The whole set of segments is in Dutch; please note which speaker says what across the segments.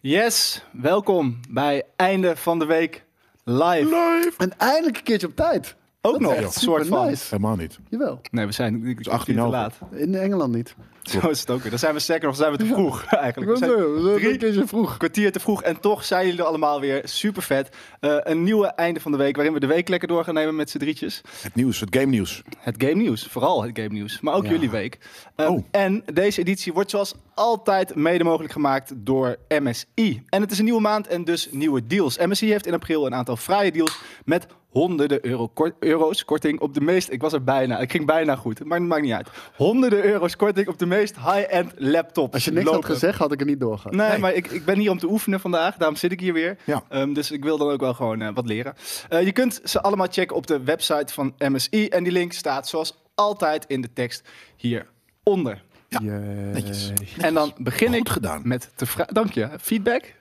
Speaker 1: Yes, welkom bij Einde van de Week live.
Speaker 2: En eindelijk een keertje op tijd.
Speaker 1: Ook
Speaker 2: Dat
Speaker 1: nog,
Speaker 2: is
Speaker 1: een
Speaker 2: echt
Speaker 1: soort van.
Speaker 2: nice.
Speaker 3: Helemaal niet.
Speaker 2: Jawel.
Speaker 1: Nee, we zijn ik- ik-
Speaker 3: 18
Speaker 1: te
Speaker 3: over.
Speaker 1: laat.
Speaker 2: In Engeland niet.
Speaker 1: Zo is het ook weer. Dan zijn we sterker nog, zijn we te vroeg eigenlijk. We zijn
Speaker 2: eh, een
Speaker 1: drie
Speaker 2: keertje vroeg.
Speaker 1: kwartier te vroeg en toch zijn jullie er allemaal weer super vet. een nieuwe Einde van de Week waarin we de week lekker door gaan nemen met z'n drietjes.
Speaker 3: Het nieuws, het game nieuws.
Speaker 1: Het game nieuws, vooral het game nieuws, maar ook
Speaker 2: Ja.
Speaker 1: jullie week. Um,
Speaker 3: Oh.
Speaker 1: En deze editie wordt zoals altijd mede mogelijk gemaakt door MSI. En het is een nieuwe maand en dus nieuwe deals. MSI heeft in april een aantal fraaie deals met honderden euro kor- euro's korting op de meest... Ik was er bijna, ik ging bijna goed, maar het maakt niet uit. Honderden euro's korting op de meest high-end laptops.
Speaker 2: Als je niks
Speaker 1: lopen.
Speaker 2: had gezegd, had ik er niet doorgaan.
Speaker 1: Nee, maar ik, ik ben hier om te oefenen vandaag. Daarom zit ik hier weer.
Speaker 3: Ja.
Speaker 1: Ehm, dus ik wil dan ook wel gewoon eh, wat leren. Eh, je kunt ze allemaal checken op de website van MSI. En die link staat zoals altijd in de tekst hieronder.
Speaker 3: Netjes.
Speaker 1: En dan begin
Speaker 3: Goed
Speaker 1: ik
Speaker 3: gedaan.
Speaker 1: met de vraag... Dank je. Feedback?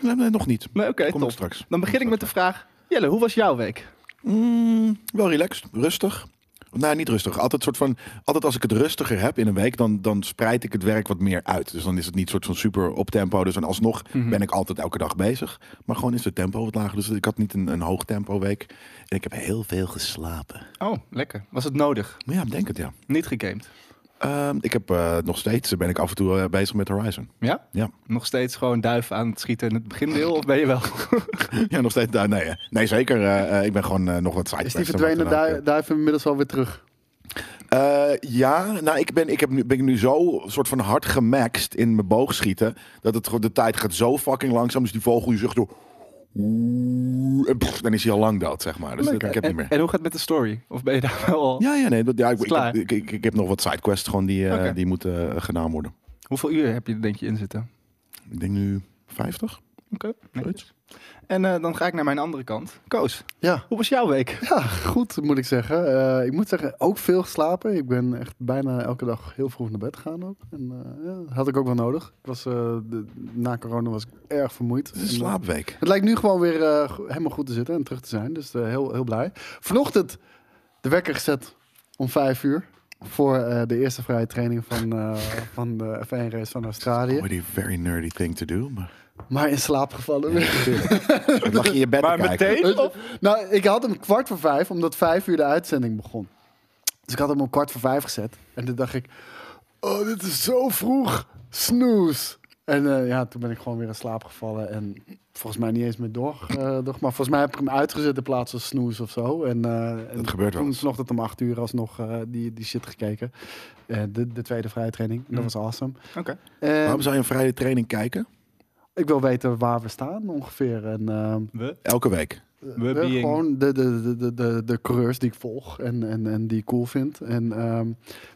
Speaker 3: Nee, nee, nog niet.
Speaker 1: Nee, oké,
Speaker 3: Kom
Speaker 1: top.
Speaker 3: nog straks.
Speaker 1: Dan begin ik met de vraag... Jelle, hoe was jouw week?
Speaker 3: Mm, wel relaxed, rustig. Nee, niet rustig. Altijd soort van. Altijd als ik het rustiger heb in een week, dan, dan spreid ik het werk wat meer uit. Dus dan is het niet soort van super op tempo. Dus en alsnog
Speaker 1: Mhm.
Speaker 3: ben ik altijd elke dag bezig. Maar gewoon is het tempo wat lager. Dus ik had niet een, een hoog tempo week. En ik heb heel veel geslapen.
Speaker 1: Oh, lekker. Was het nodig?
Speaker 3: Maar ja, ik denk het ja.
Speaker 1: Niet gegamed?
Speaker 3: Ehm, ik heb eh, nog steeds ben ik af en toe eh, bezig met Horizon.
Speaker 1: Ja?
Speaker 3: Ja.
Speaker 1: Nog steeds gewoon duif aan het schieten in het begindeel? Of ben je wel...
Speaker 3: Ja, nog steeds. daar nee, eh, nee, zeker. eh, eh, ik ben gewoon eh, nog wat side
Speaker 2: Is die verdwenen daar, duif inmiddels alweer terug?
Speaker 3: Eh, ja, nou, ik ben, ik heb nu, ben nu zo soort van hard gemaxt in mijn boogschieten. Dat het, gewoon- de tijd gaat zo fucking langzaam. Dus die vogel die zucht door. Oeh, en pff, dan is hij al lang dood, zeg maar. Dus dat, ik heb
Speaker 1: en,
Speaker 3: niet meer.
Speaker 1: en hoe gaat het met de story? Of ben je daar wel... al-
Speaker 3: Ja, ja, nee. dat- Ja, ik, ik,
Speaker 1: klaar.
Speaker 3: heb- ik, ik, ik heb nog wat sidequests gewoon die, eh,
Speaker 1: Oké.
Speaker 3: die moeten eh, gedaan worden.
Speaker 1: Hoeveel uur heb je er denk je in zitten?
Speaker 3: Ik denk nu 50.
Speaker 1: Oké,
Speaker 3: zoiets.
Speaker 1: En eh, dan ga ik naar mijn andere kant. Koos,
Speaker 2: Ja.
Speaker 1: hoe was jouw week?
Speaker 2: Ja, goed moet ik zeggen. Eh, ik moet zeggen, ook veel geslapen. Ik ben echt bijna elke dag heel vroeg naar bed gegaan ook. En eh, ja, dat had ik ook wel nodig. Ik was, eh, de, na corona was ik erg vermoeid.
Speaker 3: Het is
Speaker 2: En,
Speaker 3: een
Speaker 2: eh,
Speaker 3: slaapweek.
Speaker 2: Het lijkt nu gewoon weer eh, go- helemaal goed te zitten en terug te zijn. Dus eh, heel, heel blij. Vanochtend de wekker gezet om vijf uur. Voor eh, de eerste vrije training van, eh, van de F1 race van Australië.
Speaker 3: Already a very nerdy thing to do. Maar
Speaker 2: Maar in slaap gevallen.
Speaker 3: ik lag in je bed te kijken.
Speaker 2: Weet je- Nou, ik had hem kwart voor vijf, omdat vijf uur de uitzending begon. Dus ik had hem om kwart voor vijf gezet. En toen dacht ik, oh, dit is zo vroeg. Snoes. En eh, ja, toen ben ik gewoon weer in slaap gevallen. En volgens mij niet eens meer door. eh, door- maar volgens mij heb ik hem uitgezet in plaats van snoes of zo. En, eh, en
Speaker 3: Dat gebeurt wel
Speaker 2: Toen
Speaker 3: eens.
Speaker 2: vanochtend om acht uur alsnog eh, die, die shit gekeken. Eh, de, de tweede vrije training. Dat
Speaker 1: Mm.
Speaker 2: was awesome.
Speaker 1: Oké.
Speaker 2: En
Speaker 3: Waarom zou je een vrije training kijken?
Speaker 2: ik wil weten waar we staan ongeveer. En, ehm,
Speaker 1: We,
Speaker 3: Elke week.
Speaker 1: we
Speaker 2: eh,
Speaker 1: being-
Speaker 2: Gewoon de, de, de, de, de, de coureurs die ik volg en, en, en die ik cool vind. En ehm,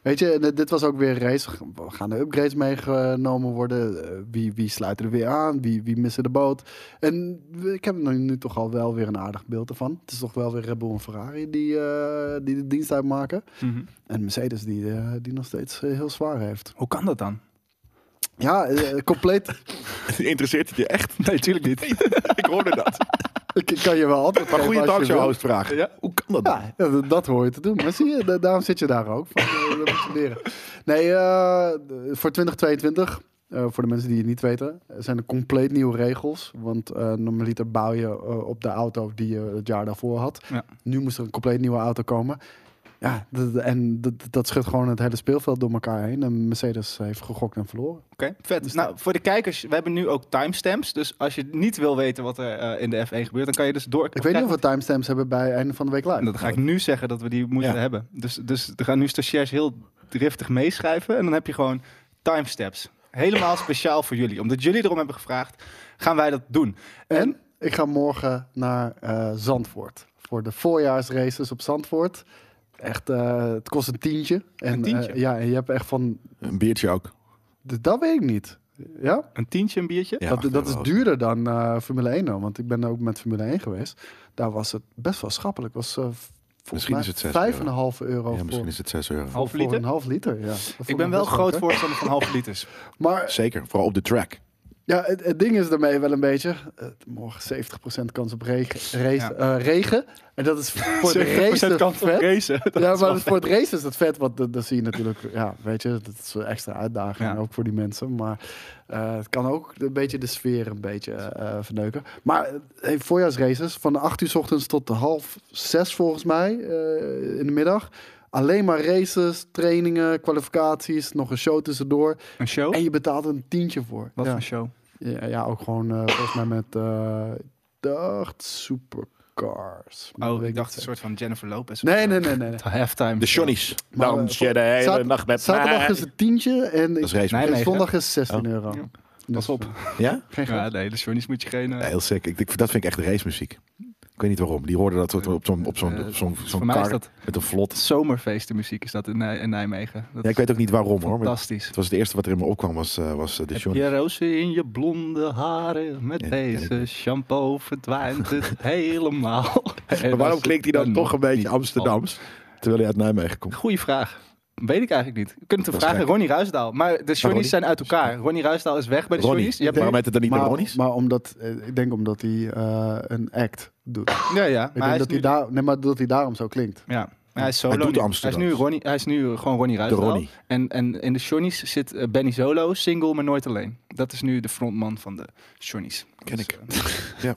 Speaker 2: weet je, en dit- dit was ook weer een race. We gaan de upgrades meegenomen worden. Eh, Wie, wie sluiten er weer aan? Wie, wie missen de boot? En we- ik heb er nu toch al wel weer een aardig beeld ervan. Het is toch wel weer Red Bull en Ferrari die, eh, die de dienst uitmaken.
Speaker 1: Mhm.
Speaker 2: En Mercedes die, eh, die nog steeds eh, heel zwaar heeft.
Speaker 1: Hoe kan dat dan?
Speaker 2: Ja, eh, compleet.
Speaker 3: Interesseert het je echt?
Speaker 1: Nee, natuurlijk niet.
Speaker 3: Ik hoorde dat.
Speaker 2: ik ik kan je wel altijd.
Speaker 3: Maar goede talkshow
Speaker 2: houden.
Speaker 3: host vragen.
Speaker 1: Ja.
Speaker 3: Hoe kan dat?
Speaker 2: Ja, dat, dat hoor je te doen. Maar zie je, da- daarom zit je daar ook. Van, eh, dat moet je leren. Nee, eh, voor 2022, eh, voor de mensen die het niet weten, zijn er compleet nieuwe regels. Want eh normaliter bouw je eh, op de auto die je het jaar daarvoor had.
Speaker 1: Ja.
Speaker 2: Nu moest er een compleet nieuwe auto komen. Ja, dat- en dat, dat schudt gewoon het hele speelveld door elkaar heen. En Mercedes heeft gegokt en verloren.
Speaker 1: Oké, vet. Nou, voor de kijkers, we hebben nu ook timestamps. Dus als je niet wil weten wat er eh, in de F1 gebeurt, dan kan je dus door...
Speaker 2: Ik weet niet of we timestamps hebben bij einde van de week live.
Speaker 1: Dat ga ik nu zeggen dat we die moeten
Speaker 3: Ja.
Speaker 1: hebben. Dus, dus er gaan nu stagiairs heel driftig meeschrijven. En dan heb je gewoon timestamps. Helemaal speciaal voor jullie. Omdat jullie erom hebben gevraagd, gaan wij dat doen.
Speaker 2: En ik ga morgen naar eh, Zandvoort. Voor de voorjaarsraces op Zandvoort. Echt, eh, het kost een tientje. En,
Speaker 1: Een tientje?
Speaker 2: eh, ja, en je hebt echt van...
Speaker 3: Een biertje ook.
Speaker 2: d- Dat weet ik niet. Ja?
Speaker 1: Een tientje, een biertje.
Speaker 3: Ja,
Speaker 2: dat
Speaker 3: acht
Speaker 2: dat is
Speaker 3: euro.
Speaker 2: duurder dan eh, Formule 1 dan. Want ik ben ook met Formule 1 geweest. Daar was het best wel schappelijk. Was, eh, v-
Speaker 3: Misschien is
Speaker 2: volgens
Speaker 3: het zes
Speaker 2: mij
Speaker 3: euro.
Speaker 2: 5,5 euro
Speaker 3: Ja,
Speaker 2: voor,
Speaker 3: misschien is het 6 euro.
Speaker 1: Half
Speaker 2: voor
Speaker 1: liter.
Speaker 2: een half liter. Ja. Dat vond
Speaker 1: Ik ben
Speaker 2: best
Speaker 1: wel groot
Speaker 2: lekker.
Speaker 1: voorstander van halve liters.
Speaker 2: Maar
Speaker 3: Zeker, vooral op de track.
Speaker 2: Ja, het, het ding is daarmee wel een beetje. eh, morgen 70% kans op regen. race- eh, regen. En dat is voor de
Speaker 1: 70%
Speaker 2: race
Speaker 1: kans op
Speaker 2: vet.
Speaker 1: racen. Dat
Speaker 2: ja,
Speaker 1: is
Speaker 2: maar
Speaker 1: wel-
Speaker 2: voor het race is dat vet, want dan dan zie je natuurlijk, ja, weet je, dat is een extra uitdaging
Speaker 1: Ja.
Speaker 2: ook voor die mensen. Maar eh, het kan ook een beetje de sfeer een beetje eh, verneuken. Maar eh, hey, voorjaarsraces, van de 8 uur 's ochtends tot de half zes volgens mij eh, in de middag. Alleen maar races, trainingen, kwalificaties, nog een show tussendoor.
Speaker 1: Een show?
Speaker 2: En je betaalt een tientje voor.
Speaker 1: Oh. Wat
Speaker 2: ja.
Speaker 1: voor show?
Speaker 2: Ja, ja, ook gewoon eh, volgens mij met, eh dacht, supercars. Maar
Speaker 1: Oh,
Speaker 2: weet
Speaker 1: ik dacht een
Speaker 2: niet.
Speaker 1: soort van Jennifer Lopez.
Speaker 2: Nee, nee, nee, nee. nee.
Speaker 1: Halftime.
Speaker 3: De
Speaker 1: show.
Speaker 3: Johnnies.
Speaker 2: Maar, eh,
Speaker 4: Dans je de hele
Speaker 2: Zater-
Speaker 4: nacht met
Speaker 2: Zaterdag
Speaker 4: mij.
Speaker 2: is het tientje en
Speaker 3: Dat
Speaker 2: ik,
Speaker 3: is race.
Speaker 1: Nee.
Speaker 2: en
Speaker 1: negen.
Speaker 2: zondag is 16
Speaker 3: Oh.
Speaker 2: euro.
Speaker 1: Ja.
Speaker 2: Dus,
Speaker 1: Pas op.
Speaker 3: Ja?
Speaker 2: Geen geld.
Speaker 1: Ja, nee, de Johnny's moet je geen... eh,
Speaker 3: Ja, Heel sick. Ik, ik- dat vind ik echt racemuziek. Ik weet niet waarom. Die hoorden dat soort op zo'n op zo'n
Speaker 1: eh,
Speaker 3: op zo'n
Speaker 1: voor
Speaker 3: zo'n
Speaker 1: mij is
Speaker 3: kar
Speaker 1: dat
Speaker 3: met een vlot.
Speaker 1: zomerfeestenmuziek is dat in, Nij- in Nijmegen. Dat
Speaker 3: Ja, ik weet ook niet waarom
Speaker 1: is
Speaker 3: hoor. maar
Speaker 1: fantastisch.
Speaker 3: Het was het eerste wat er in me opkwam was, eh, was eh, de
Speaker 1: Heb
Speaker 3: Johnny.
Speaker 1: je rozen in je blonde haren, met
Speaker 3: Ja, ja,
Speaker 1: deze shampoo verdwijnt het helemaal.
Speaker 3: Maar waarom klinkt hij dan toch een beetje Amsterdams? Terwijl hij uit Nijmegen komt.
Speaker 1: Goeie vraag. Weet ik eigenlijk niet. Je kunt het
Speaker 3: Dat is
Speaker 1: vragen,
Speaker 3: gek.
Speaker 1: Ronnie Ruisdaal. Maar de
Speaker 3: Ronnie?
Speaker 1: Johnnies zijn uit elkaar. Ronnie Ruisdaal is weg bij de
Speaker 3: Ronnie.
Speaker 1: Johnnies. Je hebt
Speaker 3: Waarom heet het dan niet de
Speaker 2: Maar,
Speaker 3: Ronnies?
Speaker 2: maar omdat, eh, ik denk omdat hij eh, een act doet. Ik
Speaker 1: Ja, ja. Maar
Speaker 2: denk
Speaker 1: hij is
Speaker 2: dat hij,
Speaker 1: nu-
Speaker 2: daar, nee, maar dat hij daarom zo klinkt.
Speaker 1: Ja. Maar hij is solo.
Speaker 3: Hij doet
Speaker 1: nu.
Speaker 3: Amsterdam.
Speaker 1: Hij is nu, Ronnie, hij is nu gewoon Ronnie Ruisdaal.
Speaker 3: Ronnie.
Speaker 1: En, en in de Johnnies zit eh, Benny Solo, single, maar nooit alleen. Dat is nu de frontman van de Johnnies.
Speaker 3: Ken ik.
Speaker 1: eh,
Speaker 3: Ja.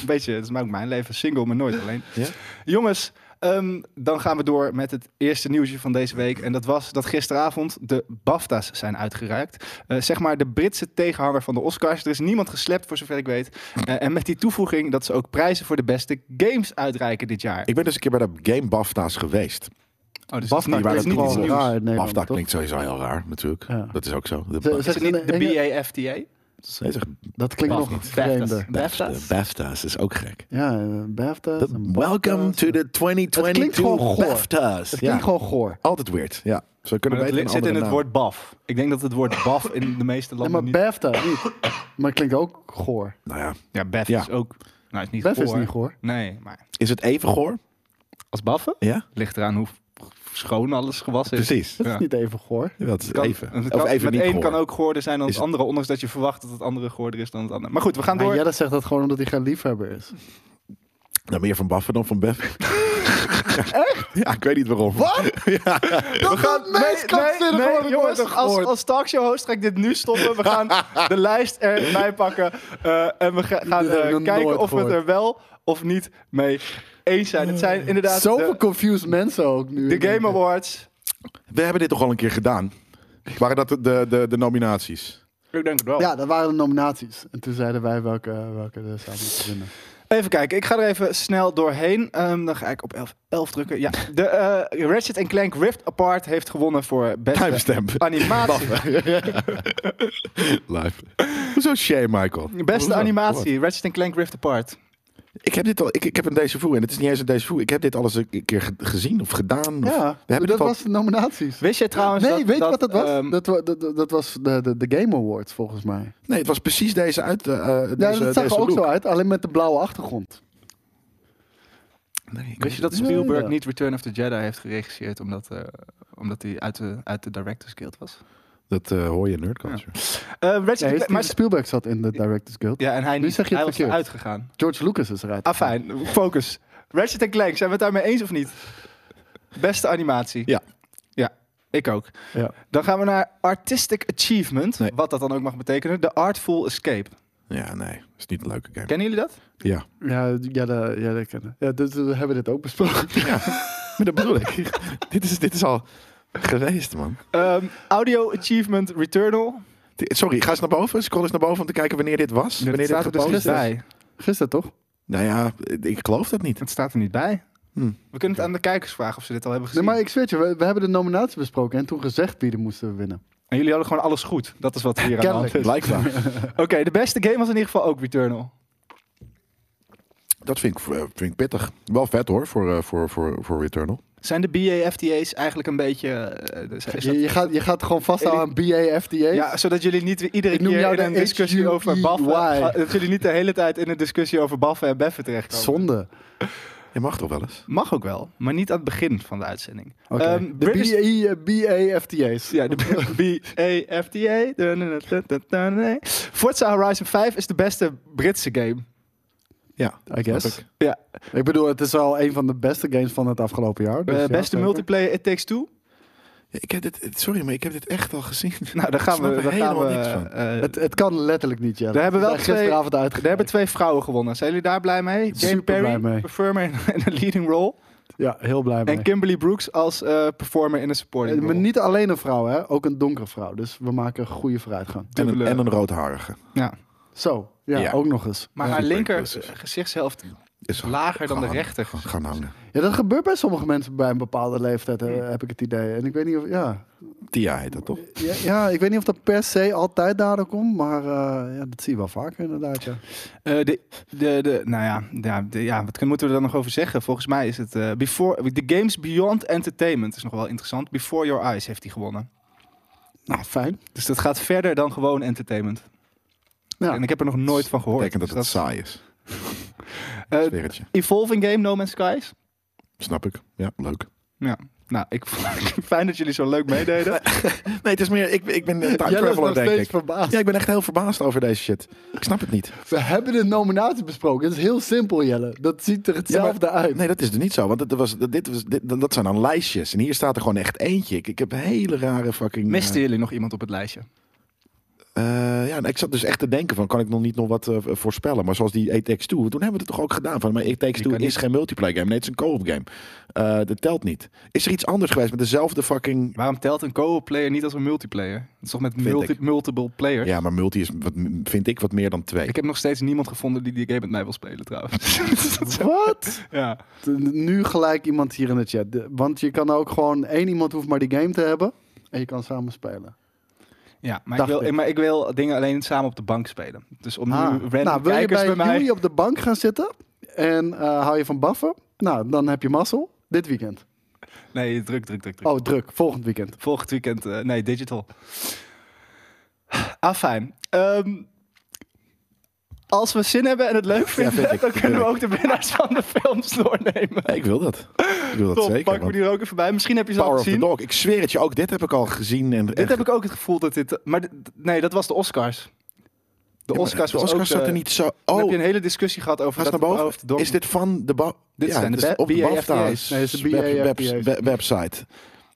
Speaker 1: Een beetje, dat is maar ook mijn leven. Single, maar nooit alleen.
Speaker 3: Ja?
Speaker 1: Jongens, ehm, dan gaan we door met het eerste nieuwsje van deze week. En dat was dat gisteravond de BAFTA's zijn uitgereikt. Eh, zeg maar de Britse tegenhanger van de Oscars. Er is niemand geslept, voor zover ik weet. Eh, en met die toevoeging dat ze ook prijzen voor de beste games uitreiken dit jaar.
Speaker 3: Ik ben dus een keer bij de Game BAFTA's geweest.
Speaker 1: Oh, dus
Speaker 2: BAFTA
Speaker 1: het is
Speaker 2: klinkt
Speaker 1: niet iets
Speaker 2: gewoon
Speaker 1: nieuws.
Speaker 2: raar in Nederland,
Speaker 3: BAFTA
Speaker 2: toch?
Speaker 3: klinkt sowieso heel raar natuurlijk.
Speaker 2: Ja.
Speaker 3: Dat is ook zo. De, ba-
Speaker 2: Ze-
Speaker 1: Is het
Speaker 2: Zeggen
Speaker 1: niet
Speaker 2: ze in-
Speaker 1: de BAFTA?
Speaker 3: Nee, zeg,
Speaker 2: Dat klinkt
Speaker 1: Baf-
Speaker 2: nog
Speaker 1: niet. Baftas.
Speaker 2: vreemder.
Speaker 3: BAFTA's. De BAFTA's is ook gek.
Speaker 2: Ja, eh, BAFTA's.
Speaker 3: Dat-
Speaker 2: en
Speaker 3: welcome
Speaker 2: BAFTA's.
Speaker 3: to the
Speaker 2: Het klinkt gewoon
Speaker 3: 2022
Speaker 2: goor.
Speaker 3: BAFTA's.
Speaker 2: Het
Speaker 3: Ja.
Speaker 2: klinkt gewoon goor.
Speaker 3: Altijd weird. Ja. Zo
Speaker 1: Maar
Speaker 3: kunnen
Speaker 1: dat
Speaker 3: we
Speaker 1: li- zit in het woord baf. Ik denk dat het woord baf in de meeste
Speaker 2: Nee,
Speaker 1: landen
Speaker 2: maar
Speaker 1: niet...
Speaker 2: BAFTA niet. Maar het klinkt ook goor.
Speaker 3: Nou ja,
Speaker 1: ja, bef
Speaker 3: Ja.
Speaker 1: is ook... Nou, is niet
Speaker 2: BAF is
Speaker 1: goor.
Speaker 2: niet goor.
Speaker 1: Nee, maar
Speaker 3: is het even goor?
Speaker 1: als baffen
Speaker 3: Ja.
Speaker 1: ligt eraan hoe schoon alles gewassen is.
Speaker 3: Precies.
Speaker 2: Dat
Speaker 1: Ja.
Speaker 2: is niet even goor.
Speaker 3: Ja, dat is
Speaker 1: Kan-
Speaker 3: even.
Speaker 1: het
Speaker 3: of
Speaker 1: kan-
Speaker 3: even
Speaker 1: met
Speaker 3: niet
Speaker 1: één
Speaker 3: goor.
Speaker 1: kan ook goorder zijn dan het
Speaker 3: Is-
Speaker 1: andere, ondanks dat je verwacht dat het andere goorder is dan het andere. Maar goed, we gaan
Speaker 2: Maar
Speaker 1: door.
Speaker 2: Jelle zegt dat gewoon omdat hij geen liefhebber is.
Speaker 3: Nou, meer van Baffen dan van Beff. Ja, ik weet niet waarom. Wat? Ja.
Speaker 2: We gaan het meest
Speaker 1: Eh, nee, jongens, als, als talkshow host ga ik dit nu stoppen. We gaan de lijst erbij pakken eh, en we ga- gaan
Speaker 2: Dit heb ik
Speaker 1: eh,
Speaker 2: nog
Speaker 1: kijken
Speaker 2: nooit
Speaker 1: of we het er
Speaker 2: gehoord.
Speaker 1: wel of niet mee eens zijn. Het zijn inderdaad
Speaker 2: Zoveel
Speaker 1: de,
Speaker 2: confused mensen ook nu.
Speaker 1: de Game Awards.
Speaker 3: We hebben dit toch al een keer gedaan? Waren dat de, de, de, de nominaties?
Speaker 1: Ik denk het wel.
Speaker 2: Ja, dat waren de nominaties. En toen zeiden wij welke, welke er samen moeten winnen.
Speaker 1: Even kijken, ik ga er even snel doorheen. Ehm, dan ga ik op 11, 11 drukken. Ja, de eh Ratchet Clank Rift Apart heeft gewonnen voor beste
Speaker 3: Timestamp.
Speaker 1: animatie.
Speaker 3: Live. Hoezo Shay, Michael?
Speaker 1: Beste
Speaker 3: Hoezo?
Speaker 1: animatie, Ratchet Clank Rift Apart.
Speaker 3: Ik heb dit al, ik, ik heb een déjà vu en het is niet eens een déjà vu. Ik heb dit alles een keer ge- gezien of gedaan. Of,
Speaker 2: Ja,
Speaker 3: we hebben
Speaker 2: dat
Speaker 3: dit al-
Speaker 2: was de nominaties.
Speaker 1: Wist je trouwens
Speaker 2: nee,
Speaker 1: dat,
Speaker 2: weet je wat dat was?
Speaker 1: ehm,
Speaker 2: dat, wa- dat, dat- dat was de, de, de Game Awards volgens mij.
Speaker 3: Nee, het was precies deze uit. eh, eh,
Speaker 2: Ja,
Speaker 3: deze,
Speaker 2: dat zag
Speaker 3: deze
Speaker 2: er ook
Speaker 3: look.
Speaker 2: zo uit, alleen met de blauwe achtergrond.
Speaker 3: Nee, ik
Speaker 1: wist je dat
Speaker 2: Ja,
Speaker 1: Spielberg
Speaker 2: ja.
Speaker 1: niet Return of the Jedi heeft geregisseerd omdat, eh, omdat hij uit de, uit de Directors Guild was?
Speaker 3: Dat eh, hoor je in nerd culture.
Speaker 1: Eh, Ratchet
Speaker 2: Nee,
Speaker 1: Clank,
Speaker 2: Steven
Speaker 1: maar,
Speaker 2: Spielberg zat in de Directors Guild.
Speaker 1: ja, Ah, en hij,
Speaker 2: Nu
Speaker 1: niet,
Speaker 2: zeg je het
Speaker 1: hij was
Speaker 2: verkeerd.
Speaker 1: eruit gegaan.
Speaker 2: George Lucas is eruit.
Speaker 1: Afijn, focus. Ratchet Clank, zijn we het daarmee eens of niet? Beste animatie.
Speaker 3: Ja.
Speaker 1: Ja, ik ook.
Speaker 2: Ja.
Speaker 1: Dan gaan we naar Artistic Achievement,
Speaker 3: Nee.
Speaker 1: wat dat dan ook mag betekenen. De Artful Escape.
Speaker 3: Ja, nee. Het is niet een leuke game.
Speaker 1: Kennen jullie dat?
Speaker 3: Ja.
Speaker 2: Ja, ja, de, ja, dat kennen. Ja, dus we hebben dit ook besproken.
Speaker 3: Maar dat bedoel ik. dit, is, dit is al geweest, man.
Speaker 1: Ehm, audio Achievement Returnal.
Speaker 3: Di- Sorry, ga eens naar boven. Scroll eens naar boven om te kijken wanneer dit was.
Speaker 1: Het
Speaker 3: wanneer dit
Speaker 1: staat er dus
Speaker 3: gepost
Speaker 1: niet
Speaker 3: is.
Speaker 1: bij.
Speaker 2: Gisteren toch?
Speaker 3: Nou ja, ik geloof dat niet.
Speaker 1: Het staat er niet bij.
Speaker 3: Hm.
Speaker 1: We kunnen het aan de kijkers vragen of ze dit al hebben
Speaker 2: Nee,
Speaker 1: gezien.
Speaker 2: maar ik zweer je, we, we hebben de nominaties besproken en toen gezegd wie er moesten winnen.
Speaker 1: En jullie hadden gewoon alles goed. Dat is wat hier aan de hand is.
Speaker 2: Kennelijk.
Speaker 3: Blijkbaar.
Speaker 1: Oké, de beste game was in ieder geval ook Returnal.
Speaker 3: dat vind ik, eh, vind ik pittig. Wel vet hoor, voor, eh, voor, voor, voor Returnal.
Speaker 1: Zijn de BA-FTA's eigenlijk een beetje... eh, is- is dat-
Speaker 2: Je, je, gaat, je gaat gewoon vasthouden aan BAFTA.
Speaker 1: ja, zodat jullie niet weer iedere
Speaker 2: Ik noem
Speaker 1: keer
Speaker 2: jou
Speaker 1: in
Speaker 2: de
Speaker 1: een discussie
Speaker 2: HUEY.
Speaker 1: over baffen... ga- Dat jullie niet de hele tijd in een discussie over baffen en beffen terechtkomen.
Speaker 2: Zonde.
Speaker 3: Je mag toch wel eens?
Speaker 1: Mag ook wel, maar niet aan het begin van de uitzending.
Speaker 2: Oké.
Speaker 1: Ehm,
Speaker 2: de
Speaker 1: British-
Speaker 2: BA, eh, BAFTA's.
Speaker 1: Ja, de BAFTA. Da-na-na-na-na-na-na. Forza Horizon 5 is de beste Britse game.
Speaker 3: Ja,
Speaker 2: I guess.
Speaker 3: snap
Speaker 2: Ik.
Speaker 3: ik.
Speaker 1: Ja,
Speaker 2: bedoel, het is wel een van de beste games van het afgelopen
Speaker 1: de
Speaker 2: jaar. dus ja,
Speaker 1: Eh, beste
Speaker 2: zeker.
Speaker 1: multiplayer It Takes Two.
Speaker 3: Ja, ik heb dit, sorry, maar ik heb dit echt al gezien.
Speaker 1: Nou, daar gaan
Speaker 3: Ik snap
Speaker 1: we.
Speaker 3: er
Speaker 1: Daar gaan
Speaker 3: helemaal
Speaker 1: we.
Speaker 3: niks van.
Speaker 1: eh,
Speaker 2: Het, het kan letterlijk niet, ja.
Speaker 1: Daar hebben wel twee-
Speaker 2: gisteravond
Speaker 1: daar
Speaker 2: uitgegeven.
Speaker 1: hebben twee vrouwen gewonnen. Zijn jullie daar blij mee? Jane
Speaker 2: Super
Speaker 1: Perry,
Speaker 2: blij mee.
Speaker 1: performer in- in een leading role.
Speaker 2: Ja, heel blij mee.
Speaker 1: En Kimberly Brooks als eh, performer in een supporting
Speaker 2: Eh,
Speaker 1: role.
Speaker 2: Maar niet alleen een vrouw, hè? ook een donkere vrouw. Dus we maken een goede vooruitgang.
Speaker 3: En een,
Speaker 1: Dubbele-
Speaker 3: en een roodharige.
Speaker 1: Ja.
Speaker 2: Zo, ja,
Speaker 3: Ja.
Speaker 2: ook nog eens.
Speaker 1: Maar
Speaker 3: Ja.
Speaker 1: haar linker
Speaker 3: Precies.
Speaker 1: gezichtshelft
Speaker 3: Is
Speaker 1: lager dan de
Speaker 3: gaan-
Speaker 1: rechter.
Speaker 3: Gaan hangen.
Speaker 2: Ja, dat gebeurt bij sommige mensen bij een bepaalde leeftijd,
Speaker 1: Hmm.
Speaker 2: hè, heb ik het idee. En ik weet niet of, ja.
Speaker 3: Tia heet dat toch?
Speaker 2: Ja, ja, ik weet niet of dat per se altijd daardoor komt, maar eh, ja, dat zie je wel vaker inderdaad. Ja.
Speaker 1: Eh, de, de, de, nou ja, ja, de- ja, wat kun- moeten we er dan nog over zeggen? Volgens mij is het... eh before, the Games Beyond Entertainment is nog wel interessant. Before Your Eyes heeft hij gewonnen.
Speaker 2: Nou, fijn.
Speaker 1: Dus dat gaat verder dan gewoon entertainment.
Speaker 2: Ja.
Speaker 1: En ik heb er nog nooit van gehoord.
Speaker 3: Betekent dat het
Speaker 1: Dus
Speaker 3: saai is.
Speaker 1: dat- eh,
Speaker 3: Sfeertje.
Speaker 1: Evolving Game, No Man's Skies.
Speaker 3: Snap ik. Ja, leuk.
Speaker 1: Nou, ik fijn dat jullie zo leuk meededen.
Speaker 3: Nee, het is meer, ik, ik ben een time
Speaker 2: Jij was nog
Speaker 3: traveler, denk
Speaker 2: steeds
Speaker 3: ik.
Speaker 2: verbaasd.
Speaker 3: Ja, ik ben echt heel verbaasd over deze shit. Ik snap het niet.
Speaker 2: We hebben de nominatie besproken. Het is heel simpel, Jelle. Dat ziet er hetzelfde uit.
Speaker 3: Nee, dat is er niet zo. Want het was, dat- dit was, dit, dat zijn dan lijstjes. En hier staat er gewoon echt eentje. Ik, ik heb een hele rare fucking...
Speaker 1: Misten jullie nog iemand op het lijstje?
Speaker 3: Eh, ja, en ik zat dus echt te denken van, kan ik nog niet nog wat eh, voorspellen? Maar zoals die ATX2, toen hebben we het toch ook gedaan. Van, maar ATX2
Speaker 1: Die
Speaker 3: is
Speaker 1: kan niet.
Speaker 3: geen multiplayer game. Nee, het is een co-op game. Eh, dat telt niet. Is er iets anders geweest met dezelfde fucking...
Speaker 1: Waarom telt een co-op player niet als een multiplayer? Dat is toch met
Speaker 3: Vind
Speaker 1: multi-
Speaker 3: ik.
Speaker 1: multiple players?
Speaker 3: Ja, maar multi is, wat, vind ik, wat meer dan twee.
Speaker 1: Ik heb nog steeds niemand gevonden die die game met mij wil spelen trouwens.
Speaker 2: Wat?
Speaker 1: ja.
Speaker 2: Nu gelijk iemand hier in de chat. De- Want je kan ook gewoon één iemand hoeft maar die game te hebben. En je kan samen spelen.
Speaker 1: Ja, maar ik,
Speaker 2: Dacht
Speaker 1: wil,
Speaker 2: ik.
Speaker 1: maar ik wil dingen alleen samen op de bank spelen. Dus om
Speaker 2: Ah.
Speaker 1: nu random
Speaker 2: Nou, wil je
Speaker 1: kijkers
Speaker 2: bij
Speaker 1: bij, mij...
Speaker 2: Yuri op de bank gaan zitten? En eh, hou je van baffen? Nou, dan heb je mazzel. Dit weekend.
Speaker 1: Nee, druk, druk, druk, druk.
Speaker 2: Oh, druk. Volgend weekend.
Speaker 1: Volgend weekend, eh, nee, digital. Ah, fijn. Ehm, als we zin hebben en het leuk vinden,
Speaker 3: vind ik.
Speaker 1: dan kunnen we
Speaker 3: Tuurlijk.
Speaker 1: ook de winnaars van de films doornemen.
Speaker 3: Nee, ik wil dat. Ik wil dat
Speaker 1: Top,
Speaker 3: zeker.
Speaker 1: pakken we
Speaker 3: want
Speaker 1: die er ook even bij. Misschien heb je ze al
Speaker 3: Power of the
Speaker 1: gezien.
Speaker 3: Dog. Ik zweer het je ook. Dit heb ik al gezien. En
Speaker 1: Dit heb ik ook het gevoel dat dit... Maar d- d- nee, dat was de Oscars. De Oscars,
Speaker 3: de
Speaker 1: was
Speaker 3: Oscars
Speaker 1: ook,
Speaker 3: zat
Speaker 1: eh,
Speaker 3: er niet zo...
Speaker 1: Dan heb
Speaker 3: Oh,
Speaker 1: je een hele discussie gehad over
Speaker 3: Ga eens
Speaker 1: dat
Speaker 3: naar boven.
Speaker 1: Power of the Dog-
Speaker 3: Is dit van de... ba-
Speaker 1: Dit zijn de
Speaker 3: dit is
Speaker 1: ba-
Speaker 3: op de
Speaker 1: BAFTA's.
Speaker 3: BAFTA's
Speaker 2: Nee, dit is de
Speaker 3: web- web-
Speaker 2: BAFTA's.
Speaker 3: web- website.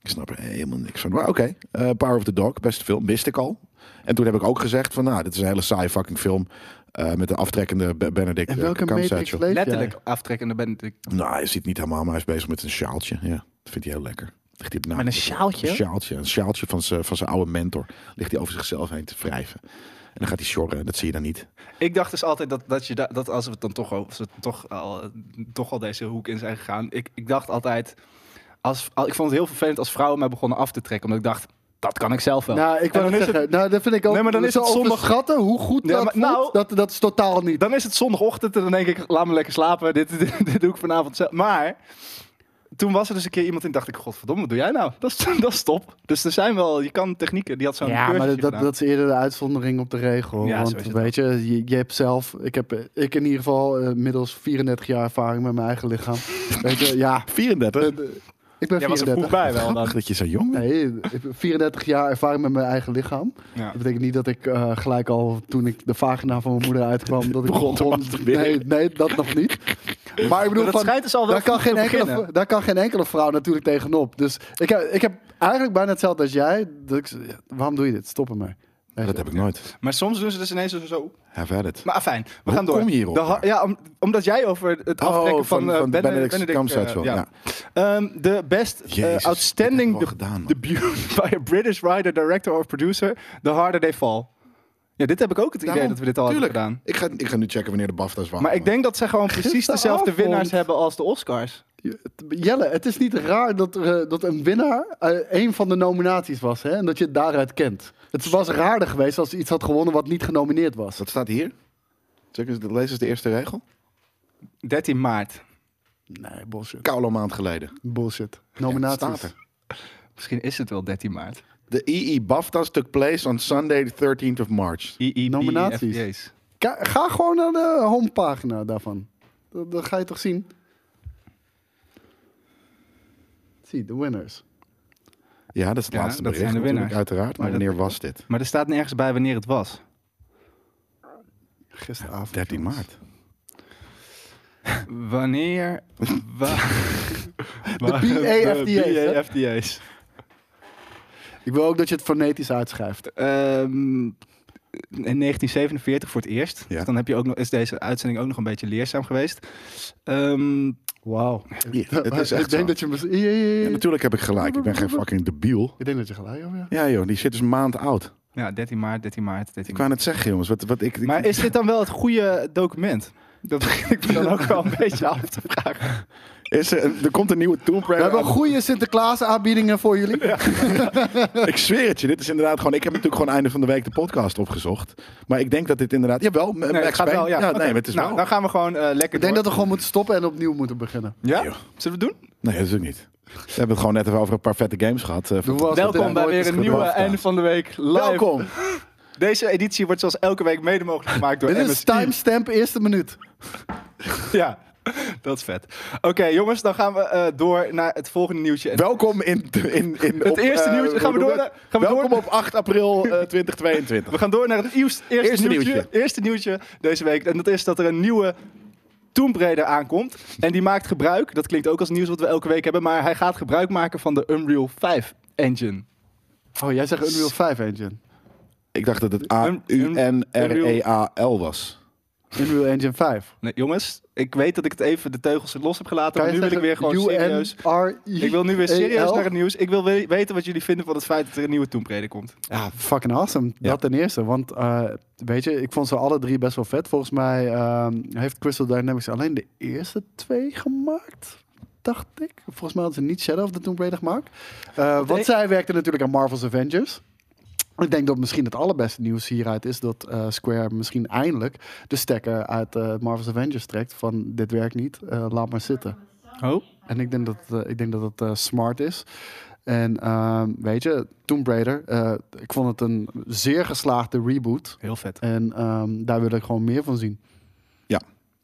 Speaker 3: Ik snap er helemaal niks van. Maar oké, eh, Power of the Dog, beste film, wist ik al. En toen heb ik ook gezegd van, nou, dit is een hele saaie fucking film. eh, met de aftrekkende Be- Benedict
Speaker 2: En
Speaker 3: eh,
Speaker 2: welke matrix
Speaker 3: Cumberbatch.
Speaker 2: leef
Speaker 1: Letterlijk
Speaker 2: jij?
Speaker 1: aftrekkende ben ik...
Speaker 3: Nou, hij zit niet helemaal, maar hij is bezig met een sjaaltje. Ja, dat vindt hij heel lekker. Ligt hij op
Speaker 1: Met een sjaaltje?
Speaker 3: Een sjaaltje, een sjaaltje van zijn van zijn oude mentor. Ligt hij over zichzelf heen te wrijven. En dan gaat hij sjorren, dat zie je dan niet.
Speaker 1: Ik dacht dus altijd dat, dat, je da- dat als we het dan toch, al- als we toch, al, toch al deze hoek in zijn gegaan. Ik, ik dacht altijd. Als, al- ik vond het heel vervelend als vrouwen mij begonnen af te trekken. Omdat ik dacht, dat kan ik zelf wel.
Speaker 2: Nou, ik
Speaker 1: En
Speaker 2: wou
Speaker 1: dan is
Speaker 2: zeggen, nou, dat vind ik ook
Speaker 1: Nee, maar dan is
Speaker 2: zo
Speaker 1: het zondag-
Speaker 2: overschatten hoe goed
Speaker 1: Ja,
Speaker 2: dat
Speaker 1: maar
Speaker 2: voelt,
Speaker 1: nou-
Speaker 2: dat, dat is totaal niet.
Speaker 1: Dan is het zondagochtend en dan denk ik, laat me lekker slapen. Dit, dit, dit doe ik vanavond zelf. Maar toen was er dus een keer iemand en dacht ik, godverdomme, wat doe jij nou? Dat is, dat is top. Dus er zijn wel, je kan technieken. Die had zo'n
Speaker 2: Ja, maar
Speaker 1: cursusje
Speaker 2: dat, dat,
Speaker 1: gedaan.
Speaker 2: dat is eerder de uitzondering op de regel.
Speaker 1: Ja, zo
Speaker 2: want
Speaker 1: is het
Speaker 2: weet je, je, je hebt zelf, ik heb eh, ik in ieder geval eh, inmiddels 34 jaar ervaring met mijn eigen lichaam. weet je, ja,
Speaker 3: 34?
Speaker 2: eh, ik ben
Speaker 1: Jij was er vroeg
Speaker 2: 34.
Speaker 1: bij wel. Dan.
Speaker 3: Grappig dat je zo jong bent.
Speaker 2: Nee, ik heb 34 jaar ervaring met mijn eigen lichaam.
Speaker 1: Ja.
Speaker 2: Dat betekent niet dat ik eh, gelijk al toen ik de vagina van mijn moeder uitkwam, dat ik
Speaker 3: Begon te masturberen.
Speaker 2: Nee, nee, dat nog niet. Maar ik bedoel,
Speaker 1: Maar dat
Speaker 2: van,
Speaker 1: schijnt dus al wel
Speaker 2: daar kan,
Speaker 1: vroeg
Speaker 2: geen
Speaker 1: te
Speaker 2: enkele,
Speaker 1: beginnen.
Speaker 2: daar kan geen enkele vrouw natuurlijk tegenop. Dus ik heb, ik heb eigenlijk bijna hetzelfde als jij. Dat ik, z- ja, waarom doe je dit? Stop ermee. Weet je.
Speaker 3: Dat heb ik nooit.
Speaker 1: Maar soms doen ze dus ineens zo- zo.
Speaker 3: Have had it.
Speaker 1: Maar afijn, we
Speaker 3: Hoe
Speaker 1: gaan door.
Speaker 3: kom je hierop?
Speaker 1: De ha- ja, om- omdat jij over het aftrekken
Speaker 3: Oh,
Speaker 1: van,
Speaker 3: van-
Speaker 1: eh,
Speaker 3: van
Speaker 1: Bene-
Speaker 3: Benedict
Speaker 1: eh,
Speaker 3: Cumberbatch, ja.
Speaker 1: Ehm, de best eh,
Speaker 3: Jezus, dit
Speaker 1: outstanding
Speaker 3: hebben we al gedaan, man.
Speaker 1: debut by a British writer, director of producer, The Harder They Fall. Ja, dit heb ik ook het idee
Speaker 3: Daarom,
Speaker 1: dat we dit al
Speaker 3: tuurlijk.
Speaker 1: hebben gedaan.
Speaker 3: Ik ga, ik ga nu checken wanneer de BAFTA's waren.
Speaker 1: Maar ik denk dat zij gewoon precies dezelfde
Speaker 2: Gisteravond.
Speaker 1: winnaars hebben als de Oscars.
Speaker 2: Je- het- Jelle, het is niet raar dat, er, eh, dat een winnaar eh, een van de nominaties was. Hè? En dat je het daaruit kent. Het was raarder geweest als ze iets had gewonnen wat niet genomineerd was.
Speaker 3: Wat staat hier? Check eens, lees eens de eerste regel.
Speaker 1: 13 maart.
Speaker 2: Nee, bullshit.
Speaker 3: Koude maand geleden.
Speaker 2: Bullshit.
Speaker 3: Ja, het
Speaker 2: Nominaties.
Speaker 3: staat
Speaker 1: Misschien is het wel 13 maart.
Speaker 3: De EE BAFTA's took place on Sunday the 13th of March.
Speaker 1: IEB,
Speaker 2: Nominaties.
Speaker 1: FBA's.
Speaker 2: Ka- ga gewoon naar de homepagina daarvan. Dan, dan ga je toch zien. Zie, de winners.
Speaker 3: Ja, dat is het
Speaker 1: Ja,
Speaker 3: laatste
Speaker 1: dat
Speaker 3: bericht
Speaker 1: zijn de
Speaker 3: natuurlijk,
Speaker 1: winnaars.
Speaker 3: uiteraard. Maar,
Speaker 1: Maar dat-
Speaker 3: wanneer was dit?
Speaker 1: Maar er staat nergens bij wanneer het was.
Speaker 2: Gisteravond.
Speaker 3: 13
Speaker 2: jongens.
Speaker 3: maart.
Speaker 1: Wanneer... wa- waren
Speaker 2: BAFDA's, hè?
Speaker 1: BAFDA's.
Speaker 2: Ik wil ook dat je het fonetisch uitschrijft.
Speaker 1: Ehm, in 1947 voor het eerst.
Speaker 3: Ja.
Speaker 1: Dus dan heb je ook nog, is deze uitzending ook nog een beetje leerzaam geweest. Ehm,
Speaker 2: Wauw.
Speaker 3: Ja, het is
Speaker 2: Ik
Speaker 3: echt
Speaker 2: denk
Speaker 3: zo.
Speaker 2: dat je misschien... Ja, ja, ja.
Speaker 3: Ja, natuurlijk heb ik gelijk. Ik ben geen fucking debiel.
Speaker 2: Ik denk dat je gelijk hebt, ja.
Speaker 3: Ja joh, die shit is een maand oud.
Speaker 1: ja, 13 maart, 13 maart, 13
Speaker 3: Ik wou net zeggen jongens, wat, wat ik... ik-
Speaker 1: Maar is dit dan wel het goede document? Dat begin ik me dan ook wel een beetje af te vragen.
Speaker 3: is er, een- er komt een nieuwe Tomb
Speaker 2: We hebben
Speaker 3: Raider.
Speaker 2: goede Sinterklaas aanbiedingen voor jullie.
Speaker 3: Ik zweer het je, dit is inderdaad gewoon... Ik heb natuurlijk gewoon einde van de week de podcast opgezocht. Maar ik denk dat dit inderdaad... Jawel, M- Max Payne. ja.
Speaker 1: Oké.
Speaker 3: nee, maar het is
Speaker 1: nou,
Speaker 3: wel...
Speaker 1: Dan gaan we gewoon eh, lekker
Speaker 2: Ik denk dat
Speaker 1: door.
Speaker 2: we gewoon moeten stoppen en opnieuw moeten beginnen.
Speaker 1: Ja?
Speaker 3: Joh.
Speaker 1: Zullen we het doen?
Speaker 3: Nee, dat is ook niet. We hebben het gewoon net even over een paar vette games gehad. eh,
Speaker 2: Doe wel. dit
Speaker 1: Welkom bij
Speaker 2: nooit
Speaker 1: weer
Speaker 2: is
Speaker 1: een nieuwe
Speaker 3: gebeurd, ja.
Speaker 1: einde van de week live.
Speaker 3: Welkom!
Speaker 1: Deze editie wordt zoals elke week mede mogelijk gemaakt door
Speaker 2: Dit is
Speaker 1: MSI.
Speaker 2: timestamp eerste minuut.
Speaker 1: Ja, dat is vet. Oké, jongens, dan gaan we eh, door naar het volgende nieuwtje. En-
Speaker 3: Welkom in... in, in
Speaker 1: Het eerste
Speaker 3: eh,
Speaker 1: nieuwtje. Gaan we door
Speaker 3: hoe noem je
Speaker 1: naar-
Speaker 3: het?
Speaker 1: gaan we door
Speaker 3: Welkom
Speaker 1: naar-
Speaker 3: op 8 april eh, 2022.
Speaker 1: We gaan door naar het eerste, eerste,
Speaker 3: Eerste
Speaker 1: nieuwtje,
Speaker 3: nieuwtje.
Speaker 1: Eerste nieuwtje deze week. En dat is dat er een nieuwe Tomb Raider aankomt. En die maakt gebruik, dat klinkt ook als nieuws wat we elke week hebben, maar hij gaat gebruik maken van de Unreal 5 engine.
Speaker 2: Oh, jij zegt Unreal 5 Engine.
Speaker 3: Ik dacht dat het
Speaker 1: Een- een-
Speaker 3: A-U-N-R-E-A-L E was.
Speaker 2: Unreal Engine 5.
Speaker 1: Nee, jongens, ik weet dat ik het even de teugels los heb gelaten,
Speaker 2: Kan
Speaker 1: maar
Speaker 2: je
Speaker 1: nu wil ik
Speaker 2: zeggen
Speaker 1: weer gewoon
Speaker 2: UN
Speaker 1: serieus...
Speaker 2: R-I-E-L?
Speaker 1: E Ik wil nu weer serieus naar het nieuws. Ik wil we- weten wat jullie vinden van het feit dat er een nieuwe Tomb Raider komt.
Speaker 2: Ja, fucking awesome.
Speaker 3: Ja.
Speaker 2: Dat ten eerste. Want eh, weet je, ik vond ze alle drie best wel vet. Volgens mij ehm, heeft Crystal Dynamics alleen de eerste twee gemaakt. Dacht ik. Volgens mij hadden ze niet Shadow of the Tomb Raider gemaakt. Eh, want
Speaker 1: ik-
Speaker 2: zij werkte natuurlijk aan Marvel's Avengers. Ik denk dat misschien het allerbeste nieuws hieruit is dat eh, Square misschien eindelijk de stekker uit eh, Marvel's Avengers trekt. Van dit werkt niet, eh, laat maar zitten.
Speaker 1: Oh?
Speaker 2: En ik denk dat, eh, ik denk dat het eh, smart is. En ehm, weet je, Tomb Raider, eh, ik vond het een zeer geslaagde reboot.
Speaker 1: Heel vet.
Speaker 2: En ehm, daar wil ik gewoon meer van zien.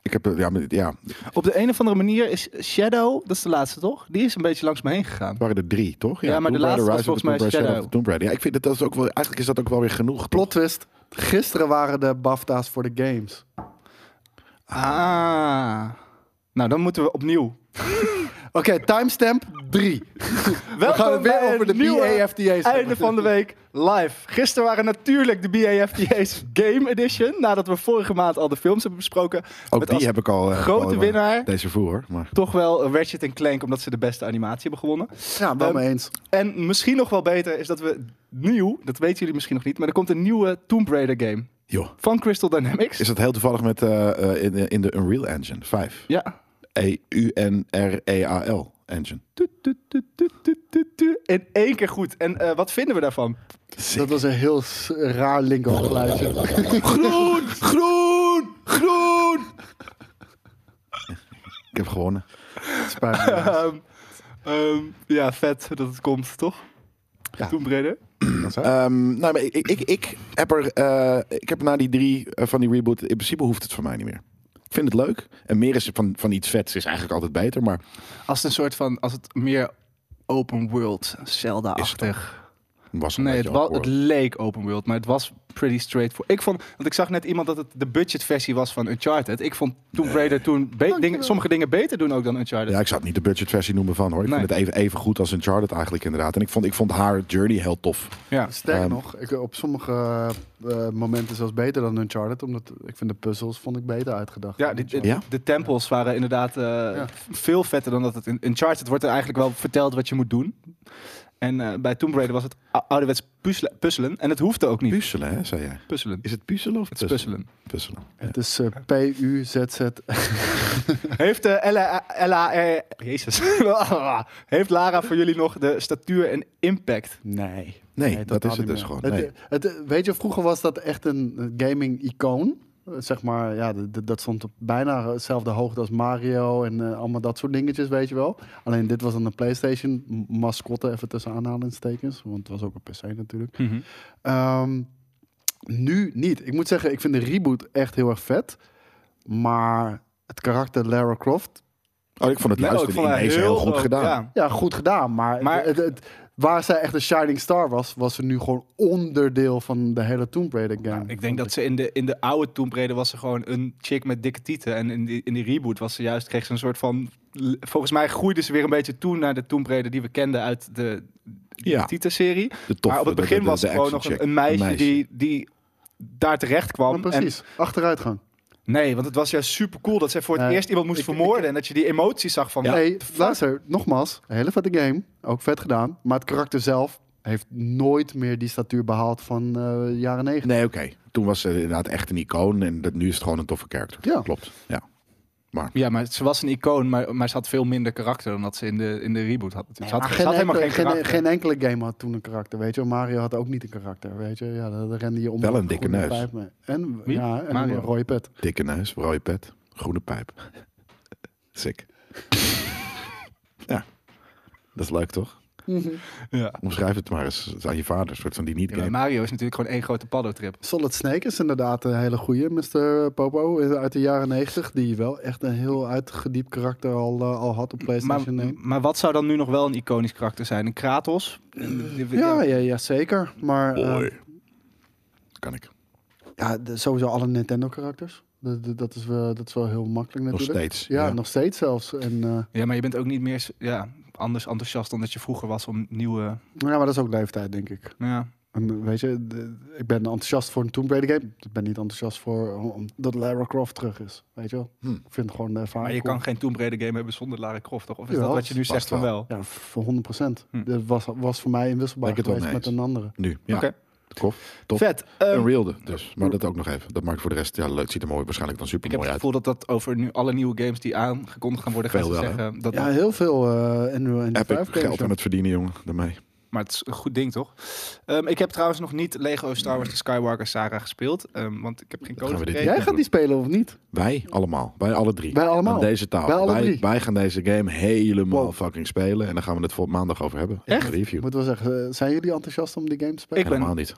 Speaker 3: Ik heb, eh, ja, maar- ja,
Speaker 1: Op de een of andere manier is Shadow, dat is de laatste toch? Die is een beetje langs me heen gegaan.
Speaker 3: het waren er drie, toch?
Speaker 1: Ja, maar de
Speaker 3: Tomb
Speaker 1: laatste
Speaker 3: Raider,
Speaker 1: was
Speaker 3: Rise of the
Speaker 1: volgens
Speaker 3: Tomb
Speaker 1: mij
Speaker 3: Raider, Shadow
Speaker 1: Shadow.
Speaker 3: of the Tomb Raider. Ja, ik vind dat, dat is ook wel, eigenlijk is dat ook wel weer genoeg.
Speaker 2: Plot twist, gisteren waren de BAFTA's voor de games.
Speaker 1: Ah. Nou, dan moeten we opnieuw.
Speaker 2: Oké, timestamp 3. We gaan het weer over de BAFTA's.
Speaker 1: Einde van de week live. Gisteren waren natuurlijk de BAFTA's Game Edition. Nadat we vorige maand al de films hebben besproken.
Speaker 3: Ook
Speaker 1: Met
Speaker 3: die
Speaker 1: als
Speaker 3: heb ik al... eh,
Speaker 1: grote
Speaker 3: al-
Speaker 1: winnaar.
Speaker 3: Deze voor, hoor. maar...
Speaker 1: Toch wel Ratchet Clank, omdat ze de beste animatie hebben gewonnen.
Speaker 2: Ja, wel
Speaker 1: Ehm,
Speaker 2: mee eens.
Speaker 1: En misschien nog wel beter is dat we nieuw, dat weten jullie misschien nog niet, maar er komt een nieuwe Tomb Raider game
Speaker 3: Joh.
Speaker 1: van Crystal Dynamics.
Speaker 3: Is dat heel toevallig met eh, eh, in, de- in de Unreal Engine E 5?
Speaker 1: Ja.
Speaker 3: E-U-N-R-E-A-L E Engine.
Speaker 1: Tu, tu, tu, tu, tu, tu, tu. In één keer goed. En eh, wat vinden we daarvan?
Speaker 2: Dat was een heel s- raar linkergeluidje.
Speaker 3: Groen! Groen! Groen! ik heb gewonnen.
Speaker 2: Spijt me.
Speaker 1: Ehm, ehm, ja, vet dat het komt, toch?
Speaker 2: Ja.
Speaker 1: Tomb Raider.
Speaker 3: Ehm, nou, maar ik, ik, ik, ik heb er, eh, ik heb na die drie eh, van die reboot, in principe hoeft het voor mij niet meer. Ik vind het leuk. En meer is van, van iets vets is eigenlijk altijd beter, maar
Speaker 1: Als het een soort van, als het meer open world, Zelda-achtig.
Speaker 3: het was een
Speaker 1: Nee, het,
Speaker 3: beetje
Speaker 1: wa-
Speaker 3: awkward.
Speaker 1: het leek open world, maar het was pretty straightforward. Ik vond, want ik zag net iemand dat het de budgetversie was van Uncharted. Ik vond Tomb Raider toen be- dingen, sommige dingen beter doen ook dan Uncharted.
Speaker 3: Ja, ik zou het niet de budgetversie noemen van hoor. Ik
Speaker 1: Nee.
Speaker 3: vind het even, even goed als Uncharted eigenlijk inderdaad. En ik vond, ik vond haar journey heel tof.
Speaker 1: Ja.
Speaker 2: Sterker
Speaker 3: Ehm.
Speaker 2: nog, ik, op sommige eh, momenten zelfs beter dan Uncharted. Omdat ik vind de puzzels vond ik beter uitgedacht.
Speaker 1: Ja,
Speaker 2: dan
Speaker 1: de, de,
Speaker 2: Uncharted.
Speaker 3: Ja?
Speaker 1: de tempels waren inderdaad eh, veel vetter dan dat het in Uncharted wordt er eigenlijk wel verteld wat je moet doen. En eh, bij Tomb Raider was het ou- ouderwets puzzle- puzzelen. En het hoefde ook niet.
Speaker 3: Puzzelen, hè, zei jij.
Speaker 1: Puzzelen.
Speaker 3: Is het puzzelen of
Speaker 1: Het is puzzelen.
Speaker 3: Puzzelen. Ja.
Speaker 2: Het is eh, P-U-Z-Z.
Speaker 1: Heeft eh, Ella, Ella eh, Jezus. Heeft Lara voor jullie nog de statuur en impact?
Speaker 2: Nee.
Speaker 3: Nee,
Speaker 2: Nee,
Speaker 3: dat
Speaker 2: totaal
Speaker 3: is het
Speaker 2: niet
Speaker 3: dus
Speaker 2: meer.
Speaker 3: gewoon.
Speaker 2: Het-
Speaker 3: Nee.
Speaker 2: het, eh, weet je, vroeger was dat echt een eh, gaming-icoon. Eh, Zeg maar, ja, d- d- dat stond op bijna dezelfde hoogte als Mario en eh, allemaal dat soort dingetjes, weet je wel. Alleen dit was dan een PlayStation-mascotte, even tussen aanhalingstekens. Want het was ook een PC natuurlijk. Ehm, nu niet. Ik moet zeggen, ik vind de reboot echt heel erg vet. Maar het karakter Lara Croft
Speaker 3: Oh, ik vond het
Speaker 1: Nou,
Speaker 3: luisteren
Speaker 1: ik vond
Speaker 3: in
Speaker 1: haar
Speaker 3: deze heel goed
Speaker 1: groot,
Speaker 3: gedaan.
Speaker 1: ja.
Speaker 2: Ja, goed gedaan. Maar,
Speaker 1: Maar-
Speaker 2: het, het- waar zij echt een shining star was, was ze nu gewoon onderdeel van de hele Tomb Raider game.
Speaker 1: Nou, Ik denk dat ze in de, in de oude Tomb Raider was ze gewoon een chick met dikke tieten. En in die, in die reboot was ze juist, kreeg ze een soort van... Volgens mij groeide ze weer een beetje toe naar de Tomb Raider die we kenden uit de, de
Speaker 3: Ja.
Speaker 1: Tieten-serie.
Speaker 3: De toffe,
Speaker 1: maar op het
Speaker 3: de-
Speaker 1: begin
Speaker 3: de-
Speaker 1: was
Speaker 3: de
Speaker 1: het gewoon nog
Speaker 3: action
Speaker 1: een,
Speaker 3: chick.
Speaker 1: een meisje,
Speaker 3: Een meisje.
Speaker 1: Die, die daar terecht
Speaker 2: Maar
Speaker 1: kwam. En,
Speaker 2: precies, achteruitgang.
Speaker 1: nee, want het was juist super cool dat zij voor het
Speaker 2: Nee,
Speaker 1: eerst iemand moest
Speaker 2: ik-
Speaker 1: vermoorden. en dat je die emoties zag van...
Speaker 2: Nee, luister, nogmaals, een hele vette game, ook vet gedaan. Maar het karakter zelf heeft nooit meer die statuur behaald van de jaren negentig.
Speaker 3: Nee, oké. Toen was ze inderdaad echt een icoon en dat, nu is het gewoon een toffe character.
Speaker 2: Ja.
Speaker 3: Klopt. Ja.
Speaker 1: Ja, maar ze was een icoon, maar, maar ze had veel minder karakter dan dat ze in de, in de reboot had. Ze had,
Speaker 2: Maar
Speaker 1: ze
Speaker 2: geen,
Speaker 1: had helemaal
Speaker 2: enkele,
Speaker 1: geen
Speaker 2: geen,
Speaker 1: karakter.
Speaker 2: geen enkele game had toen een karakter, weet je. Mario had ook niet een karakter, weet je. Ja, daar daar rende je om.
Speaker 3: Wel een
Speaker 2: de
Speaker 3: dikke
Speaker 2: groene
Speaker 3: neus.
Speaker 2: pijp mee. En,
Speaker 1: Wie?
Speaker 2: ja, en
Speaker 1: Mario.
Speaker 2: een rode pet.
Speaker 3: Dikke neus, rode pet, groene pijp. Sick. ja. Dat is leuk, toch?
Speaker 1: Mhm. Ja.
Speaker 3: Omschrijf het maar eens aan je vader, een soort van die niet
Speaker 1: Ja, maar
Speaker 3: game.
Speaker 1: Mario is natuurlijk gewoon één grote paddo-trip.
Speaker 2: Solid Snake is inderdaad een hele goeie, Mr. Popo, uit de jaren 90, Die wel echt een heel uitgediept karakter al, eh, al had op PlayStation 1.
Speaker 1: Maar, maar wat zou dan nu nog wel een iconisch karakter zijn? Een Kratos?
Speaker 3: Eh,
Speaker 2: Ja, ja, ja, zeker. Maar eh,
Speaker 3: Boy. Kan ik.
Speaker 2: ja, de- sowieso alle Nintendo-karakters. Dat, dat- dat, is wel- dat is wel heel makkelijk
Speaker 3: Nog
Speaker 2: natuurlijk.
Speaker 3: steeds.
Speaker 2: Ja, nog steeds zelfs. En, eh,
Speaker 1: Ja, maar je bent ook niet meer s- ja, anders enthousiast dan dat je vroeger was om nieuwe... nou
Speaker 2: ja, maar dat is ook leeftijd, denk ik.
Speaker 1: Ja.
Speaker 2: En, eh, weet je, de- ik ben enthousiast voor een Tomb Raider game. Ik ben niet enthousiast voor om- om- dat Lara Croft terug is. Weet je wel?
Speaker 3: Hm.
Speaker 2: Ik vind gewoon de ervaring
Speaker 1: Maar je
Speaker 2: cool.
Speaker 1: kan geen Tomb Raider game hebben zonder Lara Croft, toch? Of is
Speaker 2: Jawel,
Speaker 1: dat wat je nu
Speaker 3: vast
Speaker 1: zegt van
Speaker 3: wel.
Speaker 1: wel?
Speaker 2: Ja, voor 100%.
Speaker 1: Hm.
Speaker 2: Dat was, was voor mij inwisselbaar
Speaker 3: Ben ik het wel
Speaker 2: geweest met
Speaker 3: mee
Speaker 2: een andere.
Speaker 3: Nu. Ja.
Speaker 1: Oké.
Speaker 3: De kof. Top.
Speaker 1: Vet. Ehm,
Speaker 3: Unreal dus. Maar dat ook nog even. Dat maakt voor de rest, ja leuk, ziet er mooi, waarschijnlijk dan
Speaker 1: ik
Speaker 3: super
Speaker 1: heb het
Speaker 3: mooi uit.
Speaker 1: gevoel dat dat over nu alle nieuwe games die aangekondigd gaan worden, gaan
Speaker 3: Veel
Speaker 1: ze
Speaker 3: wel, hè?
Speaker 1: zeggen. Dat
Speaker 2: Ja, heel veel eh Unreal Engine 5
Speaker 3: Epic
Speaker 2: games.
Speaker 3: geld aan het verdienen, jongen, daarmee.
Speaker 1: Maar het is een goed ding, toch? Ehm, ik heb trouwens nog niet Lego Star Wars The Skywalker Saga gespeeld, ehm, want ik heb geen
Speaker 3: Dat
Speaker 1: code
Speaker 3: gaan we dit
Speaker 1: gekregen.
Speaker 2: Jij gaat die spelen of niet?
Speaker 3: Wij allemaal. Wij alle drie.
Speaker 2: Wij allemaal.
Speaker 3: Aan deze tafel.
Speaker 2: Wij alle
Speaker 3: wij,
Speaker 2: drie.
Speaker 3: wij gaan deze game helemaal
Speaker 2: Wow.
Speaker 3: fucking spelen. En daar gaan we het voor maandag over hebben. In
Speaker 1: Echt?
Speaker 3: de
Speaker 2: Ik
Speaker 3: review.
Speaker 2: moet wel zeggen, eh, zijn jullie enthousiast om die game te spelen?
Speaker 1: Ik ben
Speaker 3: Helemaal niet.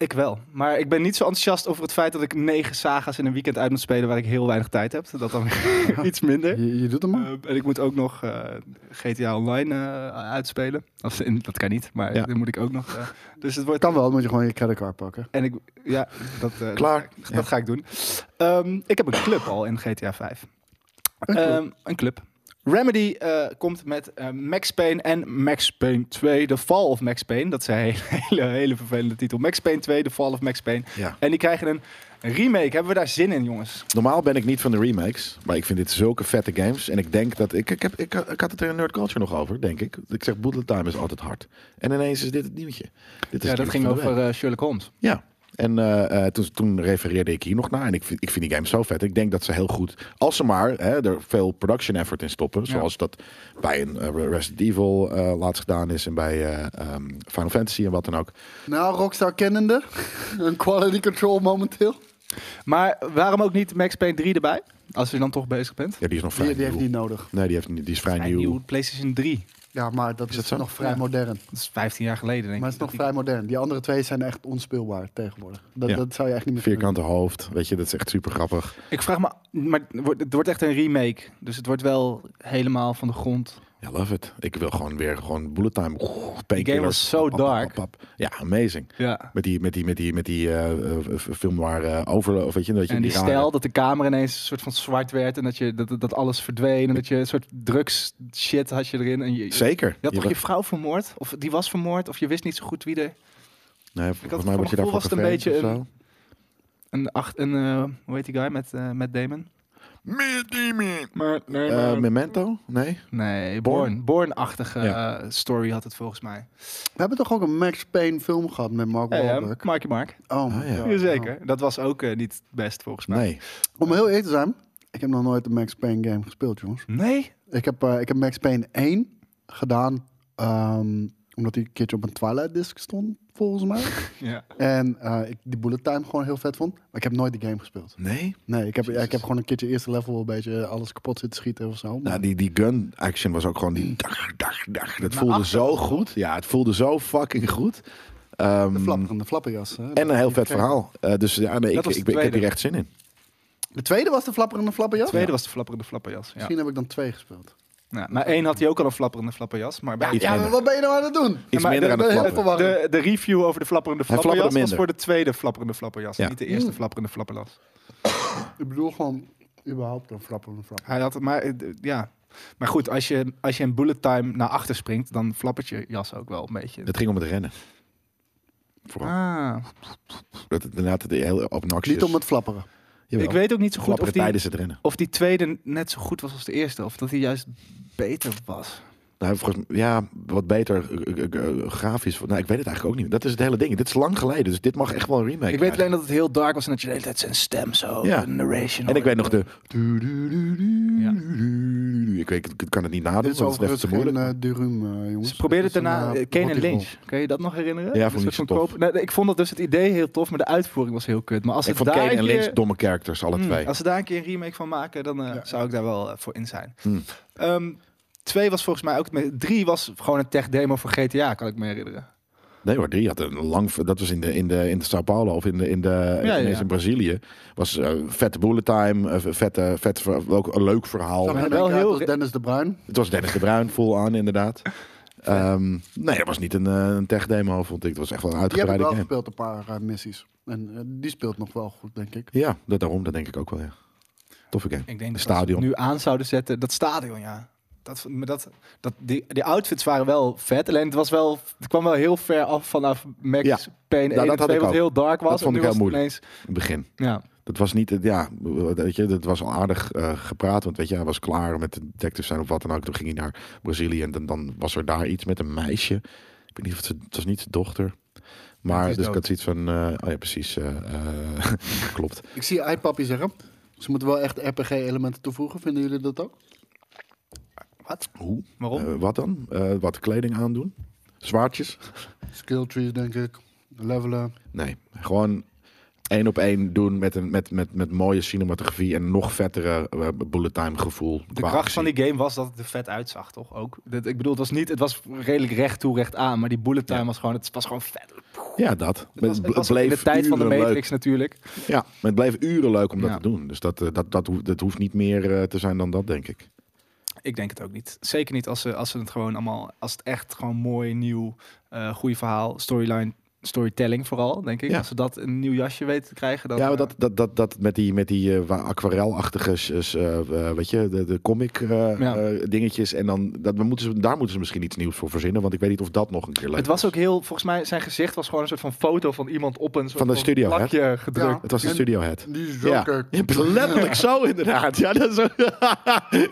Speaker 1: Ik wel. Maar ik ben niet zo enthousiast over het feit dat ik negen saga's in een weekend uit moet spelen waar ik heel weinig tijd heb. Dat dan weer iets minder.
Speaker 2: Je, je doet hem maar.
Speaker 1: Eh, en ik moet ook nog eh, GTA Online eh, uitspelen. Of, in, dat kan niet, maar
Speaker 3: Ja.
Speaker 1: dat moet ik ook nog. eh, dus het wordt...
Speaker 2: kan wel, dan moet je gewoon je creditcard pakken.
Speaker 1: En ik, ja, dat, eh,
Speaker 3: Klaar.
Speaker 1: Dat, dat ga ik doen. Ehm, ik heb een club al in GTA 5. Ehm, een club. Remedy eh, komt met eh, Max Payne en Max Payne 2, The Fall of Max Payne. Dat is een hele, hele, hele vervelende titel. Max Payne 2, The Fall of Max Payne.
Speaker 3: Ja.
Speaker 1: En die krijgen een remake. Hebben we daar zin in, jongens?
Speaker 3: Normaal ben ik niet van de remakes, maar ik vind dit zulke vette games. En ik denk dat... Ik, ik, heb, ik, ik had het er in Nerd Culture nog over, denk ik. Ik zeg, Bullet Time is altijd hard. En ineens is dit het nieuwtje. Dit is
Speaker 1: ja,
Speaker 3: het
Speaker 1: dat
Speaker 3: nieuws
Speaker 1: ging
Speaker 3: van de
Speaker 1: over
Speaker 3: week.
Speaker 1: eh, Sherlock Holmes.
Speaker 3: Ja. En eh, eh, toen, toen refereerde ik hier nog naar. En ik vind, ik vind die game zo vet. Ik denk dat ze heel goed... Als ze maar hè, er veel production effort in stoppen. Zoals dat bij een eh, Resident Evil eh, laatst gedaan is. En bij eh, ehm, Final Fantasy en wat dan ook.
Speaker 2: Nou, Rockstar kennende. een quality control momenteel.
Speaker 1: Maar waarom ook niet Max Payne 3 erbij? Als je dan toch bezig bent.
Speaker 3: Ja, die is nog vrij
Speaker 2: Die, die heeft
Speaker 3: nieuw.
Speaker 2: niet nodig.
Speaker 3: Nee, die, heeft, niet- die is vrij
Speaker 1: Een
Speaker 3: nieuw.
Speaker 1: nieuw PlayStation 3.
Speaker 2: Ja, maar dat is,
Speaker 3: dat zo?
Speaker 2: nog vrij
Speaker 1: Ja.
Speaker 2: modern.
Speaker 1: Dat is 15 jaar geleden, denk
Speaker 2: Maar het
Speaker 1: ik.
Speaker 2: is
Speaker 1: dat
Speaker 2: nog vrij modern. Die andere twee zijn echt onspeelbaar tegenwoordig. Dat,
Speaker 3: Ja.
Speaker 2: dat zou je echt niet meer kunnen
Speaker 3: Vierkante hoofd, weet je, dat is echt super grappig.
Speaker 1: die- Ik vraag me... Maar het wordt- het wordt echt een remake. Dus het wordt wel helemaal van de grond.
Speaker 3: Ja, love it. Ik wil gewoon weer gewoon bullet time. Oeh,
Speaker 1: game
Speaker 3: painkillers.
Speaker 1: was zo
Speaker 3: Pap, pap,
Speaker 1: dark.
Speaker 3: pap, pap. Ja, amazing.
Speaker 1: Ja.
Speaker 3: Met die, met die, met die, met die eh, eh, film waar eh, over, of weet je, dat je
Speaker 1: En die
Speaker 3: rare-
Speaker 1: stijl dat de kamer ineens een soort van zwart werd. En dat, je, dat, dat alles verdween. En dat je een soort drugs shit had je erin. En je, je
Speaker 3: Zeker.
Speaker 1: had toch
Speaker 3: Je-
Speaker 1: je vrouw vermoord? Of die was vermoord? Of je wist niet zo goed wie er...
Speaker 3: nee,
Speaker 1: het
Speaker 3: volgens
Speaker 1: voor
Speaker 3: mij
Speaker 1: mijn
Speaker 3: word je
Speaker 1: gevoel
Speaker 3: daarvoor
Speaker 1: was het een
Speaker 3: geveegd
Speaker 1: beetje
Speaker 3: of
Speaker 1: een-
Speaker 3: zo.
Speaker 1: Een, acht, een eh, hoe heet die guy met, eh met Damon? Maar, nee,
Speaker 3: Eh, Memento? Nee?
Speaker 1: nee,
Speaker 3: Born?
Speaker 1: Born. Born-achtige
Speaker 3: Ja.
Speaker 1: eh, story had het volgens mij.
Speaker 2: doen. We hebben toch ook een Max Payne film gehad met Mark
Speaker 1: Ja, ja,
Speaker 2: Wahlberg?
Speaker 1: Marky Mark.
Speaker 2: Oh, my
Speaker 3: Ah, ja.
Speaker 2: God.
Speaker 1: Jazeker. Dat was ook eh, niet het best volgens mij.
Speaker 3: Nee.
Speaker 2: Om heel eerlijk te zijn, ik heb nog nooit een Max Payne game gespeeld, jongens.
Speaker 1: Nee?
Speaker 2: Ik heb, eh, ik heb Max Payne 1 gedaan, ehm, omdat die een keertje op een Twilight disc stond, volgens mij.
Speaker 1: Ja.
Speaker 2: en eh, ik die bullet time gewoon heel vet vond. Maar ik heb nooit die game gespeeld.
Speaker 3: Nee?
Speaker 2: Nee, ik heb, ja, ik
Speaker 3: Jezus.
Speaker 2: heb gewoon een keertje eerste level een beetje alles kapot zitten schieten of zo.
Speaker 3: Nou,
Speaker 2: maar-
Speaker 3: die, die gun action was ook gewoon die dag, dag, dag. Dat voelde
Speaker 1: achter-
Speaker 3: zo goed. Ja, het voelde zo fucking goed. Ehm,
Speaker 2: De flapper, de flapperjas. hè.
Speaker 3: en een heel vet
Speaker 2: Die vergeet-
Speaker 3: verhaal. Eh, dus ja, nee, ik,
Speaker 1: was
Speaker 3: ik,
Speaker 1: de
Speaker 3: ben- ik heb
Speaker 1: tweede.
Speaker 3: hier echt zin in.
Speaker 2: De tweede was de flapperende flapperjas?
Speaker 1: tweede was de flapperende flapperjas. Ja.
Speaker 2: Misschien heb ik dan twee gespeeld.
Speaker 1: Ja, na één had hij ook al een flapperende flapperjas. Maar bij
Speaker 3: Iets
Speaker 2: Ja, maar
Speaker 3: minder.
Speaker 2: wat ben je nou aan het doen?
Speaker 3: Iets
Speaker 1: maar
Speaker 3: minder
Speaker 1: de-
Speaker 3: aan het
Speaker 2: de-
Speaker 3: klappen.
Speaker 2: de-
Speaker 1: De, de review over de flapperende
Speaker 3: Hij flapperde
Speaker 1: flapperjas was
Speaker 3: minder.
Speaker 1: voor de tweede flapperende flapperjas.
Speaker 3: Ja.
Speaker 1: Niet de eerste
Speaker 2: Mm.
Speaker 1: flapperende flapperjas.
Speaker 2: Ik bedoel gewoon überhaupt een flapperende flapper.
Speaker 1: Hij had, maar, eh, d- ja. maar goed, als je, als je in bullet time naar achter springt, dan flappert je jas ook wel een beetje.
Speaker 3: Het ging om het rennen. Vooral.
Speaker 1: Ah,
Speaker 3: Dat het inderdaad de heel obnoxious.
Speaker 2: Niet om het flapperen.
Speaker 3: Jawel.
Speaker 1: ik weet ook niet zo goed of
Speaker 3: Klapperen
Speaker 1: die,
Speaker 3: tijdens het rennen.
Speaker 1: of die tweede net zo goed was als de eerste. Of dat hij juist beter was.
Speaker 3: Nou, volgens mij- ja, wat beter eh, eh, eh, grafisch. Nou, ik weet het eigenlijk ook niet. Dat is het hele ding. Dit is lang geleden, dus dit mag echt wel een remake.
Speaker 1: Ik weet
Speaker 3: krijgen.
Speaker 1: alleen dat het heel dark was en dat je de hele tijd zijn stem zo,
Speaker 3: Ja.
Speaker 1: de narration.
Speaker 3: En
Speaker 1: hoorde.
Speaker 3: ik weet nog de. Ik, weet, ik kan het niet nadoen,
Speaker 2: Dit is
Speaker 3: want het is echt
Speaker 2: overigens
Speaker 3: te
Speaker 2: geen
Speaker 3: moeilijk.
Speaker 2: eh, Durum, eh, jongens.
Speaker 1: Ze probeerden het
Speaker 2: Dit is een,
Speaker 1: daarna
Speaker 2: eh,
Speaker 1: eh, Kane en
Speaker 2: Rocky
Speaker 1: Lynch. Kun je dat nog herinneren?
Speaker 3: Ja,
Speaker 1: Een
Speaker 3: vond ik
Speaker 1: soort
Speaker 3: zo
Speaker 1: van
Speaker 3: tof.
Speaker 1: koop- Nee, ik vond dat dus het idee heel tof, maar de uitvoering was heel kut. Maar als
Speaker 3: ik
Speaker 1: het
Speaker 3: vond
Speaker 1: daar
Speaker 3: Kane en
Speaker 1: een keer-
Speaker 3: Lynch domme characters, alle
Speaker 1: Hmm,
Speaker 3: twee.
Speaker 1: Als ze daar een keer een remake van maken, dan eh,
Speaker 2: Ja.
Speaker 1: zou ik daar wel eh, voor in zijn.
Speaker 3: Hmm.
Speaker 1: Ehm, twee was volgens mij ook... het me- Drie was gewoon een tech demo voor GTA, kan ik me herinneren.
Speaker 3: Nee hoor, die had een lang. Dat was in de, in de, in de Sao Paulo of in de, in de
Speaker 1: Ja,
Speaker 3: ineens
Speaker 1: ja.
Speaker 3: in Brazilië. Was eh, vette bullet time, eh, vette, vet, ook een leuk verhaal.
Speaker 2: Zag
Speaker 1: Maar
Speaker 2: er
Speaker 1: wel
Speaker 2: wel
Speaker 1: heel
Speaker 2: heel
Speaker 1: re-
Speaker 2: Dennis de Bruin.
Speaker 3: Het was Dennis de Bruin vol aan inderdaad. Ehm, nee, dat was niet een, eh, een tech demo, vond ik. Dat was echt wel een
Speaker 2: Die heb ik
Speaker 3: uitgebreide
Speaker 2: wel
Speaker 3: game.
Speaker 2: gespeeld een paar eh, missies. En eh, die speelt nog wel goed, denk ik.
Speaker 3: Ja, dat, daarom, dat denk ik ook wel. Ja. Toffe game.
Speaker 1: Ik denk dat als we
Speaker 3: Stadion.
Speaker 1: het nu aan zouden zetten... Dat stadion, ja. Dat, maar dat, dat, die, die outfits waren wel vet. Alleen het, was wel, het kwam wel heel ver af vanaf Max
Speaker 3: Ja, Nou,
Speaker 1: Payne 1
Speaker 3: dat
Speaker 1: en
Speaker 3: had
Speaker 1: 2,
Speaker 3: ik
Speaker 1: wat
Speaker 3: ook.
Speaker 1: heel dark was.
Speaker 3: Dat vond
Speaker 1: en
Speaker 3: ik
Speaker 1: nu
Speaker 3: heel
Speaker 1: was het
Speaker 3: In het begin.
Speaker 1: Ineens, ja.
Speaker 3: Dat was niet, het- ja, weet je, dat was al aardig eh, gepraat. Want weet je, hij was klaar met de detective zijn of wat dan ook. Toen ging hij naar Brazilië en dan, dan was er daar iets met een meisje. Ik weet niet of het, het was niet zijn dochter.
Speaker 1: Het
Speaker 3: Maar
Speaker 1: is
Speaker 3: dus ik
Speaker 1: dood.
Speaker 3: had zoiets van, eh, oh ja, precies, eh, eh, klopt.
Speaker 2: Ik zie iPappie zeggen. Ze moeten wel echt RPG-elementen toevoegen. Vinden jullie dat ook?
Speaker 1: Wat?
Speaker 3: Hoe?
Speaker 1: Waarom?
Speaker 3: Eh, wat dan? Eh, wat kleding aandoen? Zwaardjes?
Speaker 2: Skill trees, denk ik. Levelen.
Speaker 3: Nee, gewoon één op één doen met, een, met, met, met mooie cinematografie en nog vettere eh, bullet time gevoel.
Speaker 1: De kracht van die game was dat het er vet uitzag, toch? Ook. Dat, ik bedoel, het was niet, het was redelijk recht toe, recht aan, maar die bullet time
Speaker 3: Ja.
Speaker 1: was gewoon, het was gewoon vet.
Speaker 3: Ja, dat.
Speaker 1: Het was, het
Speaker 3: bl-
Speaker 1: was in de tijd van de
Speaker 3: uren leuk.
Speaker 1: Matrix natuurlijk.
Speaker 3: Ja, maar het bleef uren leuk om dat
Speaker 1: Ja.
Speaker 3: te doen. Dus dat, eh, dat, dat, hoeft, dat hoeft niet meer eh, te zijn dan dat, denk ik.
Speaker 1: Ik denk het ook niet. Zeker niet als ze, als ze het gewoon allemaal, als het echt gewoon mooi, nieuw, eh goede verhaal, storyline, storytelling vooral, denk ik.
Speaker 3: Ja.
Speaker 1: Als ze dat een nieuw jasje weten te krijgen, dan...
Speaker 3: ja, maar
Speaker 1: eh,
Speaker 3: dat, dat, dat, dat met die, met die eh, wa- aquarelachtige, s- eh, eh, weet je, de, de comic eh,
Speaker 1: Ja.
Speaker 3: eh, dingetjes. En dan, dat, we moeten ze, daar moeten ze misschien iets nieuws voor verzinnen. Want ik weet niet of dat nog een keer leuk
Speaker 1: Het was ook heel, volgens mij, zijn gezicht was gewoon een soort van foto van iemand op een soort
Speaker 3: Van de studio, hè?
Speaker 1: plakje gedrukt.
Speaker 3: Het was een
Speaker 2: En-
Speaker 3: studiohead.
Speaker 2: Die is
Speaker 3: Ja. Ja, letterlijk zo inderdaad. Ja, dat, is,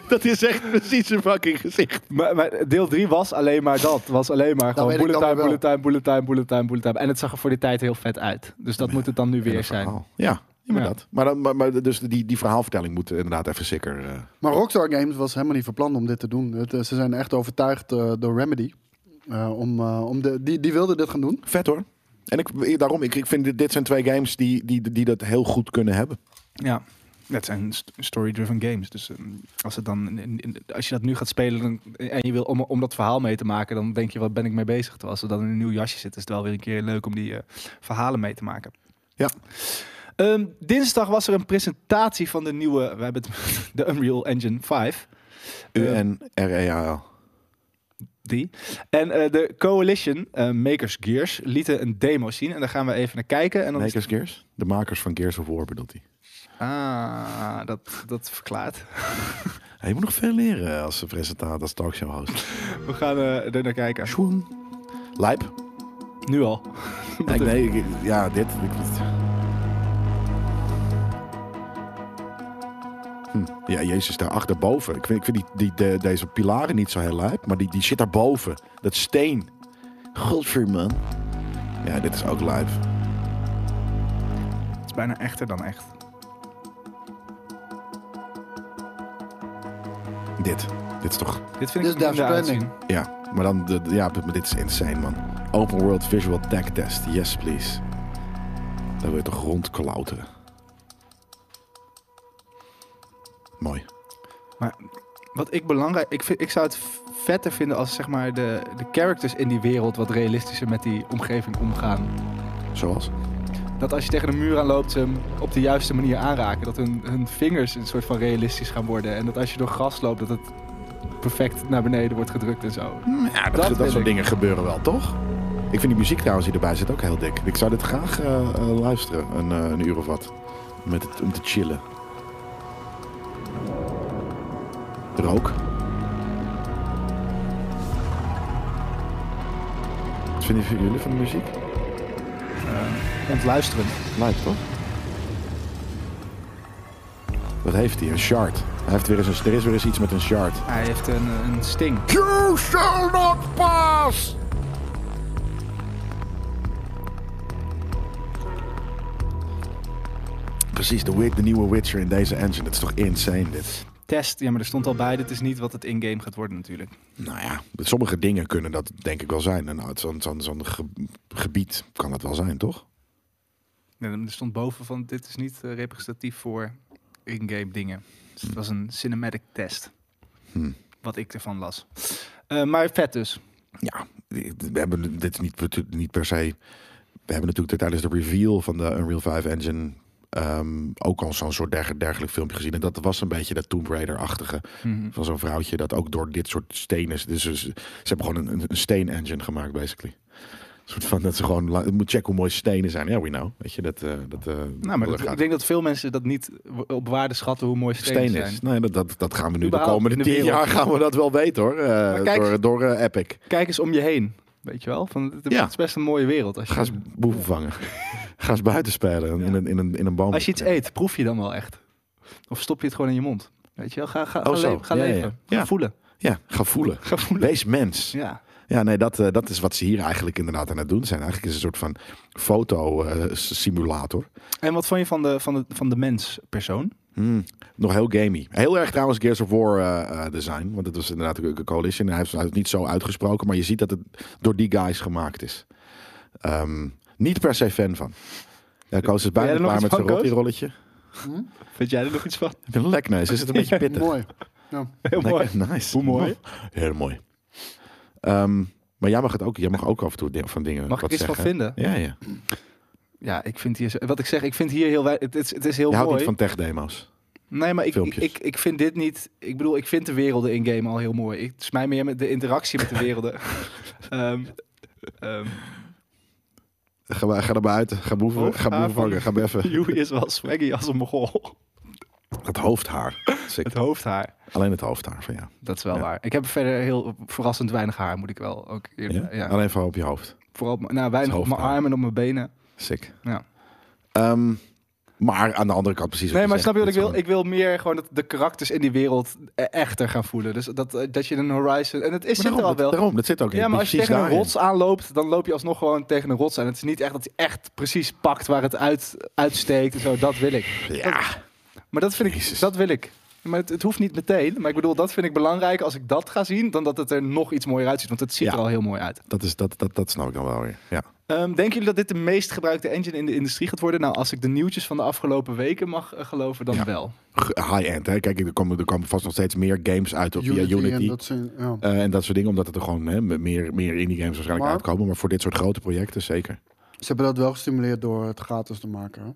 Speaker 3: dat is echt precies een fucking gezicht.
Speaker 1: Maar, maar deel 3 was alleen maar dat. Was alleen maar gewoon
Speaker 2: weet ik
Speaker 1: bullet
Speaker 2: dan
Speaker 1: time,
Speaker 2: weer
Speaker 1: bullet time, bullet time, bullet time, bullet time. En het zag er voor die tijd heel vet uit. Dus dat moet het dan nu
Speaker 3: En
Speaker 1: weer
Speaker 3: een
Speaker 1: zijn.
Speaker 3: verhaal. Ja, ja, maar
Speaker 1: Ja.
Speaker 3: dat. Maar, dan, maar, maar dus die, die verhaalvertelling moet inderdaad even sicker. eh,
Speaker 2: Maar Rockstar Games was helemaal niet van plan om dit te doen. Het, eh, ze zijn echt overtuigd eh, door Remedy. Eh, om, eh, om de, die, die wilden dit gaan doen.
Speaker 3: Vet hoor. En ik, ik- daarom, ik, ik vind dit, dit zijn twee games die, die, die dat heel goed kunnen hebben.
Speaker 1: Ja. Dat zijn st- story-driven games. Dus ehm, als, het dan in- in- in- als je dat nu gaat spelen dan- en je wil om, om dat verhaal mee te maken, dan denk je, wat ben ik mee bezig? Terwijl als er dan in een nieuw jasje zit, is het wel weer een keer leuk om die eh, verhalen mee te maken.
Speaker 3: Ja.
Speaker 1: Ehm, dinsdag was er een presentatie van de nieuwe, we hebben het, de Unreal Engine 5.
Speaker 3: U
Speaker 1: Ja.
Speaker 3: en E REAL.
Speaker 1: Die. En eh, de Coalition eh, Makers Gears lieten een demo zien. En daar gaan we even naar kijken. En dan is-
Speaker 3: Makers Gears? De makers van Gears of War bedoelt hij.
Speaker 1: Ah, dat, dat verklaart.
Speaker 3: Hij moet nog veel leren als presentator, als talkshow host.
Speaker 1: We gaan eh, er naar kijken.
Speaker 3: Schoen. Lijp.
Speaker 1: Nu al.
Speaker 3: Nee, nee, ik- ja, dit. ik- dit. Hm. Ja, Jezus daar achterboven. Ik vind, ik vind die, die, de- deze pilaren niet zo heel lijp, maar die, die shit daarboven. Dat steen. Godver, man. Ja, dit is ook lijp.
Speaker 1: Het is bijna echter dan echt.
Speaker 3: Dit. Dit is toch...
Speaker 1: Dit vind
Speaker 2: Dit
Speaker 1: ik
Speaker 2: is Death
Speaker 1: minder
Speaker 2: Stranding.
Speaker 1: uitzien.
Speaker 3: Ja, maar dan... De, de- ja, maar dit is insane, man. Open World Visual Tech Test. Yes, please. Daar wil je toch rondklauteren. Mooi.
Speaker 1: Wat ik belangrijk... Ik, vind, ik zou het vetter vinden als zeg maar, de, de characters in die wereld... wat realistischer met die omgeving omgaan.
Speaker 3: Zoals?
Speaker 1: dat als je tegen een muur aan loopt, ze hem op de juiste manier aanraken. Dat hun, hun vingers een soort van realistisch gaan worden. En dat als je door gras loopt, dat het perfect naar beneden wordt gedrukt en zo.
Speaker 3: Ja,
Speaker 1: Dat
Speaker 3: dat, dat,
Speaker 1: wil
Speaker 3: soort
Speaker 1: ik.
Speaker 3: dingen gebeuren wel, toch? Ik vind die muziek trouwens die erbij zit ook heel dik. Ik zou dit graag eh, eh, luisteren, een, eh, een uur of wat. Met het, om te chillen. Rook. Wat vinden jullie van de muziek?
Speaker 1: Ontluisterend.
Speaker 3: Lijkt toch? Wat heeft hij? Een shard. Hij heeft weer eens een, er is weer eens iets met een shard.
Speaker 1: Hij heeft een, een sting.
Speaker 3: You shall not pass! Precies, de, wi- de nieuwe Witcher in deze engine. Dat is toch insane dit?
Speaker 1: Test, ja, maar er stond al bij. Dit is niet wat het in-game gaat worden natuurlijk.
Speaker 3: Nou ja, sommige dingen kunnen dat denk ik wel zijn. En uit zo'n zo'n zo'n ge- gebied kan dat wel zijn, toch?
Speaker 1: En er stond boven van, dit is niet eh, representatief voor in-game dingen. Dus het was een cinematic test.
Speaker 3: Hmm.
Speaker 1: Wat ik ervan las. Eh, maar vet dus.
Speaker 3: Ja, we hebben dit is niet, per- niet per se. We hebben natuurlijk tijdens de reveal van de Unreal 5 engine. ehm, ook al zo'n soort derge- dergelijk filmpje gezien. En dat was een beetje dat Tomb Raider-achtige.
Speaker 1: Mhm.
Speaker 3: Van zo'n vrouwtje dat ook door dit soort stenen is. Dus ze, ze hebben gewoon een, een steen engine gemaakt, basically. Een soort van dat ze gewoon. la- Moet checken hoe mooi stenen zijn. Ja, we know. Weet je, dat. eh, dat eh,
Speaker 1: Nou, maar
Speaker 3: dat
Speaker 1: dat-
Speaker 3: gaat.
Speaker 1: ik denk dat veel mensen dat niet w- op waarde schatten hoe mooi stenen
Speaker 3: Steen
Speaker 1: zijn.
Speaker 3: is. Nee, dat, dat, dat gaan we nu de
Speaker 1: Überhaupt
Speaker 3: komende
Speaker 1: in de
Speaker 3: tien
Speaker 1: wereld.
Speaker 3: jaar gaan we dat wel weten hoor. Eh,
Speaker 1: kijk-
Speaker 3: door door eh, Epic.
Speaker 1: Kijk eens om je heen. Weet je wel? Van, het,
Speaker 3: Ja.
Speaker 1: het is best een mooie wereld. Als je,
Speaker 3: Ga eens boeven vangen. Ga eens buiten spelen in, een, in, een, in een boom.
Speaker 1: als je iets e- eet, proef je dan wel echt. Of stop je het gewoon in je mond. Weet je wel? Ga, ga, ga,
Speaker 3: Oh, zo.
Speaker 1: le- ga
Speaker 3: Ja, ja,
Speaker 1: leven.
Speaker 3: ja.
Speaker 1: Ga voelen.
Speaker 3: Ja, ga voelen.
Speaker 1: Ga voelen.
Speaker 3: Wees mens.
Speaker 1: Ja.
Speaker 3: Ja, nee, dat, eh, dat is wat ze hier eigenlijk inderdaad aan het doen zijn. Eigenlijk is het een soort van eh, fotosimulator.
Speaker 1: En wat vond je van de, van de, van de mens persoon?
Speaker 3: Hmm, nog heel gamey. Heel erg trouwens Gears of War eh, eh, design. Want het was inderdaad ook een coalition. Hij heeft, hij heeft het niet zo uitgesproken. Maar je ziet dat het door die guys gemaakt is. Ehm, niet per se fan van. Ja, Koos is
Speaker 1: jij
Speaker 3: bijna
Speaker 1: er nog
Speaker 3: klaar
Speaker 1: iets
Speaker 3: met
Speaker 1: van,
Speaker 3: zijn
Speaker 1: Koos?
Speaker 3: rolletje.
Speaker 1: Vind jij er nog iets van?
Speaker 3: Ik ben een lekneus. Is het een beetje pittig?
Speaker 2: Mooi. Ja.
Speaker 1: Heel
Speaker 3: Lekker,
Speaker 1: mooi.
Speaker 3: Nice.
Speaker 1: Hoe mooi?
Speaker 3: Heel mooi. Ehm, maar jij mag het ook. Jij mag ook af en toe di- van dingen
Speaker 1: Mag ik
Speaker 3: wat
Speaker 1: iets van
Speaker 3: zeggen.
Speaker 1: vinden?
Speaker 3: Ja, ja.
Speaker 1: Ja, ik vind hier, wat ik zeg, ik vind hier heel wij, het, is, het is heel
Speaker 3: Je houdt
Speaker 1: mooi.
Speaker 3: niet van tech demo's.
Speaker 1: nee, maar ik, ik,
Speaker 3: filmpjes.
Speaker 1: ik, ik vind dit niet, ik bedoel, ik vind de werelden in game al heel mooi. Ik, het is mij meer met de interactie met de werelden. Ehm, ehm,
Speaker 3: Ga, maar- ga er maar uit. Ga boeven,
Speaker 1: Oh,
Speaker 3: ga boeven
Speaker 1: ah, van-
Speaker 3: vangen. Ga maar even.
Speaker 1: Hugh is wel swaggy als een mogol.
Speaker 3: Het hoofdhaar. Sick.
Speaker 1: Het hoofdhaar,
Speaker 3: Alleen het hoofdhaar van ja.
Speaker 1: dat is wel
Speaker 3: Ja.
Speaker 1: waar. Ik heb verder heel verrassend weinig haar, moet ik wel ook eerlijk-
Speaker 3: ja?
Speaker 1: ja.
Speaker 3: Alleen van op je hoofd.
Speaker 1: Vooral op mijn- nou, weinig op mijn
Speaker 3: hoofdhaar.
Speaker 1: armen en op mijn benen.
Speaker 3: Sick.
Speaker 1: Ja.
Speaker 3: Ehm, maar aan de andere kant precies
Speaker 1: Nee,
Speaker 3: wat
Speaker 1: maar
Speaker 3: je
Speaker 1: snap je wat ik
Speaker 3: zegt.
Speaker 1: wil? Ik wil meer gewoon dat de karakters in die wereld e- echter gaan voelen. Dus dat, eh, dat je een horizon... En het is,
Speaker 3: Maar
Speaker 1: zit er
Speaker 3: daarom,
Speaker 1: al
Speaker 3: dat-
Speaker 1: wel.
Speaker 3: Daarom, dat zit ook in.
Speaker 1: Ja, maar als je
Speaker 3: precies
Speaker 1: tegen een
Speaker 3: daarin.
Speaker 1: rots aanloopt, dan loop je alsnog gewoon tegen een rots aan. Het is niet echt dat hij echt precies pakt waar het uit, uitsteekt en zo. Dat wil ik.
Speaker 3: Ja,
Speaker 1: Maar dat vind ik,
Speaker 3: Jezus.
Speaker 1: dat wil ik. Maar het, het hoeft niet meteen. Maar ik bedoel, dat vind ik belangrijk als ik dat ga zien, dan dat het er nog iets mooier uitziet. Want het ziet
Speaker 3: Ja.
Speaker 1: er al heel mooi uit.
Speaker 3: dat, is, dat, dat, dat snap ik dan wel weer. Ja.
Speaker 1: Ehm, denken jullie dat dit de meest gebruikte engine in de industrie gaat worden? Nou, als ik de nieuwtjes van de afgelopen weken mag eh, geloven, dan
Speaker 3: Ja.
Speaker 1: wel.
Speaker 3: G- High-end, hè. Kijk, er komen, er komen vast nog steeds meer games uit op
Speaker 2: Unity,
Speaker 3: via Unity.
Speaker 2: En dat zijn, ja.
Speaker 3: Eh, en dat soort dingen, omdat het er gewoon hè, meer, meer indie games waarschijnlijk
Speaker 2: Maar-
Speaker 3: uitkomen. Maar voor dit soort grote projecten zeker.
Speaker 2: Ze hebben dat wel gestimuleerd door het gratis te maken. Hè?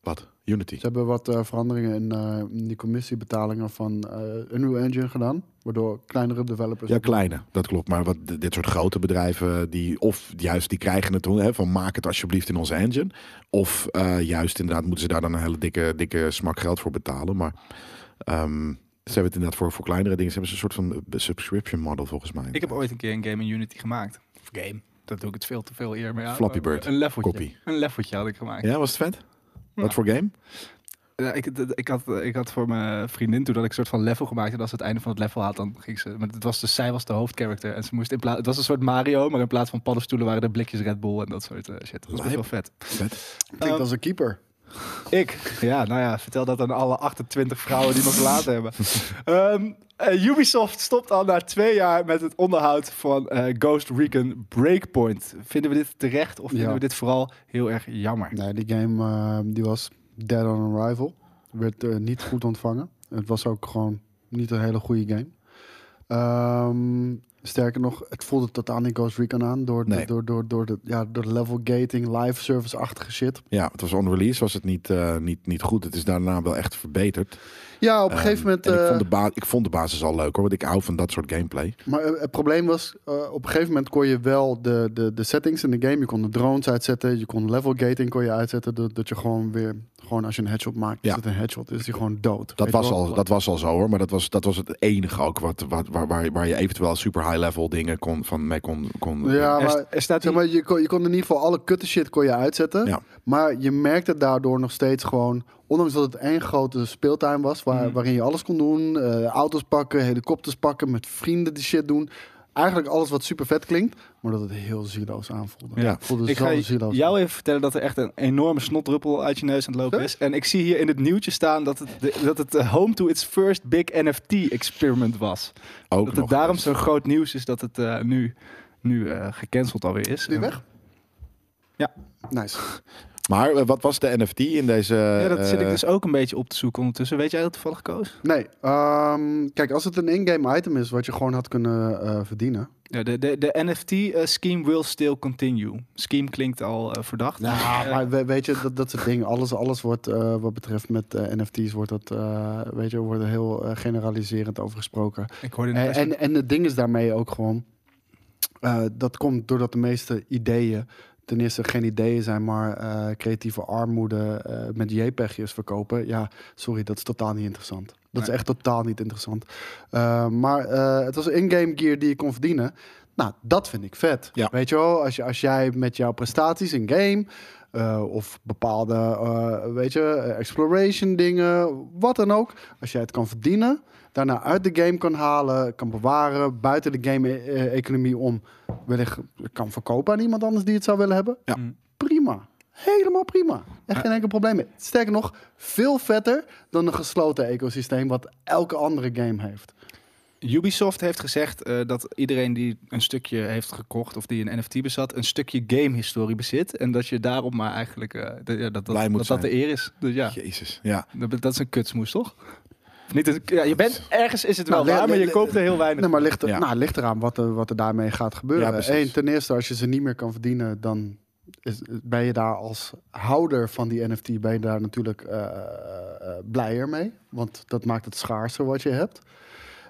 Speaker 3: Wat? Unity.
Speaker 2: Ze hebben wat eh, veranderingen in, eh, in die commissiebetalingen van eh Unreal Engine gedaan. Waardoor kleinere developers...
Speaker 3: Ja, kleine, dat klopt. Maar wat, d- dit soort grote bedrijven, die, of juist die krijgen het hè, van maak het alsjeblieft in onze engine. Of eh, juist inderdaad moeten ze daar dan een hele dikke, dikke smak geld voor betalen. Maar ehm, ze hebben het inderdaad voor, voor kleinere dingen. Ze hebben ze een soort van eh, subscription model volgens mij.
Speaker 1: Ik heb ooit een keer een game in Unity gemaakt. Of game. Dat doe ik het veel te veel eer mee. aan.
Speaker 3: Flappy Bird.
Speaker 1: Een leveltje.
Speaker 3: Copy.
Speaker 1: Een leveltje had ik gemaakt.
Speaker 3: Ja, was het vet? Wat
Speaker 1: Ja.
Speaker 3: voor game?
Speaker 1: Ja, ik, d- ik, had, eh, ik had voor mijn vriendin toen dat ik een soort van level gemaakt. En als ze het einde van het level had, dan ging ze. Maar het was dus, zij was de hoofdcharacter. En ze moest in plaats. Het was een soort Mario, maar in plaats van paddenstoelen waren er blikjes Red Bull en dat soort eh, shit. Dat was best wel
Speaker 3: Lijp.
Speaker 1: vet. Ehm,
Speaker 3: Vet.
Speaker 2: Klinkt als een keeper.
Speaker 1: Ik, ja, nou ja, vertel dat aan alle 28 vrouwen die me verlaten hebben. Ehm, eh, Ubisoft stopt al na twee jaar met het onderhoud van eh, Ghost Recon Breakpoint. Vinden we dit terecht of vinden
Speaker 2: Ja.
Speaker 1: we dit vooral heel erg jammer?
Speaker 2: Nee, die game eh, die was dead on arrival. Werd eh, niet goed ontvangen. Het was ook gewoon niet een hele goede game. Ehm, sterker nog, het voelde totaal niet Ghost Recon aan. Door, de,
Speaker 3: Nee.
Speaker 2: door, door, door, de, ja, door de level gating, live service-achtige shit.
Speaker 3: Ja, het was on release, was het niet, eh, niet, niet goed. Het is daarna wel echt verbeterd.
Speaker 2: Ja, op een
Speaker 3: Ehm,
Speaker 2: gegeven moment...
Speaker 3: en ik,
Speaker 2: eh,
Speaker 3: vond de ba- ik vond de basis al leuk hoor, want ik hou van dat soort gameplay.
Speaker 2: Maar eh, het probleem was, eh, op een gegeven moment kon je wel de, de, de settings in de game. Je kon de drones uitzetten, je kon level gating kon je uitzetten. Dat, dat je gewoon weer, gewoon als je een headshot maakt,
Speaker 3: Ja.
Speaker 2: is het een headshot. Is die gewoon dood.
Speaker 3: Dat
Speaker 2: Weet je
Speaker 3: was,
Speaker 2: wel?
Speaker 3: al, dat was al zo hoor, maar dat was, dat was het enige ook wat, wat, waar, waar, waar je eventueel super high level dingen kon, van mee kon. kon
Speaker 2: Ja,
Speaker 1: Er-
Speaker 2: maar,
Speaker 1: er staat
Speaker 2: zeg
Speaker 1: hier-
Speaker 2: maar je, kon, je kon in ieder geval alle kutte shit kon je uitzetten.
Speaker 3: Ja.
Speaker 2: Maar je merkte daardoor nog steeds gewoon... Ondanks dat het één grote speeltuin was... Waar,
Speaker 3: Mhm.
Speaker 2: waarin je alles kon doen. eh, auto's pakken, helikopters pakken, met vrienden die shit doen. Eigenlijk alles wat super vet klinkt. Maar dat het heel zieloos aanvoelde.
Speaker 3: Ja.
Speaker 2: Het voelde
Speaker 1: Ik
Speaker 2: zo
Speaker 1: ga
Speaker 2: zieloos
Speaker 1: jou even vertellen dat er echt een enorme snotdruppel uit je neus aan het lopen is. En ik zie hier in het nieuwtje staan dat het, de- dat het eh, home to its first big NFT-experiment was.
Speaker 3: ook
Speaker 1: dat
Speaker 3: nog
Speaker 1: het daarom
Speaker 3: eens.
Speaker 1: zo'n groot nieuws is dat het eh, nu, nu eh, gecanceld alweer is.
Speaker 2: Nu
Speaker 1: En-
Speaker 2: weg?
Speaker 1: Ja.
Speaker 2: Nice.
Speaker 3: Maar eh, wat was de NFT in deze.
Speaker 1: Ja, dat zit ik
Speaker 3: eh,
Speaker 1: dus ook een beetje op te zoeken ondertussen. Weet jij dat toevallig, Koos?
Speaker 2: Nee, ehm, kijk, als het een in-game item is wat je gewoon had kunnen eh, verdienen.
Speaker 1: Ja, de, de, de NFT-scheme eh, will still continue. Scheme klinkt al eh, verdacht.
Speaker 2: Ja,
Speaker 1: Eh,
Speaker 2: maar we- weet je, dat, dat soort dingen. Alles, alles wordt eh, wat betreft met eh, NFT's, wordt dat, eh, weet je, wordt er heel eh, generaliserend over gesproken.
Speaker 1: ik hoorde net
Speaker 2: Eh, En, en, en het ding is daarmee ook gewoon, eh, dat komt doordat de meeste ideeën, ten eerste geen ideeën zijn, maar eh, creatieve armoede eh, met JPEG'jes verkopen. Ja, sorry, dat is totaal niet interessant. Dat is
Speaker 1: Nee.
Speaker 2: echt totaal niet interessant. Eh, maar eh, het was in-game gear die je kon verdienen. Nou, dat vind ik vet.
Speaker 3: Ja.
Speaker 2: Weet je wel, als, je, als jij met jouw prestaties in game... eh, of bepaalde, eh, weet je, eh, exploration dingen, wat dan ook. Als jij het kan verdienen, daarna uit de game kan halen, kan bewaren... buiten de game-economie om wellicht kan verkopen aan iemand anders die het zou willen hebben.
Speaker 3: Ja.
Speaker 1: Mm.
Speaker 2: Prima. Helemaal prima. Echt geen enkel probleem mee. Sterker nog, veel vetter dan een gesloten ecosysteem... wat elke andere game heeft.
Speaker 1: Ubisoft heeft gezegd eh, dat iedereen die een stukje heeft gekocht of die een NFT bezat, een stukje gamehistorie bezit. En dat je daarop maar eigenlijk eh, de- ja, dat, dat,
Speaker 3: Blij moet
Speaker 1: dat, dat de
Speaker 3: zijn.
Speaker 1: eer is. Dus ja,
Speaker 3: Jezus, ja.
Speaker 1: dat, dat is een kutsmoes, toch? Of Niet een- ja, je bent, ergens is het wel
Speaker 2: Nou, le-
Speaker 1: waar, maar
Speaker 2: le-
Speaker 1: je koopt er heel weinig.
Speaker 2: Nee, maar ligt, er-
Speaker 3: Ja.
Speaker 2: nou, ligt eraan wat er, wat er daarmee gaat
Speaker 3: Ja,
Speaker 2: gebeuren.
Speaker 3: precies.
Speaker 2: Eén, ten eerste, als je ze niet meer kan verdienen, dan is, ben je daar als houder van die NFT ben je daar natuurlijk eh, eh, blijer mee. Want dat maakt het schaarser wat je hebt.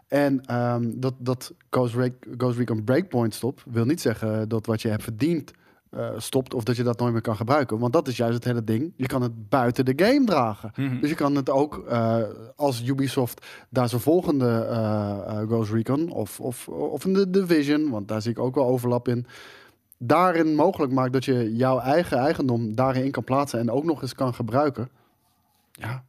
Speaker 2: En ehm, dat, dat Ghost, Re- Ghost Recon Breakpoint stopt, wil niet zeggen dat wat je hebt verdiend eh, stopt of dat je dat nooit meer kan gebruiken. Want dat is juist het hele ding. Je kan het buiten de game dragen.
Speaker 1: Mhm.
Speaker 2: Dus je kan het ook eh, als Ubisoft daar zijn volgende eh, eh, Ghost Recon of, of, of in de Division, want daar zie ik ook wel overlap in. Daarin mogelijk maakt dat je jouw eigen eigendom daarin kan plaatsen en ook nog eens kan gebruiken. Ja,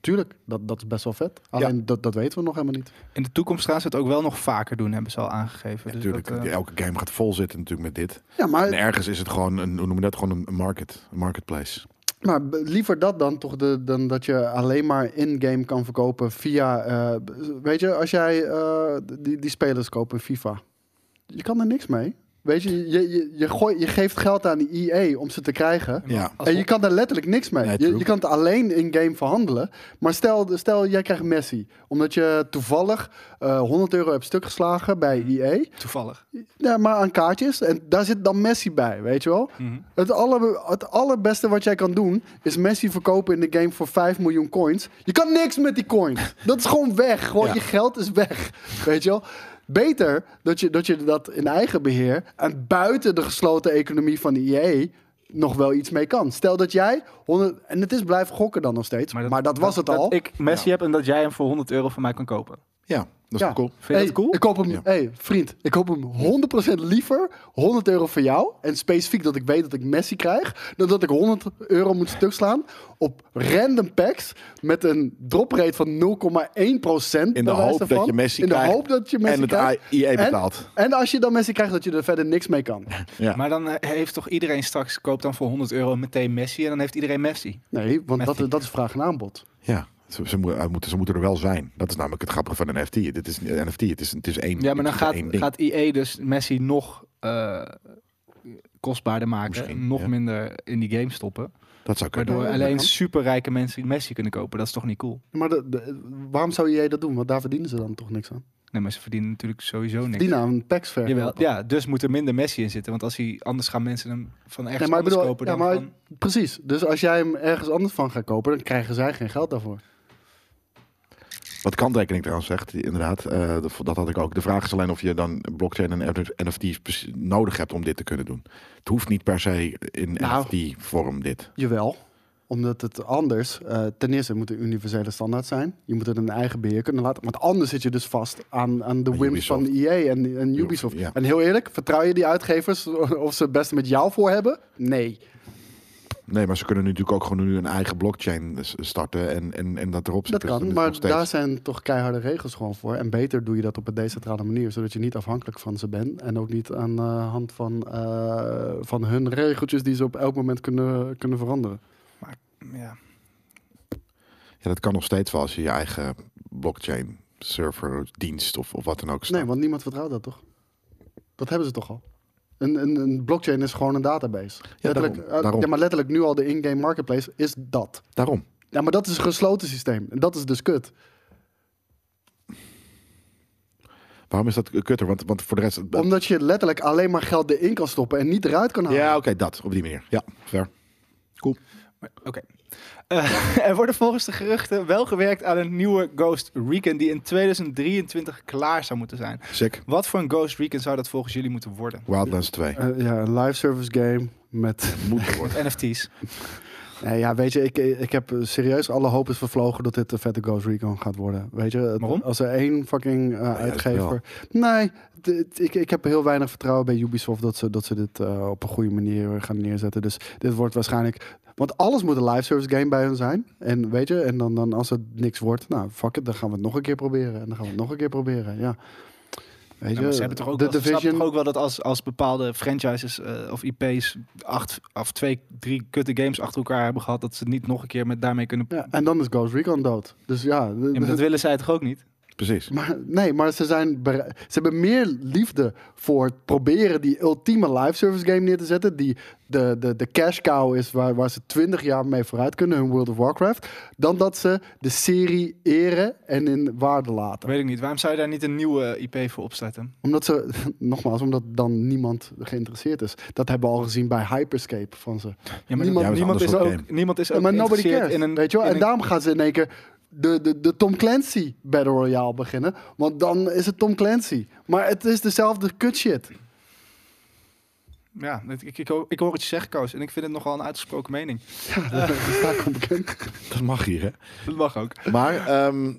Speaker 2: tuurlijk, dat, dat is best wel vet. Alleen dat, dat weten we nog helemaal niet.
Speaker 1: In de toekomst gaan ze het ook wel nog vaker doen, hebben ze al aangegeven. Dus
Speaker 3: Natuurlijk,
Speaker 1: dat, eh,
Speaker 3: elke game gaat vol zitten natuurlijk met dit.
Speaker 2: Ja, maar
Speaker 3: En ergens is het gewoon een, hoe noem je dat? Gewoon een market, een marketplace.
Speaker 2: Maar b- liever dat dan toch de, dan dat je alleen maar in-game kan verkopen via. eh, b- weet je, als jij eh, die, die spelers koopt in FIFA, je kan er niks mee. Weet je, je, je, je, gooi- je geeft geld aan de EA om ze te krijgen.
Speaker 3: Ja.
Speaker 1: als-
Speaker 2: En je kan daar letterlijk niks mee.
Speaker 3: Nee,
Speaker 2: je,
Speaker 3: true.
Speaker 2: je kan het alleen in-game verhandelen. Maar stel, stel, jij krijgt Messi. Omdat je toevallig eh, 100 euro hebt stuk geslagen bij E EA.
Speaker 1: toevallig.
Speaker 2: Ja, maar aan kaartjes. En daar zit dan Messi bij, weet je wel.
Speaker 1: Mhm.
Speaker 2: Het, aller, het allerbeste wat jij kan doen is Messi verkopen in de game voor 5 miljoen coins. Je kan niks met die coins. Dat is gewoon weg. Gewoon
Speaker 3: Ja.
Speaker 2: je geld is weg. Weet je wel? Beter dat je, dat je dat in eigen beheer en buiten de gesloten economie van de IE nog wel iets mee kan. Stel dat jij 100 en het is blijven gokken dan nog steeds, maar dat, was het al.
Speaker 1: Dat ik Messi heb en dat jij hem voor 100 euro van mij kan kopen.
Speaker 3: Ja, dat is
Speaker 2: Ja.
Speaker 3: wel cool.
Speaker 1: Vind je
Speaker 2: Hey,
Speaker 1: dat cool?
Speaker 2: Ik koop hem,
Speaker 3: Ja.
Speaker 2: hey, vriend, ik koop hem 100% liever, 100 euro voor jou. En specifiek dat ik weet dat ik Messi krijg, dan dat ik 100 euro moet stuk slaan op random packs met een drop rate van 0,1%. In
Speaker 3: In de hoop dat je Messi
Speaker 2: In de
Speaker 3: krijgt
Speaker 2: hoop dat je Messi
Speaker 3: en het
Speaker 2: krijgt.
Speaker 3: IE
Speaker 2: En-
Speaker 3: betaalt.
Speaker 2: En als je dan Messi krijgt, dat je er verder niks mee kan.
Speaker 3: Ja.
Speaker 1: Maar dan eh, heeft toch iedereen straks, koopt dan voor 100 euro meteen Messi en dan heeft iedereen Messi.
Speaker 2: Nee, want
Speaker 1: Messi.
Speaker 2: dat, dat is vraag en aanbod.
Speaker 3: Ja, ze, ze, moe- hij moet- ze moeten er wel zijn. Dat is namelijk het grappige van een NFT. Dit is een NFT, het is, het is één
Speaker 1: Ja, maar dan
Speaker 3: het is
Speaker 1: gaat,
Speaker 3: één ding.
Speaker 1: gaat IE dus Messi nog eh, kostbaarder maken.
Speaker 3: Misschien,
Speaker 1: nog
Speaker 3: ja.
Speaker 1: minder in die game stoppen.
Speaker 3: Dat zou kunnen.
Speaker 1: Waardoor
Speaker 2: dat
Speaker 1: alleen
Speaker 2: kan.
Speaker 1: superrijke mensen Messi kunnen kopen. Dat is toch niet cool?
Speaker 2: E Maar de- de- waarom zou jij dat doen? Want daar verdienen ze dan toch niks aan.
Speaker 1: Nee, maar ze verdienen natuurlijk sowieso niks.
Speaker 2: Die aan packs verkopen.
Speaker 1: Jawel, ja, dus moet er minder Messi in zitten. Want als hij, anders gaan mensen hem van ergens
Speaker 2: Nee, maar ik
Speaker 1: anders
Speaker 2: bedoel,
Speaker 1: kopen
Speaker 2: ja,
Speaker 1: dan
Speaker 2: maar-
Speaker 1: van-
Speaker 2: Precies. Dus als jij hem ergens anders van gaat kopen, dan krijgen zij geen geld daarvoor.
Speaker 3: Wat kanttekening trouwens zegt, inderdaad. eh, dat- dat had ik ook. De vraag is alleen of je dan blockchain en NFT's precies nodig hebt om dit te kunnen doen. Het hoeft niet per se in
Speaker 2: Nou.
Speaker 3: NFT-vorm dit.
Speaker 2: Jawel. Omdat het anders, eh, ten eerste moet het een universele standaard zijn. Je moet het in eigen beheer kunnen laten. Want anders zit je dus vast aan, aan de
Speaker 3: Aan
Speaker 2: whims
Speaker 3: Ubisoft.
Speaker 2: van EA en, en Ubisoft.
Speaker 3: Ja.
Speaker 2: En heel eerlijk, vertrouw je die uitgevers of ze het beste met jou voor hebben? Nee.
Speaker 3: Nee, maar ze kunnen nu natuurlijk ook gewoon nu een eigen blockchain s- starten en, en, en dat erop
Speaker 2: Dat
Speaker 3: zetten.
Speaker 2: kan,
Speaker 3: Dus nog
Speaker 2: maar
Speaker 3: steeds-
Speaker 2: daar zijn toch keiharde regels gewoon voor. En beter doe je dat op een decentrale manier, zodat je niet afhankelijk van ze bent. En ook niet aan de hand van, eh, van hun regeltjes die ze op elk moment kunnen, kunnen veranderen.
Speaker 1: Ja.
Speaker 3: Ja, dat kan nog steeds wel als je je eigen blockchain server, dienst of, of wat dan ook
Speaker 2: Nee,
Speaker 3: start.
Speaker 2: want niemand vertrouwt dat toch? Dat hebben ze toch al? Een, een, een blockchain is gewoon een database. Letterlijk,
Speaker 3: daarom,
Speaker 2: eh,
Speaker 3: daarom.
Speaker 2: ja, maar letterlijk nu al de in-game marketplace is dat.
Speaker 3: Daarom.
Speaker 2: Ja, maar dat is een gesloten systeem. En dat is dus kut.
Speaker 3: Waarom is dat kutter? Want, want voor de rest...
Speaker 2: Omdat je letterlijk alleen maar geld erin kan stoppen en niet eruit kan halen.
Speaker 3: Ja, oké, dat. Op die manier. Ja, ver.
Speaker 1: Maar- Oké. Eh, er worden volgens de geruchten wel gewerkt aan een nieuwe Ghost Recon die in 2023 klaar zou moeten zijn.
Speaker 3: Sick.
Speaker 1: Wat voor een Ghost Recon zou dat volgens jullie moeten worden?
Speaker 3: Wildlands 2.
Speaker 2: Eh, ja, een live service game met...
Speaker 3: Moet er worden.
Speaker 1: NFT's.
Speaker 2: Nee, ja, weet je, ik, ik heb serieus alle hoop is vervlogen dat dit de vette Ghost Recon gaat worden. Weet je, het-
Speaker 1: Waarom?
Speaker 2: als er één fucking eh, uitgever...
Speaker 3: wel.
Speaker 2: Nee, dit- ik, ik heb heel weinig vertrouwen bij Ubisoft dat ze, dat ze dit eh, op een goede manier gaan neerzetten. Dus dit wordt waarschijnlijk... Want alles moet een live service game bij hun zijn. En weet je, en dan, dan als het niks wordt, nou fuck it, dan gaan we het nog een keer proberen. En dan gaan we het nog een keer proberen, ja. Weet je,
Speaker 1: Ja, maar ze hebben toch ook,
Speaker 2: de
Speaker 1: wel, ze snappen
Speaker 2: Division...
Speaker 1: toch ook wel dat als, als bepaalde franchises eh, of IP's acht of twee, drie kutte games achter elkaar hebben gehad, dat ze niet nog een keer met daarmee kunnen.
Speaker 2: Ja, en dan is Ghost Recon dood. Dus ja...
Speaker 1: Ja, maar dat willen zij toch ook niet?
Speaker 3: Precies.
Speaker 2: Maar, nee, maar ze, zijn bere- ze hebben meer liefde voor het proberen die ultieme live service game neer te zetten. Die de, de, de cash cow is waar, waar ze twintig jaar mee vooruit kunnen, hun World of Warcraft. Dan dat ze de serie eren en in waarde laten.
Speaker 1: Weet ik niet. Waarom zou je daar niet een nieuwe IP voor opstarten?
Speaker 2: Omdat ze, nogmaals, omdat dan niemand geïnteresseerd is. Dat hebben we al gezien bij Hyperscape van ze.
Speaker 1: Ja,
Speaker 2: maar-
Speaker 1: niemand,
Speaker 3: Ja, maar
Speaker 1: niemand,
Speaker 3: het is een
Speaker 1: is
Speaker 3: ander
Speaker 1: ook,
Speaker 3: soort
Speaker 1: niemand is
Speaker 2: Ja,
Speaker 1: ook
Speaker 2: maar nobody
Speaker 1: geïnteresseerd
Speaker 2: cares,
Speaker 1: in een...
Speaker 2: weet je wel?
Speaker 1: in
Speaker 2: En
Speaker 1: een-
Speaker 2: daarom gaan ze in één keer de, de, de Tom Clancy Battle Royale beginnen. Want dan is het Tom Clancy. Maar het is dezelfde kut shit.
Speaker 1: Ja, ik, ik, ik, hoor, ik hoor het je zeggen, Koos. En ik vind het nogal een uitgesproken mening.
Speaker 2: Ja, dat sta ik onbekend.
Speaker 3: Dat mag hier, hè?
Speaker 1: Dat mag ook.
Speaker 3: Maar ehm,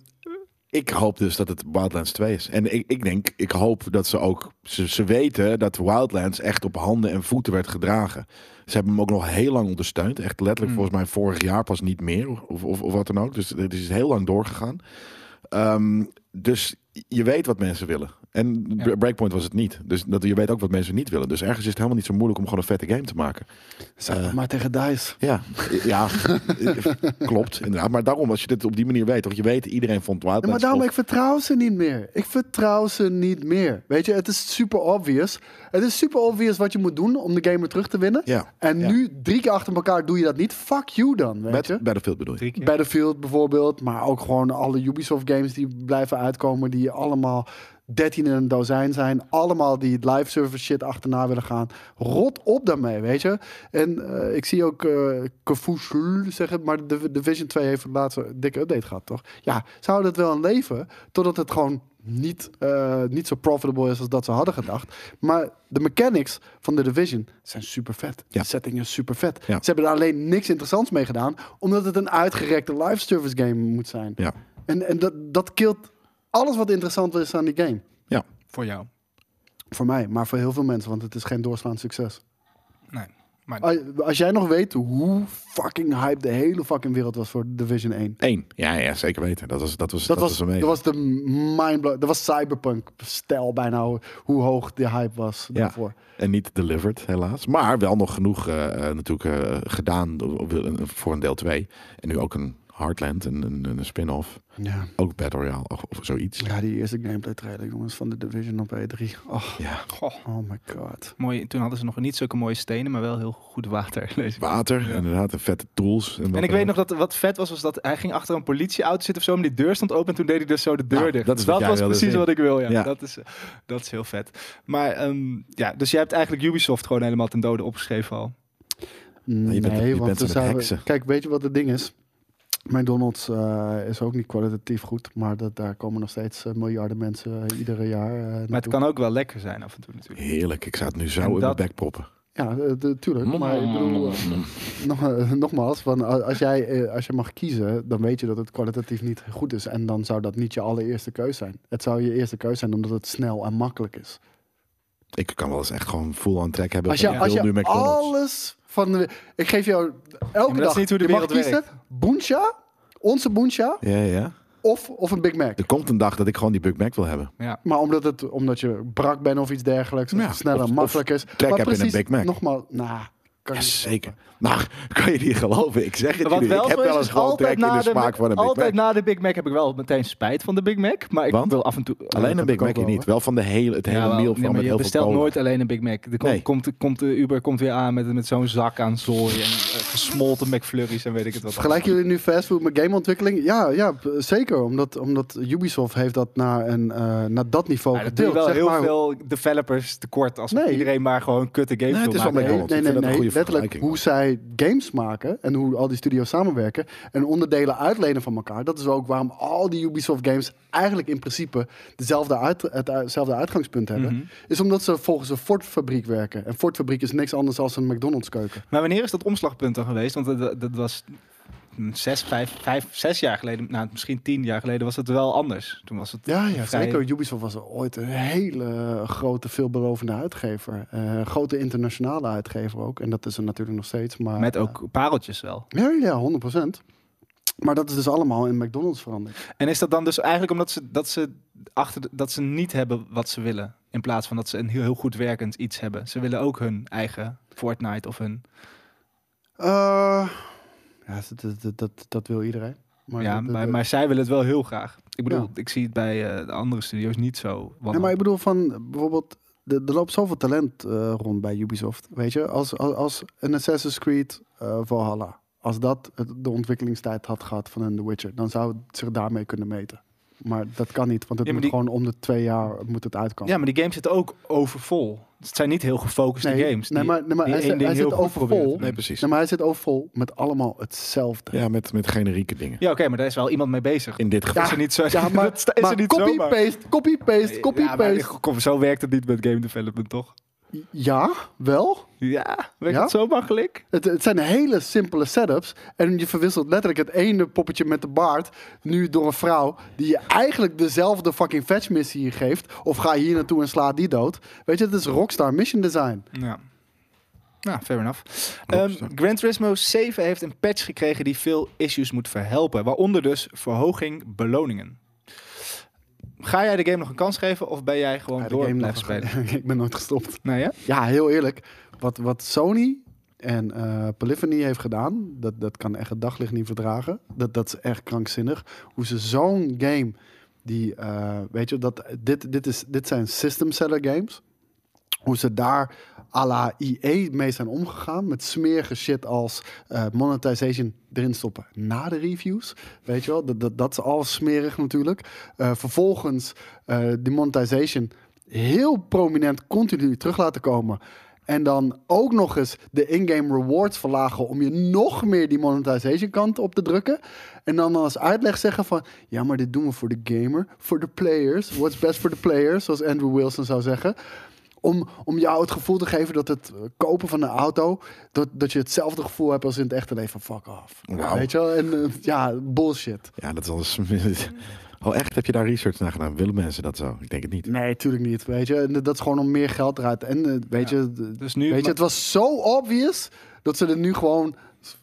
Speaker 3: ik hoop dus dat het Wildlands 2 is. En ik, ik denk, ik hoop dat ze ook... Ze, ze weten dat Wildlands echt op handen en voeten werd gedragen. Ze hebben hem ook nog heel lang ondersteund. Echt letterlijk
Speaker 1: Mm.
Speaker 3: volgens mij vorig jaar pas niet meer. Of, of, of wat dan ook. Dus het is heel lang doorgegaan. Ehm, dus je weet wat mensen willen. En
Speaker 1: Ja.
Speaker 3: Breakpoint was het niet. Dus dat, je weet ook wat mensen niet willen. Dus ergens is het helemaal niet zo moeilijk om gewoon een vette game te maken.
Speaker 2: Zeg het maar tegen DICE.
Speaker 3: Ja, ja klopt inderdaad. Maar daarom, als je dit op die manier weet, toch je weet, iedereen vond Wildlands.
Speaker 2: Ja, maar daarom,
Speaker 3: of-
Speaker 2: ik vertrouw ze niet meer. Ik vertrouw ze niet meer. Weet je, het is super obvious. Het is super obvious wat je moet doen om de gamer terug te winnen.
Speaker 3: Ja,
Speaker 2: En
Speaker 3: Ja.
Speaker 2: nu drie keer achter elkaar doe je dat niet. Fuck you dan, weet
Speaker 3: met
Speaker 2: je.
Speaker 3: Battlefield bedoel je.
Speaker 1: Drie keer.
Speaker 2: Battlefield bijvoorbeeld, maar ook gewoon alle Ubisoft games die blijven uitkomen, die allemaal 13 in een dozijn zijn, allemaal die het live service shit achterna willen gaan. Rot op daarmee, weet je. En eh, ik zie ook eh Kavoesul zeggen, maar de Division 2 heeft voor het laatste dikke update gehad, toch? Ja, ze houden het wel aan leven, totdat het gewoon niet, eh, niet zo profitable is als dat ze hadden gedacht. Maar de mechanics van de Division zijn super vet.
Speaker 3: Ja.
Speaker 2: De setting is super vet.
Speaker 3: Ja.
Speaker 2: Ze hebben er alleen niks interessants mee gedaan, omdat het een uitgerekte live service game moet zijn.
Speaker 3: Ja,
Speaker 2: En, en dat, dat kilt alles wat interessant is aan die game.
Speaker 3: ja.
Speaker 1: Voor jou.
Speaker 2: Voor mij, maar voor heel veel mensen, want het is geen doorslaand succes.
Speaker 1: Nee. Maar
Speaker 2: Als, als jij nog weet hoe fucking hype de hele fucking wereld was voor Division 1.
Speaker 3: Eén. Ja, ja, zeker weten. Dat was, dat was,
Speaker 2: Dat,
Speaker 3: dat
Speaker 2: was,
Speaker 3: was,
Speaker 2: dat
Speaker 3: amazing.
Speaker 2: was de mindblow. Dat was cyberpunk-stijl bijna, hoe- hoe hoog de hype was
Speaker 3: Ja.
Speaker 2: daarvoor.
Speaker 3: En niet delivered, helaas. Maar wel nog genoeg eh, eh, natuurlijk eh, gedaan door- voor een deel 2. En nu ook een Heartland, een, een, een spin-off.
Speaker 2: Ja.
Speaker 3: Ook Battle Royale of, of zoiets.
Speaker 2: ja, die eerste gameplay trailer, jongens, van de Division op E3. Oh,
Speaker 3: Ja.
Speaker 1: Goh,
Speaker 2: oh my god.
Speaker 1: mooi. Toen hadden ze nog niet zulke mooie stenen, maar wel heel goed water. lees ik.
Speaker 3: Water, inderdaad. En vette tools. wat
Speaker 1: En ik
Speaker 3: dan
Speaker 1: weet nog
Speaker 3: ook.
Speaker 1: dat wat vet was, was dat hij ging achter een politieauto zitten of zo, maar die deur stond open en toen deed hij dus zo de deur
Speaker 3: Nou,
Speaker 1: dicht.
Speaker 3: dat is wat jij
Speaker 1: was
Speaker 3: wilde
Speaker 1: precies
Speaker 3: zien.
Speaker 1: wat ik wil, ja.
Speaker 3: Ja.
Speaker 1: Dat, is, eh, dat is heel vet. Maar ehm, ja, dus jij hebt eigenlijk Ubisoft gewoon helemaal ten dode opgeschreven al.
Speaker 2: Nee,
Speaker 3: je bent- je bent
Speaker 2: want
Speaker 3: aan
Speaker 2: dan
Speaker 3: het
Speaker 2: zouden we-
Speaker 3: heksen.
Speaker 2: Kijk, weet je wat het ding is? McDonald's eh, is ook niet kwalitatief goed, maar dat, daar komen nog steeds eh, miljarden mensen eh, iedere jaar eh,
Speaker 1: Maar het
Speaker 2: naartoe.
Speaker 1: kan ook wel lekker zijn af en toe natuurlijk.
Speaker 3: Heerlijk, ik zou het nu zo
Speaker 1: En
Speaker 3: in
Speaker 1: dat-
Speaker 3: mijn bek proppen. Mm.
Speaker 2: Ja, eh, de- tuurlijk. Maar ik bedoel, eh, nog, eh, nogmaals, van, a- als, jij, eh, als je mag kiezen, dan weet je dat het kwalitatief niet goed is. En dan zou dat niet je allereerste keus zijn. Het zou je eerste keus zijn omdat het snel en makkelijk is.
Speaker 3: Ik kan wel eens echt gewoon full aan trek hebben.
Speaker 2: Als je,
Speaker 3: van, ik
Speaker 2: als
Speaker 3: wil
Speaker 2: je
Speaker 3: nu McDonald's.
Speaker 2: alles van de. Ik geef jou elke
Speaker 1: dat is
Speaker 2: dag.
Speaker 1: niet hoe de
Speaker 2: je mag
Speaker 1: wereld
Speaker 2: kiezen: Boensja, onze Boensja
Speaker 3: Ja, ja.
Speaker 2: of, of een Big Mac.
Speaker 3: Er komt een dag dat ik gewoon die Big Mac wil hebben.
Speaker 1: Ja.
Speaker 2: Maar omdat, het, omdat je brak bent of iets dergelijks, of
Speaker 3: Ja,
Speaker 2: het sneller
Speaker 3: of-
Speaker 2: en makkelijk is.
Speaker 3: trek
Speaker 2: maar
Speaker 3: heb in een Big Mac.
Speaker 2: Nogmaals, nou, kan je niet
Speaker 3: Jazeker. Nou, kan je die geloven? Ik zeg het
Speaker 1: Wat
Speaker 3: jullie.
Speaker 1: wel
Speaker 3: Ik heb
Speaker 1: zo is,
Speaker 3: wel eens
Speaker 1: is
Speaker 3: gewoon
Speaker 1: altijd
Speaker 3: trek in
Speaker 1: na
Speaker 3: de
Speaker 1: de-
Speaker 3: smaak van een Big
Speaker 1: Altijd
Speaker 3: Mac.
Speaker 1: na de Big Mac heb ik wel meteen spijt van de Big Mac, maar ik
Speaker 3: Want?
Speaker 1: wil af en toe...
Speaker 3: Alleen een Big Mac
Speaker 1: niet.
Speaker 3: niet. Wel van de hele, het hele
Speaker 1: wel,
Speaker 3: meal
Speaker 1: nee,
Speaker 3: van
Speaker 1: maar
Speaker 3: met
Speaker 1: je
Speaker 3: heel veel
Speaker 1: bestelt
Speaker 3: cola.
Speaker 1: nooit alleen een Big Mac. Er komt,
Speaker 3: Nee.
Speaker 1: komt, komt de Uber komt weer aan met, met zo'n zak aan zooi en eh, gesmolten McFlurries en weet ik het wat.
Speaker 2: Vergelijken jullie nu fastfood met gameontwikkeling? Ja, ja p- zeker. Omdat, omdat Ubisoft heeft dat naar, een, eh, naar dat niveau
Speaker 1: Maar dat doen
Speaker 2: gedeeld.
Speaker 1: wel
Speaker 2: zeg
Speaker 1: heel
Speaker 2: maar.
Speaker 1: veel developers tekort als
Speaker 2: Nee.
Speaker 1: iedereen maar gewoon kutte games
Speaker 3: Nee, het
Speaker 1: wil
Speaker 3: is wel
Speaker 1: maken.
Speaker 2: Nee,
Speaker 3: McDonald's.
Speaker 2: nee,
Speaker 3: Ik vind dat
Speaker 2: nee,
Speaker 3: een
Speaker 2: nee.
Speaker 3: goede
Speaker 2: Letterlijk
Speaker 3: vergelijking.
Speaker 2: hoe zij games maken en hoe al die studios samenwerken en onderdelen uitlenen van elkaar. Dat is ook waarom al die Ubisoft games eigenlijk in principe dezelfde uit, het, hetzelfde uitgangspunt hebben.
Speaker 3: Mhm.
Speaker 1: Mhm.
Speaker 2: Is omdat ze volgens een Ford fabriek werken. En Ford fabriek is niks anders dan een McDonald's keuken.
Speaker 1: Maar wanneer is dat omslagpunt dan geweest? Want dat, dat- dat was mm, zes, vijf, vijf, zes jaar geleden, nou, misschien tien jaar geleden was het wel anders. Toen was het
Speaker 2: Ja, ja
Speaker 1: vrij-
Speaker 2: zeker. Ubisoft was ooit een hele grote, veelbelovende uitgever. Eh, grote internationale uitgever ook. En dat is er natuurlijk nog steeds. Maar,
Speaker 1: Met ook pareltjes wel.
Speaker 2: Ja, ja, 100%. Maar dat is dus allemaal in McDonald's veranderd.
Speaker 1: En is dat dan dus eigenlijk omdat ze, dat ze, achter de- dat ze niet hebben wat ze willen? In plaats van dat ze een heel, heel goed werkend iets hebben. Ze willen ook hun eigen Fortnite of hun...
Speaker 2: Eh, ja, dat, dat- dat, dat, dat wil iedereen. Maar
Speaker 1: ja,
Speaker 2: dat- dat-
Speaker 1: maar, maar zij willen het wel heel graag. Ik bedoel,
Speaker 2: Ja.
Speaker 1: ik zie het bij eh, de andere studio's niet zo.
Speaker 2: Ja, maar ik bedoel van bijvoorbeeld, er er loopt zoveel talent eh, rond bij Ubisoft. Weet je, als, als, als een Assassin's Creed eh, Valhalla, als dat het- de ontwikkelingstijd had gehad van een The Witcher, dan zou het zich daarmee kunnen meten. Maar dat kan niet, want het
Speaker 1: Ja, maar
Speaker 2: moet gewoon om de twee jaar moet het uitkomen.
Speaker 1: ja, maar die games zitten ook overvol. Het zijn niet heel gefocuste
Speaker 2: nee,
Speaker 1: games.
Speaker 2: nee,
Speaker 1: die-
Speaker 2: maar, nee, maar
Speaker 1: die
Speaker 2: hij,
Speaker 1: één
Speaker 2: zit,
Speaker 1: ding
Speaker 2: hij
Speaker 1: heel
Speaker 2: zit
Speaker 1: goed proberen te
Speaker 2: overvol.
Speaker 1: doen.
Speaker 3: Nee, precies.
Speaker 2: Nee, maar hij zit overvol met allemaal hetzelfde.
Speaker 3: Ja, met, met generieke dingen.
Speaker 1: Ja, oké, maar daar is wel iemand mee bezig.
Speaker 3: In dit geval.
Speaker 1: Is er niet zo...
Speaker 2: Ja, maar,
Speaker 1: dat sta- is
Speaker 2: maar
Speaker 1: er niet
Speaker 2: copy,
Speaker 1: zomaar.
Speaker 2: paste, copy, paste, copy,
Speaker 1: Ja, maar
Speaker 2: paste.
Speaker 1: kom, zo werkt het niet met game development, toch?
Speaker 2: Ja, wel.
Speaker 1: Ja, werkt
Speaker 2: Ja?
Speaker 1: het zo makkelijk?
Speaker 2: Het, het zijn hele simpele setups. En je verwisselt letterlijk het ene poppetje met de baard. Nu door een vrouw. Die je eigenlijk dezelfde fucking fetch missie geeft. Of ga hier naartoe en sla die dood. Weet je, het is Rockstar Mission Design.
Speaker 1: Ja. Nou, fair enough.
Speaker 3: Hoop
Speaker 1: Ehm
Speaker 3: zo.
Speaker 1: Gran Turismo 7 heeft een patch gekregen die veel issues moet verhelpen. Waaronder dus verhoging beloningen. Ga jij de game nog een kans geven of ben jij gewoon
Speaker 2: Ja, de
Speaker 1: door
Speaker 2: game
Speaker 1: blijven
Speaker 2: nog-
Speaker 1: spelen?
Speaker 2: Ik ben nooit gestopt.
Speaker 1: Nee, hè?
Speaker 2: Ja, heel eerlijk. Wat, wat Sony en eh, Polyphony heeft gedaan, dat, dat kan echt het daglicht niet verdragen. Dat, dat is echt krankzinnig. Hoe ze zo'n game, die, eh, weet je, dat, dit, dit, is, dit zijn system seller games. Hoe ze daar à la IE mee zijn omgegaan. Met smerige shit als eh, monetization erin stoppen na de reviews. Weet je wel, dat, dat, dat is al smerig natuurlijk. Eh, vervolgens eh die monetization heel prominent continu terug laten komen. En dan ook nog eens de in-game rewards verlagen om je nog meer die monetization kant op te drukken. En dan als uitleg zeggen van, ja maar dit doen we voor de gamer, voor de players. What's best for the players, zoals Andrew Wilson zou zeggen. Om, om jou het gevoel te geven dat het eh, kopen van een auto, dat, dat je hetzelfde gevoel hebt als in het echte leven. Fuck off.
Speaker 1: Nou.
Speaker 3: Wauw.
Speaker 2: Weet je wel? En eh, ja, bullshit.
Speaker 3: Ja, dat is alles. Oh, echt? Heb je daar research naar gedaan? Willen mensen dat zo? Ik denk het niet.
Speaker 2: Nee, tuurlijk niet. Weet je, En dat is gewoon om meer geld eruit. En eh, weet je, d-
Speaker 1: Dus nu-
Speaker 2: weet je, het was zo obvious dat ze er nu gewoon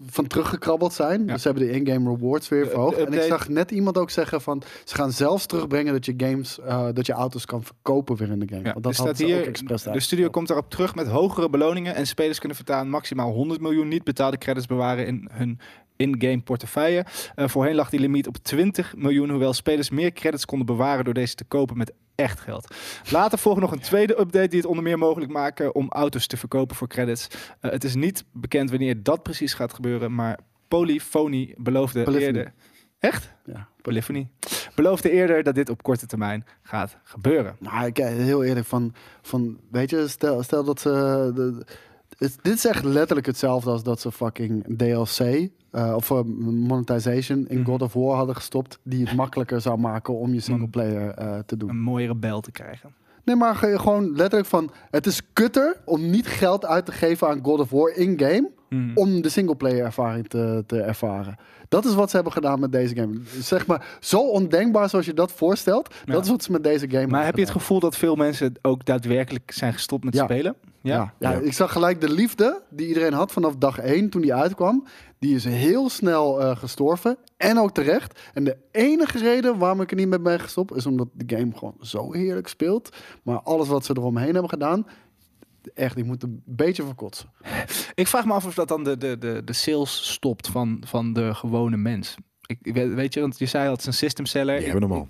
Speaker 2: van teruggekrabbeld zijn.
Speaker 1: Ja. Eh,
Speaker 2: Dus ze hebben de in-game rewards weer verhoogd. En ik
Speaker 1: update-
Speaker 2: zag net iemand ook zeggen van ze gaan zelfs terugbrengen dat je games, eh, dat je auto's kan verkopen weer in de game.
Speaker 1: Ja,
Speaker 2: Want
Speaker 1: er
Speaker 2: dat
Speaker 1: staat
Speaker 2: had ze ook
Speaker 1: hier,
Speaker 2: expres
Speaker 1: de studio komt daarop terug met hogere beloningen en spelers kunnen voortaan maximaal 100 miljoen niet betaalde credits bewaren in hun in-game portefeuille. Eh, voorheen lag die limiet op 20 miljoen, hoewel spelers meer credits konden bewaren door deze te kopen met echt geld. Later volgt nog een tweede update die het onder meer mogelijk maken om auto's te verkopen voor credits. Eh, het is niet bekend wanneer dat precies gaat gebeuren, maar Polyphony beloofde
Speaker 2: Polyphony.
Speaker 1: eerder. Echt?
Speaker 2: Ja.
Speaker 1: Polyphony. Beloofde eerder dat dit op korte termijn gaat gebeuren.
Speaker 2: Maar Nou, ik, eh, heel eerlijk, van, van, weet je, stel, stel dat ze... de- het- dit is echt letterlijk hetzelfde als dat ze fucking DLC eh, of eh, monetization
Speaker 1: Mhm.
Speaker 2: in God of War hadden gestopt... die het makkelijker zou maken om je
Speaker 1: Mhm.
Speaker 2: singleplayer eh te doen.
Speaker 1: Een mooiere bel te krijgen.
Speaker 2: Nee, maar ge- gewoon letterlijk van... Het is kutter om niet geld uit te geven aan God of War in-game...
Speaker 1: Mhm.
Speaker 2: om de singleplayer ervaring te, te ervaren. Dat is wat ze hebben gedaan met deze game. Zeg maar, zo ondenkbaar zoals je dat voorstelt...
Speaker 1: Ja.
Speaker 2: dat is wat ze met deze game
Speaker 1: Maar
Speaker 2: hebben
Speaker 1: heb je het
Speaker 2: gedaan.
Speaker 1: gevoel dat veel mensen ook daadwerkelijk zijn gestopt met
Speaker 2: Ja.
Speaker 1: spelen?
Speaker 2: Ja. Ja.
Speaker 3: Ja.
Speaker 2: ik zag gelijk de liefde die iedereen had vanaf dag 1 toen die uitkwam. Die is heel snel eh, gestorven. En ook terecht. En de enige reden waarom ik er niet mee ben gestopt... is omdat de game gewoon zo heerlijk speelt. Maar alles wat ze eromheen hebben gedaan... echt, ik moet een beetje verkotsen.
Speaker 1: Ik vraag me af of dat dan de, de, de, de sales stopt van, van de gewone mens. Ik, ik weet, weet je, want je zei al, het is een system seller.
Speaker 3: Die hebben hem al.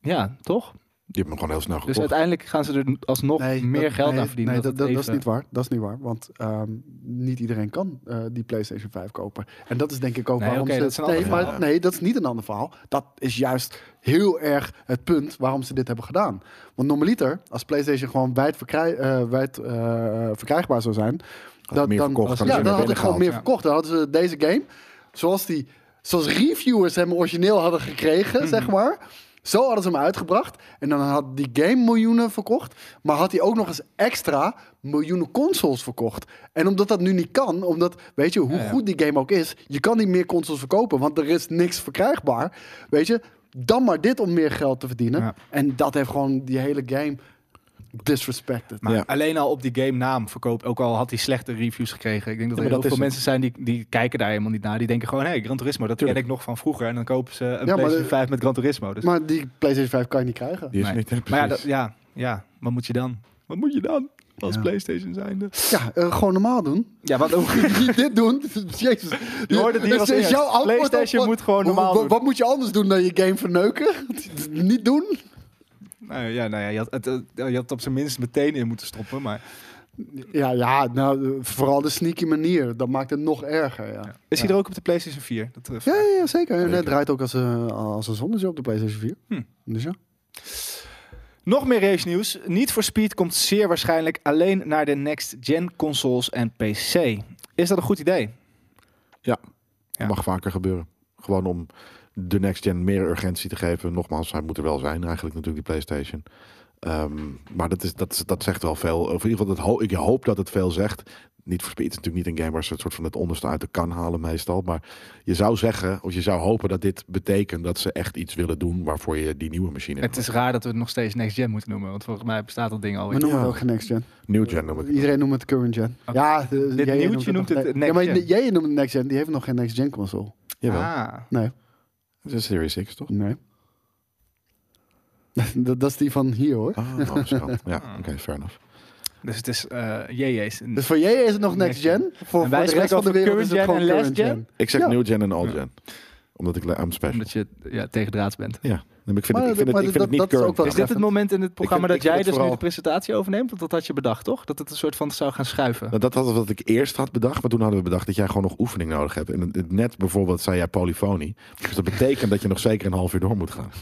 Speaker 1: Ja, toch?
Speaker 3: Je hebt hem gewoon heel snel
Speaker 1: Dus
Speaker 3: gekocht.
Speaker 1: uiteindelijk gaan ze er alsnog meer
Speaker 2: dat-
Speaker 1: geld
Speaker 2: nee,
Speaker 1: aan verdienen.
Speaker 2: Nee,
Speaker 1: dat
Speaker 2: dat, dat,
Speaker 1: het
Speaker 2: dat is
Speaker 1: even-
Speaker 2: niet waar. Dat is niet waar. Want ehm, niet iedereen kan eh, die PlayStation 5 kopen. En dat is denk ik ook
Speaker 1: Nee,
Speaker 2: waarom
Speaker 1: oké,
Speaker 2: ze...
Speaker 1: dat is een
Speaker 2: nee,
Speaker 1: ander
Speaker 2: maar,
Speaker 3: verhaal.
Speaker 2: nee, dat is niet een ander verhaal. Dat is juist heel erg het punt waarom ze dit hebben gedaan. Want normaliter, als PlayStation gewoon wijd, verkrij- eh, wijd eh, verkrijgbaar zou zijn... dat,
Speaker 3: meer
Speaker 2: dan,
Speaker 3: verkocht, hadden
Speaker 2: ja,
Speaker 3: ze
Speaker 2: dan
Speaker 3: meer
Speaker 2: had ik gewoon meer
Speaker 1: binnengehaald,
Speaker 2: verkocht. Dan hadden ze deze game, zoals, die, zoals reviewers hem origineel hadden gekregen,
Speaker 1: Mhm.
Speaker 2: zeg maar... Zo hadden ze hem uitgebracht. En dan had die game miljoenen verkocht. Maar had hij ook nog eens extra miljoenen consoles verkocht. En omdat dat nu niet kan, omdat, weet je, hoe
Speaker 1: ja.
Speaker 2: goed die game ook is, je kan niet meer consoles verkopen, want er is niks verkrijgbaar. Weet je, dan maar dit om meer geld te verdienen.
Speaker 1: Ja.
Speaker 2: En dat heeft gewoon die hele game disrespected.
Speaker 1: Maar
Speaker 3: Ja.
Speaker 1: alleen al op die game naam verkoopt, ook al had hij slechte reviews gekregen. Ik denk dat er
Speaker 3: maar
Speaker 1: heel
Speaker 3: dat
Speaker 1: veel
Speaker 3: is-
Speaker 1: mensen zijn die, die kijken daar helemaal niet naar. Die denken gewoon, hé, hey, Gran Turismo, dat ken
Speaker 3: Tuurlijk.
Speaker 1: ik nog van vroeger. En dan kopen ze een
Speaker 2: maar
Speaker 1: PlayStation
Speaker 2: de-
Speaker 1: 5 met Gran Turismo. Dus,
Speaker 2: Maar die PlayStation 5 kan je niet krijgen.
Speaker 3: Die is
Speaker 1: Nee.
Speaker 3: niet
Speaker 1: maar ja, dat-
Speaker 3: precies.
Speaker 1: ja, ja, wat moet je dan? Wat moet je dan als
Speaker 2: Ja.
Speaker 1: PlayStation zijnde?
Speaker 2: Ja, eh, gewoon normaal doen.
Speaker 1: Ja, wat ook...
Speaker 2: niet dit doen. Jezus.
Speaker 1: Je hoort het hier
Speaker 2: Is-
Speaker 1: als
Speaker 2: is
Speaker 1: eerst.
Speaker 2: jouw antwoord op
Speaker 1: PlayStation
Speaker 2: wat-
Speaker 1: moet gewoon normaal
Speaker 2: wat,
Speaker 1: doen.
Speaker 2: wat moet je anders doen dan je game verneuken? niet doen?
Speaker 1: Nou ja, nou ja, je had het, eh, je had het op zijn minst meteen in moeten stoppen, maar...
Speaker 2: Ja, ja nou, eh, vooral de sneaky manier. Dat maakt het nog erger, ja. Ja,
Speaker 1: Is hij er ook op de PlayStation 4? Dat, eh,
Speaker 2: ja, ja, zeker. En het draait ook als, eh, als een zonnetje op de PlayStation 4.
Speaker 1: Hm.
Speaker 2: Dus ja.
Speaker 1: Nog meer race nieuws. Need for Speed komt zeer waarschijnlijk alleen naar de next-gen consoles en PC. Is dat een goed idee? ja.
Speaker 3: Mag vaker gebeuren. Gewoon om de next gen meer urgentie te geven. Nogmaals, hij moet er wel zijn eigenlijk natuurlijk, die PlayStation. Ehm, maar dat, is, dat, is- dat zegt wel veel. Of in ieder geval, dat ho- ik hoop dat het veel zegt. Niet voor Speed is natuurlijk niet een game waar ze het soort van het onderste uit de kan halen meestal. Maar je zou zeggen, of je zou hopen dat dit betekent dat ze echt iets willen doen waarvoor je die nieuwe machine
Speaker 1: Het is raar dat we het nog steeds next-gen moeten noemen, want volgens mij bestaat dat ding
Speaker 2: We
Speaker 1: alweer.
Speaker 2: noemen
Speaker 3: Ja.
Speaker 2: het ook geen next gen.
Speaker 3: New gen noem ik het.
Speaker 2: Iedereen noemt het current gen.
Speaker 1: Oké.
Speaker 2: Ja, eh, jij
Speaker 1: nieuwtje
Speaker 2: nog
Speaker 1: noemt het
Speaker 2: ne-
Speaker 1: next
Speaker 2: Ja, maar
Speaker 1: gen.
Speaker 2: jij noemt het next gen. Die heeft nog geen next gen console.
Speaker 3: Jawel,
Speaker 1: Ah.
Speaker 2: Nee,
Speaker 3: het is een Series X toch?
Speaker 2: nee. dat, dat is die van hier, hoor.
Speaker 3: Ah, oh, schande. ja, oké, fair enough.
Speaker 1: Dus het is eh JJ's.
Speaker 2: Dus voor jij is het nog next
Speaker 1: Next
Speaker 2: gen. Voor,
Speaker 1: En wij
Speaker 2: voor de rest
Speaker 1: spreken
Speaker 2: van de
Speaker 1: over
Speaker 2: wereld is
Speaker 1: current
Speaker 2: het
Speaker 1: gen
Speaker 2: gewoon
Speaker 1: en last
Speaker 2: current
Speaker 1: gen?
Speaker 2: gen.
Speaker 3: Ik zeg
Speaker 2: Ja.
Speaker 3: new gen en old
Speaker 1: Ja.
Speaker 3: gen. Omdat ik I'm special.
Speaker 1: Omdat je ja, tegendraads bent.
Speaker 3: Ja, maar ik vind
Speaker 2: Maar
Speaker 3: het, ik vind
Speaker 2: dat-
Speaker 3: het, ik vind
Speaker 2: maar
Speaker 3: het niet
Speaker 2: dat- dat is ook
Speaker 3: current.
Speaker 2: wel
Speaker 1: Is dit het moment in het programma
Speaker 3: vind- Nou, ik
Speaker 1: dat jij
Speaker 3: vind
Speaker 1: dus
Speaker 3: het
Speaker 1: nu de
Speaker 3: vooral-
Speaker 1: presentatie overneemt? Want dat had je bedacht, toch? Dat het een soort van zou gaan schuiven.
Speaker 3: Nou, dat was wat ik eerst had bedacht, maar toen hadden we bedacht dat jij gewoon nog oefening nodig hebt. En het- net bijvoorbeeld zei jij polyfonie. Dus dat betekent dat je nog zeker een half uur door moet gaan.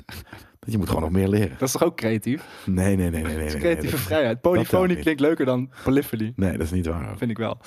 Speaker 3: Dat je moet gewoon nog meer leren.
Speaker 1: Dat is toch ook creatief?
Speaker 3: Nee, nee, nee, nee, nee.
Speaker 1: Dat is
Speaker 3: nee,
Speaker 1: creatieve
Speaker 3: nee, dat-
Speaker 1: vrijheid.
Speaker 3: telt
Speaker 1: Polyfonie
Speaker 3: niet.
Speaker 1: klinkt leuker dan polyphony,
Speaker 3: Nee, dat is niet waar.
Speaker 1: vind ik wel.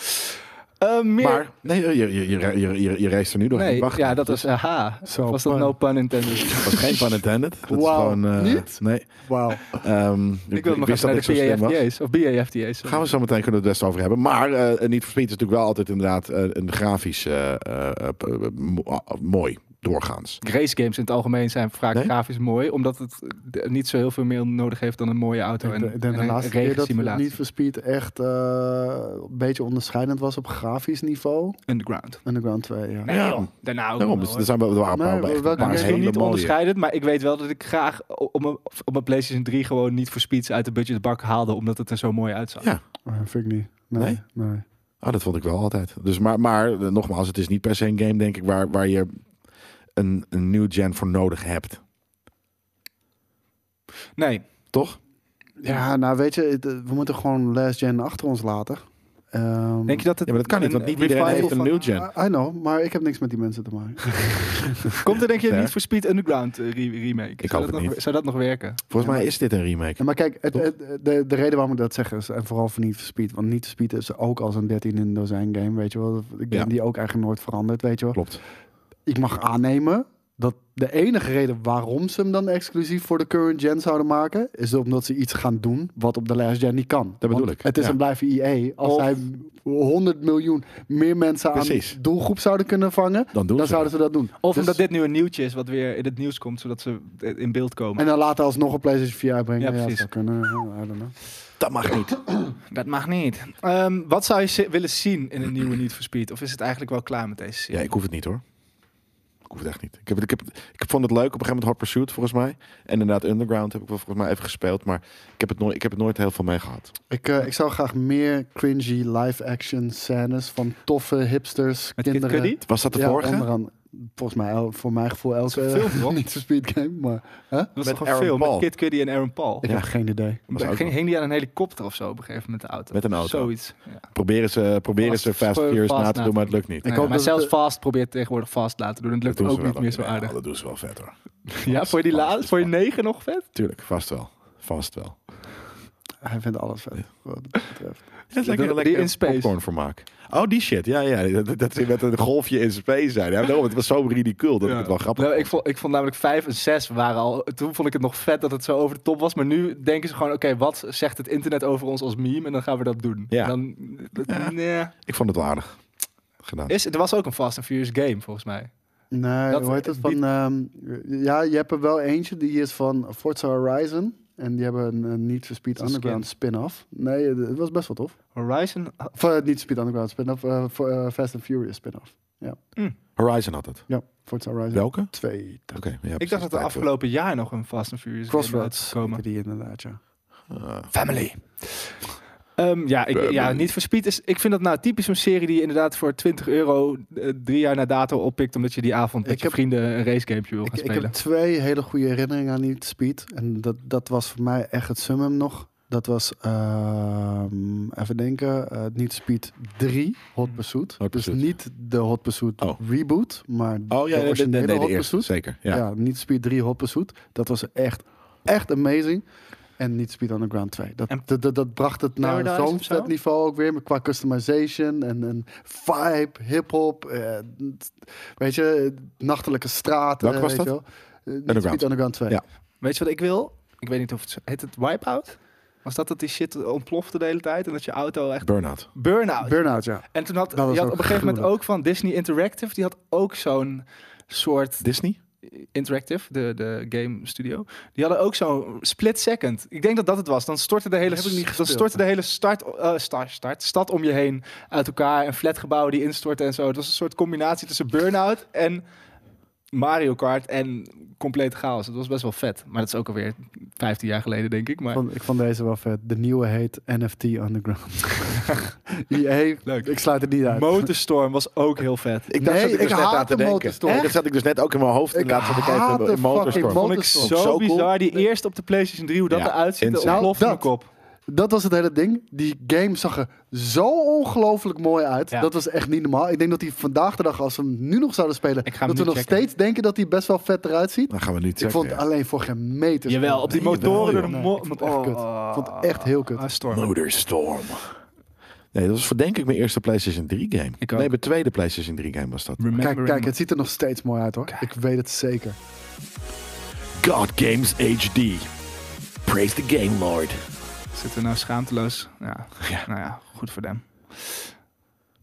Speaker 1: Eh, meer...
Speaker 3: Maar nee, je, je, je, je, je, je reist er nu doorheen.
Speaker 1: Nee,
Speaker 3: Wacht.
Speaker 1: ja, dat was aha.
Speaker 2: Zo,
Speaker 1: was dat
Speaker 2: pun.
Speaker 1: no pun intended?
Speaker 3: Dat was geen pun intended. Dat is
Speaker 2: Wauw,
Speaker 3: gewoon... eh,
Speaker 2: niet?
Speaker 3: Nee.
Speaker 2: Wauw.
Speaker 3: Ehm,
Speaker 1: Ik wil nog
Speaker 3: wist
Speaker 1: even naar
Speaker 3: ik zo slim
Speaker 1: de
Speaker 3: was.
Speaker 1: PAFTA's of BAFTA's.
Speaker 3: Gaan we zo meteen kunnen we het best over hebben. Maar eh niet voor Speed is natuurlijk wel altijd inderdaad eh, een grafisch eh, eh, eh, mo- ah, mooi doorgaans.
Speaker 1: Race games in het algemeen zijn vaak
Speaker 3: Nee?
Speaker 1: grafisch mooi, omdat het eh, niet zo heel veel meer nodig heeft dan een mooie auto en,
Speaker 2: Ik
Speaker 1: en
Speaker 2: denk de
Speaker 1: een
Speaker 2: laatste keer dat
Speaker 1: regensimulatie.
Speaker 2: Need for Speed echt eh, een beetje onderscheidend was op grafisch niveau.
Speaker 1: Underground.
Speaker 2: Underground 2, ja.
Speaker 1: Nee,
Speaker 3: Ja.
Speaker 1: joh, daarna ook
Speaker 3: Daarom,
Speaker 1: wel,
Speaker 3: dus
Speaker 1: hoor.
Speaker 3: er zijn wel er waren
Speaker 2: Maar
Speaker 3: een paar echt
Speaker 2: welke
Speaker 3: een paar
Speaker 1: Maar
Speaker 2: games is
Speaker 1: ik wil
Speaker 3: hele
Speaker 1: niet
Speaker 3: mooie.
Speaker 1: onderscheidend, maar ik weet wel dat ik graag o- op mijn, op mijn PlayStation 3 gewoon niet voor speeds uit de budgetbak haalde, omdat het er zo mooi uitzag.
Speaker 3: Ja.
Speaker 2: Ah, vind ik niet. Nee,
Speaker 3: Nee?
Speaker 2: nee.
Speaker 3: Ah, dat vond ik wel altijd. Dus maar, maar eh, nogmaals, het is niet per se een game, denk ik, waar, waar je een, een new gen voor nodig hebt.
Speaker 1: Nee.
Speaker 3: Toch?
Speaker 2: Ja, nou weet je, het- we moeten gewoon last gen achter ons laten. Ehm,
Speaker 1: Denk je dat het
Speaker 3: Ja, maar dat kan niet,
Speaker 1: een
Speaker 3: want niet iedereen
Speaker 1: revival
Speaker 3: heeft een
Speaker 1: van-
Speaker 3: new gen.
Speaker 2: I I know, maar ik heb niks met die mensen te maken.
Speaker 1: Komt er denk je
Speaker 3: Ja.
Speaker 1: niet voor Speed Underground eh, re- remake?
Speaker 3: Ik
Speaker 1: zou
Speaker 3: hoop
Speaker 1: dat
Speaker 3: het
Speaker 1: nog,
Speaker 3: niet.
Speaker 1: Zou dat nog werken?
Speaker 3: Volgens mij is dit een remake.
Speaker 2: Ja, maar kijk, het, het- de, de reden waarom ik dat zeg is, en vooral voor Niet for Speed, want Niet for Speed is ook als een 13 in dozijn game, weet je wel. Een game
Speaker 3: Ja.
Speaker 2: die ook eigenlijk nooit verandert, weet je wel.
Speaker 3: Klopt.
Speaker 2: Ik mag aannemen dat de enige reden waarom ze hem dan exclusief voor de current gen zouden maken, is omdat ze iets gaan doen wat op de last gen niet kan.
Speaker 3: Dat bedoel
Speaker 2: Want
Speaker 3: ik,
Speaker 2: Het is
Speaker 3: ja.
Speaker 2: een blijven EA. Als
Speaker 1: Of-
Speaker 2: zij 100 miljoen meer mensen aan
Speaker 3: Precies.
Speaker 2: doelgroep zouden kunnen vangen,
Speaker 3: Dan doen
Speaker 2: dan
Speaker 3: ze
Speaker 2: zouden ze dat doen.
Speaker 1: Of
Speaker 2: Dus-
Speaker 1: omdat dit nu een nieuwtje is wat weer in het nieuws komt, zodat ze eh, in beeld komen.
Speaker 2: En dan later alsnog een PlayStation 4 uitbrengen.
Speaker 1: Ja,
Speaker 2: Ja, dat
Speaker 1: precies.
Speaker 2: zou kunnen. Ja, I don't know.
Speaker 3: Dat mag niet.
Speaker 1: Dat mag niet. Ehm, wat zou je zi- willen zien in een nieuwe Need for Speed? Of is het eigenlijk wel klaar met deze
Speaker 3: Ja,
Speaker 1: serie?
Speaker 3: ik hoef het niet hoor. Ik hoef het echt niet. Ik, heb, ik, heb, ik vond het leuk op een gegeven moment Hot Pursuit volgens mij. En inderdaad Underground heb ik wel volgens mij even gespeeld. Maar ik heb het nooit, ik heb het nooit heel veel mee gehad.
Speaker 2: Ik, eh, ik zou graag meer cringy live-action scènes van toffe hipsters,
Speaker 1: Met Kid
Speaker 2: kinderen.
Speaker 1: Cudi?
Speaker 3: Was dat de
Speaker 2: ja,
Speaker 3: vorige?
Speaker 2: onder andere. Volgens mij, el- voor mijn gevoel,
Speaker 1: is
Speaker 2: elke
Speaker 1: een film, toch?
Speaker 2: niet zo speed game. Maar
Speaker 1: Dat was
Speaker 3: Met
Speaker 1: toch een
Speaker 3: Aaron
Speaker 1: film
Speaker 3: Paul.
Speaker 1: met Kid Cudi en Aaron Paul?
Speaker 2: ik
Speaker 3: Ja.
Speaker 2: heb geen idee.
Speaker 3: Was ook
Speaker 1: Ging,
Speaker 3: wel.
Speaker 1: hing die aan een helikopter of zo op een gegeven moment de auto?
Speaker 3: Met een auto.
Speaker 1: Zoiets. Ja. Nou
Speaker 3: Proberen ze, proberen ze
Speaker 1: Fast-
Speaker 3: Fast
Speaker 1: Fast
Speaker 3: Furious na
Speaker 1: na
Speaker 3: te
Speaker 1: te
Speaker 3: doen, maar het lukt niet.
Speaker 2: Ik
Speaker 1: Ik
Speaker 2: hoop
Speaker 1: maar
Speaker 2: dat
Speaker 1: zelfs
Speaker 2: het-
Speaker 1: Fast probeert tegenwoordig vast laten doen. En dat
Speaker 3: doen
Speaker 1: lukt
Speaker 3: ze
Speaker 1: ook niet
Speaker 3: wel
Speaker 1: meer zo
Speaker 3: Ja,
Speaker 1: aardig.
Speaker 3: dat doen ze wel vet hoor.
Speaker 1: Ja, voor die
Speaker 3: Fast
Speaker 1: laatste,
Speaker 3: is
Speaker 1: voor je negen nog vet?
Speaker 3: Tuurlijk, vast wel. Vast wel.
Speaker 2: Hij vindt alles vet. Wat dat betreft.
Speaker 3: Ja,
Speaker 1: Die in space.
Speaker 3: popcorn vermaak. Oh, die shit. Ja, ja. Dat, dat ze met een golfje in space zijn. Ja, daarom, het was zo ridicuul dat ik
Speaker 1: Ja.
Speaker 3: het wel grappig
Speaker 1: Nou, ik,
Speaker 3: vond.
Speaker 1: vond, ik vond namelijk 5 en 6 waren al. Toen vond ik het nog vet dat het zo over de top was. Maar nu denken ze gewoon: oké, wat zegt het internet over ons als meme? En dan gaan we dat doen.
Speaker 3: Ja.
Speaker 1: Dan, dat-
Speaker 3: Ja.
Speaker 1: nee.
Speaker 3: Ik vond het wel aardig gedaan.
Speaker 1: Is, er was ook een Fast and Furious game volgens mij.
Speaker 2: Nee,
Speaker 1: Dat-
Speaker 2: hoe heet het? Van,
Speaker 1: die-
Speaker 2: ehm, ja, je hebt er wel eentje. Die is van Forza Horizon. En die hebben een, een Need for Speed
Speaker 1: Dat is
Speaker 2: Underground spin-off. Nee, eh, het het was best wel tof.
Speaker 1: Horizon.
Speaker 2: Of, eh, niet Speed Underground spin-off. eh, voor, eh, Fast and Furious spin-off.
Speaker 3: Horizon had het.
Speaker 2: Ja, Forza Horizon
Speaker 3: Welke?
Speaker 2: 2.
Speaker 3: Oké. ja,
Speaker 1: ik
Speaker 3: precies,
Speaker 1: dacht dat er
Speaker 3: tijd voor.
Speaker 1: afgelopen jaar nog een Fast and Furious
Speaker 2: Crossroads.
Speaker 1: game uitkwam.
Speaker 2: heette Die inderdaad, ja.
Speaker 3: Ah.
Speaker 1: Family. Ehm, ja, ik, ja,
Speaker 3: Family.
Speaker 1: niet voor Speed is. Ik vind dat nou typisch een serie die je inderdaad voor 20 euro eh, drie jaar na dato oppikt. Omdat je die avond met
Speaker 2: Ik
Speaker 1: je
Speaker 2: heb-
Speaker 1: vrienden een racegame wil gaan
Speaker 2: Ik, ik
Speaker 1: spelen.
Speaker 2: heb twee hele goede herinneringen aan Need for Speed. En dat, dat was voor mij echt het summum nog. Dat was, ehm, even denken, eh Need for Speed 3, Hot Pursuit.
Speaker 3: Hmm. Hot
Speaker 2: dus
Speaker 3: Pursuit.
Speaker 2: niet de Hot Pursuit
Speaker 3: Oh.
Speaker 2: reboot, maar
Speaker 3: Oh ja, nee, nee,
Speaker 2: de
Speaker 3: nee,
Speaker 2: originele
Speaker 3: nee, de
Speaker 2: Hot
Speaker 3: eerste.
Speaker 2: Pursuit.
Speaker 3: Zeker. Ja.
Speaker 2: Ja. Need for Speed 3, Hot Pursuit. Dat was echt, echt amazing. En Need for Speed Underground 2. Dat,
Speaker 1: En
Speaker 2: dat, dat, dat bracht het naar
Speaker 1: Paradise
Speaker 2: zo'n
Speaker 1: of zo?
Speaker 2: vet niveau ook weer. maar Qua customization en, en vibe, hip-hop. eh, weet je, nachtelijke straat.
Speaker 3: Welke
Speaker 2: eh,
Speaker 3: was
Speaker 2: weet
Speaker 3: dat?
Speaker 2: Je wel. Eh, Need for
Speaker 3: Underground.
Speaker 2: Speed Underground 2.
Speaker 3: Ja.
Speaker 1: Weet je wat ik wil? Ik weet niet of het zo- heet het wipeout. Was dat dat die shit ontplofte de hele tijd en dat je auto echt
Speaker 3: Burnout.
Speaker 1: burn-out.
Speaker 2: Burnout, ja.
Speaker 1: en toen had je
Speaker 2: Dat was
Speaker 1: had
Speaker 2: ook
Speaker 1: op een gegeven moment ook
Speaker 2: gruwelijk.
Speaker 1: van Disney Interactive, die had ook zo'n soort
Speaker 3: Disney?
Speaker 1: Interactive, de, de game studio. Die hadden ook zo'n split second. Ik denk dat dat het was. Dan stortte de hele,
Speaker 2: Dat heb ik niet
Speaker 1: dan
Speaker 2: gespeeld,
Speaker 1: stortte de hele start, eh, star- start, stad om je heen uit elkaar en flatgebouwen die instortten en zo. Het was een soort combinatie tussen Burnout en Mario Kart en compleet chaos. Het was best wel vet. Maar dat is ook alweer 15 jaar geleden, denk ik. Maar
Speaker 2: Ik vond- ik vond deze wel vet. De nieuwe heet NFT Underground. EA,
Speaker 1: Leuk.
Speaker 2: ik sluit het niet uit.
Speaker 1: Motorstorm was ook heel vet.
Speaker 3: Ik dacht
Speaker 2: Nee,
Speaker 3: dat ik,
Speaker 2: ik
Speaker 3: dus net
Speaker 2: haat
Speaker 3: aan te
Speaker 2: de
Speaker 3: denken.
Speaker 2: motorstorm.
Speaker 3: Nee, dat zat ik dus net ook in mijn hoofd.
Speaker 2: Ik
Speaker 3: inderdaad, zat Ik
Speaker 2: haat
Speaker 3: even
Speaker 2: de
Speaker 3: in motorstorm.
Speaker 2: fucking
Speaker 1: Vond ik
Speaker 2: Motorstorm.
Speaker 1: zo,
Speaker 3: Zo cool.
Speaker 1: bizar. Die eerste op de PlayStation 3, hoe dat
Speaker 3: Ja,
Speaker 1: eruit ziet,
Speaker 3: insane.
Speaker 1: ontploft
Speaker 2: Nou,
Speaker 1: mijn kop.
Speaker 2: Dat was het hele ding. Die game zag er zo ongelooflijk mooi uit.
Speaker 1: Ja.
Speaker 2: Dat was echt niet normaal. Ik denk dat die vandaag de dag, als we hem nu nog zouden spelen,
Speaker 1: Ik ga hem
Speaker 2: dat we
Speaker 1: nu
Speaker 2: nog
Speaker 1: checken.
Speaker 2: steeds denken dat hij best wel vet eruit ziet.
Speaker 3: Dan Nou, gaan we nu checken.
Speaker 2: ik vond
Speaker 3: ja.
Speaker 2: alleen voor geen meter.
Speaker 1: Jawel, op die
Speaker 3: Nee, jawel,
Speaker 1: motoren door de
Speaker 3: joh.
Speaker 1: mo-
Speaker 2: Nee, ik vond het echt
Speaker 1: oh,
Speaker 2: kut. Ik vond het echt heel kut.
Speaker 1: ah, storm.
Speaker 3: Motorstorm. Nee, dat was voor denk ik mijn eerste PlayStation 3 game.
Speaker 1: Ik ook.
Speaker 3: nee, mijn tweede PlayStation 3 game was dat.
Speaker 2: Kijk, kijk, het ziet er nog steeds mooi uit hoor. Ik weet het zeker.
Speaker 3: God Games HD. Praise the game lord.
Speaker 1: Zitten we nou schaamteloos? Ja. nou ja, goed voor hem.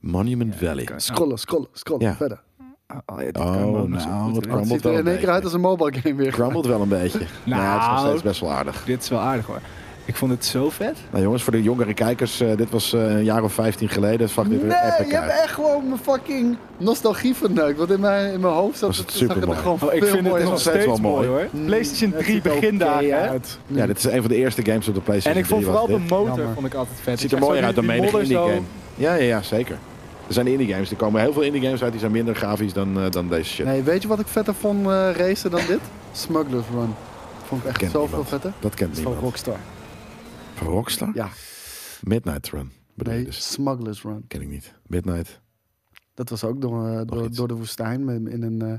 Speaker 3: Monument Valley.
Speaker 1: Oké.
Speaker 2: Scrollen, scrollen, scrollen.
Speaker 3: Ja.
Speaker 2: Verder.
Speaker 1: Oh, oh, ja, dit
Speaker 3: Oh,
Speaker 1: kan wel
Speaker 3: nou,
Speaker 1: zo goed
Speaker 3: wat
Speaker 1: weer.
Speaker 3: kan-
Speaker 2: Het
Speaker 3: Rammelt
Speaker 2: ziet er
Speaker 3: wel
Speaker 2: in één
Speaker 3: een
Speaker 2: keer uit als een mobile game weer.
Speaker 3: Crumbled wel een beetje. Nou, het is nog
Speaker 1: Nou.
Speaker 3: steeds best wel aardig.
Speaker 1: Dit is wel aardig hoor. Ik vond het zo vet.
Speaker 3: Nou jongens, voor de jongere kijkers, eh, dit was eh, een jaar of 15 geleden. Het zag dit
Speaker 2: Nee,
Speaker 3: weer epic
Speaker 2: je hebt
Speaker 3: uit.
Speaker 2: echt gewoon mijn fucking nostalgie verneukt. Want in mijn, in mijn hoofd zat
Speaker 3: Was het
Speaker 2: het, zag het er
Speaker 3: supermooi.
Speaker 2: gewoon
Speaker 1: Oh, ik
Speaker 2: veel
Speaker 1: vind het
Speaker 2: mooier
Speaker 1: nog
Speaker 2: uit.
Speaker 3: steeds
Speaker 1: steeds
Speaker 3: wel mooi.
Speaker 1: mooi hoor.
Speaker 2: Mm,
Speaker 1: PlayStation
Speaker 2: het
Speaker 1: 3
Speaker 2: ziet er
Speaker 1: begindagen.
Speaker 2: oké
Speaker 1: hè?
Speaker 2: uit.
Speaker 3: Ja, dit is een van de eerste games op de PlayStation
Speaker 1: En ik vond
Speaker 3: 3 was
Speaker 1: vooral de
Speaker 3: dit.
Speaker 1: motor
Speaker 2: Jammer.
Speaker 1: vond ik altijd vet.
Speaker 3: Ziet
Speaker 1: Dat
Speaker 3: er
Speaker 1: je
Speaker 3: mooier
Speaker 1: zo
Speaker 3: uit dan
Speaker 1: die- die
Speaker 3: menige
Speaker 1: modder zo
Speaker 3: indie game. Ja, ja, ja, zeker. Er zijn indie games. Er komen heel veel indie games uit. Die zijn minder grafisch dan, eh, dan deze shit.
Speaker 2: Nee, weet je wat ik vetter vond eh racen dan dit? Smugglers Run. Vond ik echt
Speaker 3: Kent
Speaker 2: zoveel
Speaker 3: niemand.
Speaker 2: vetter.
Speaker 3: Dat
Speaker 2: Dat
Speaker 3: kent
Speaker 2: is van
Speaker 3: niemand.
Speaker 2: Rockstar.
Speaker 3: Van Rockstar?
Speaker 2: Ja,
Speaker 3: Midnight Run. Bedoel je
Speaker 2: nee,
Speaker 3: dus.
Speaker 2: Smugglers Run.
Speaker 3: Ken ik niet. Midnight.
Speaker 2: Dat was ook door, eh, door,
Speaker 3: iets.
Speaker 2: door de woestijn met- in een, eh,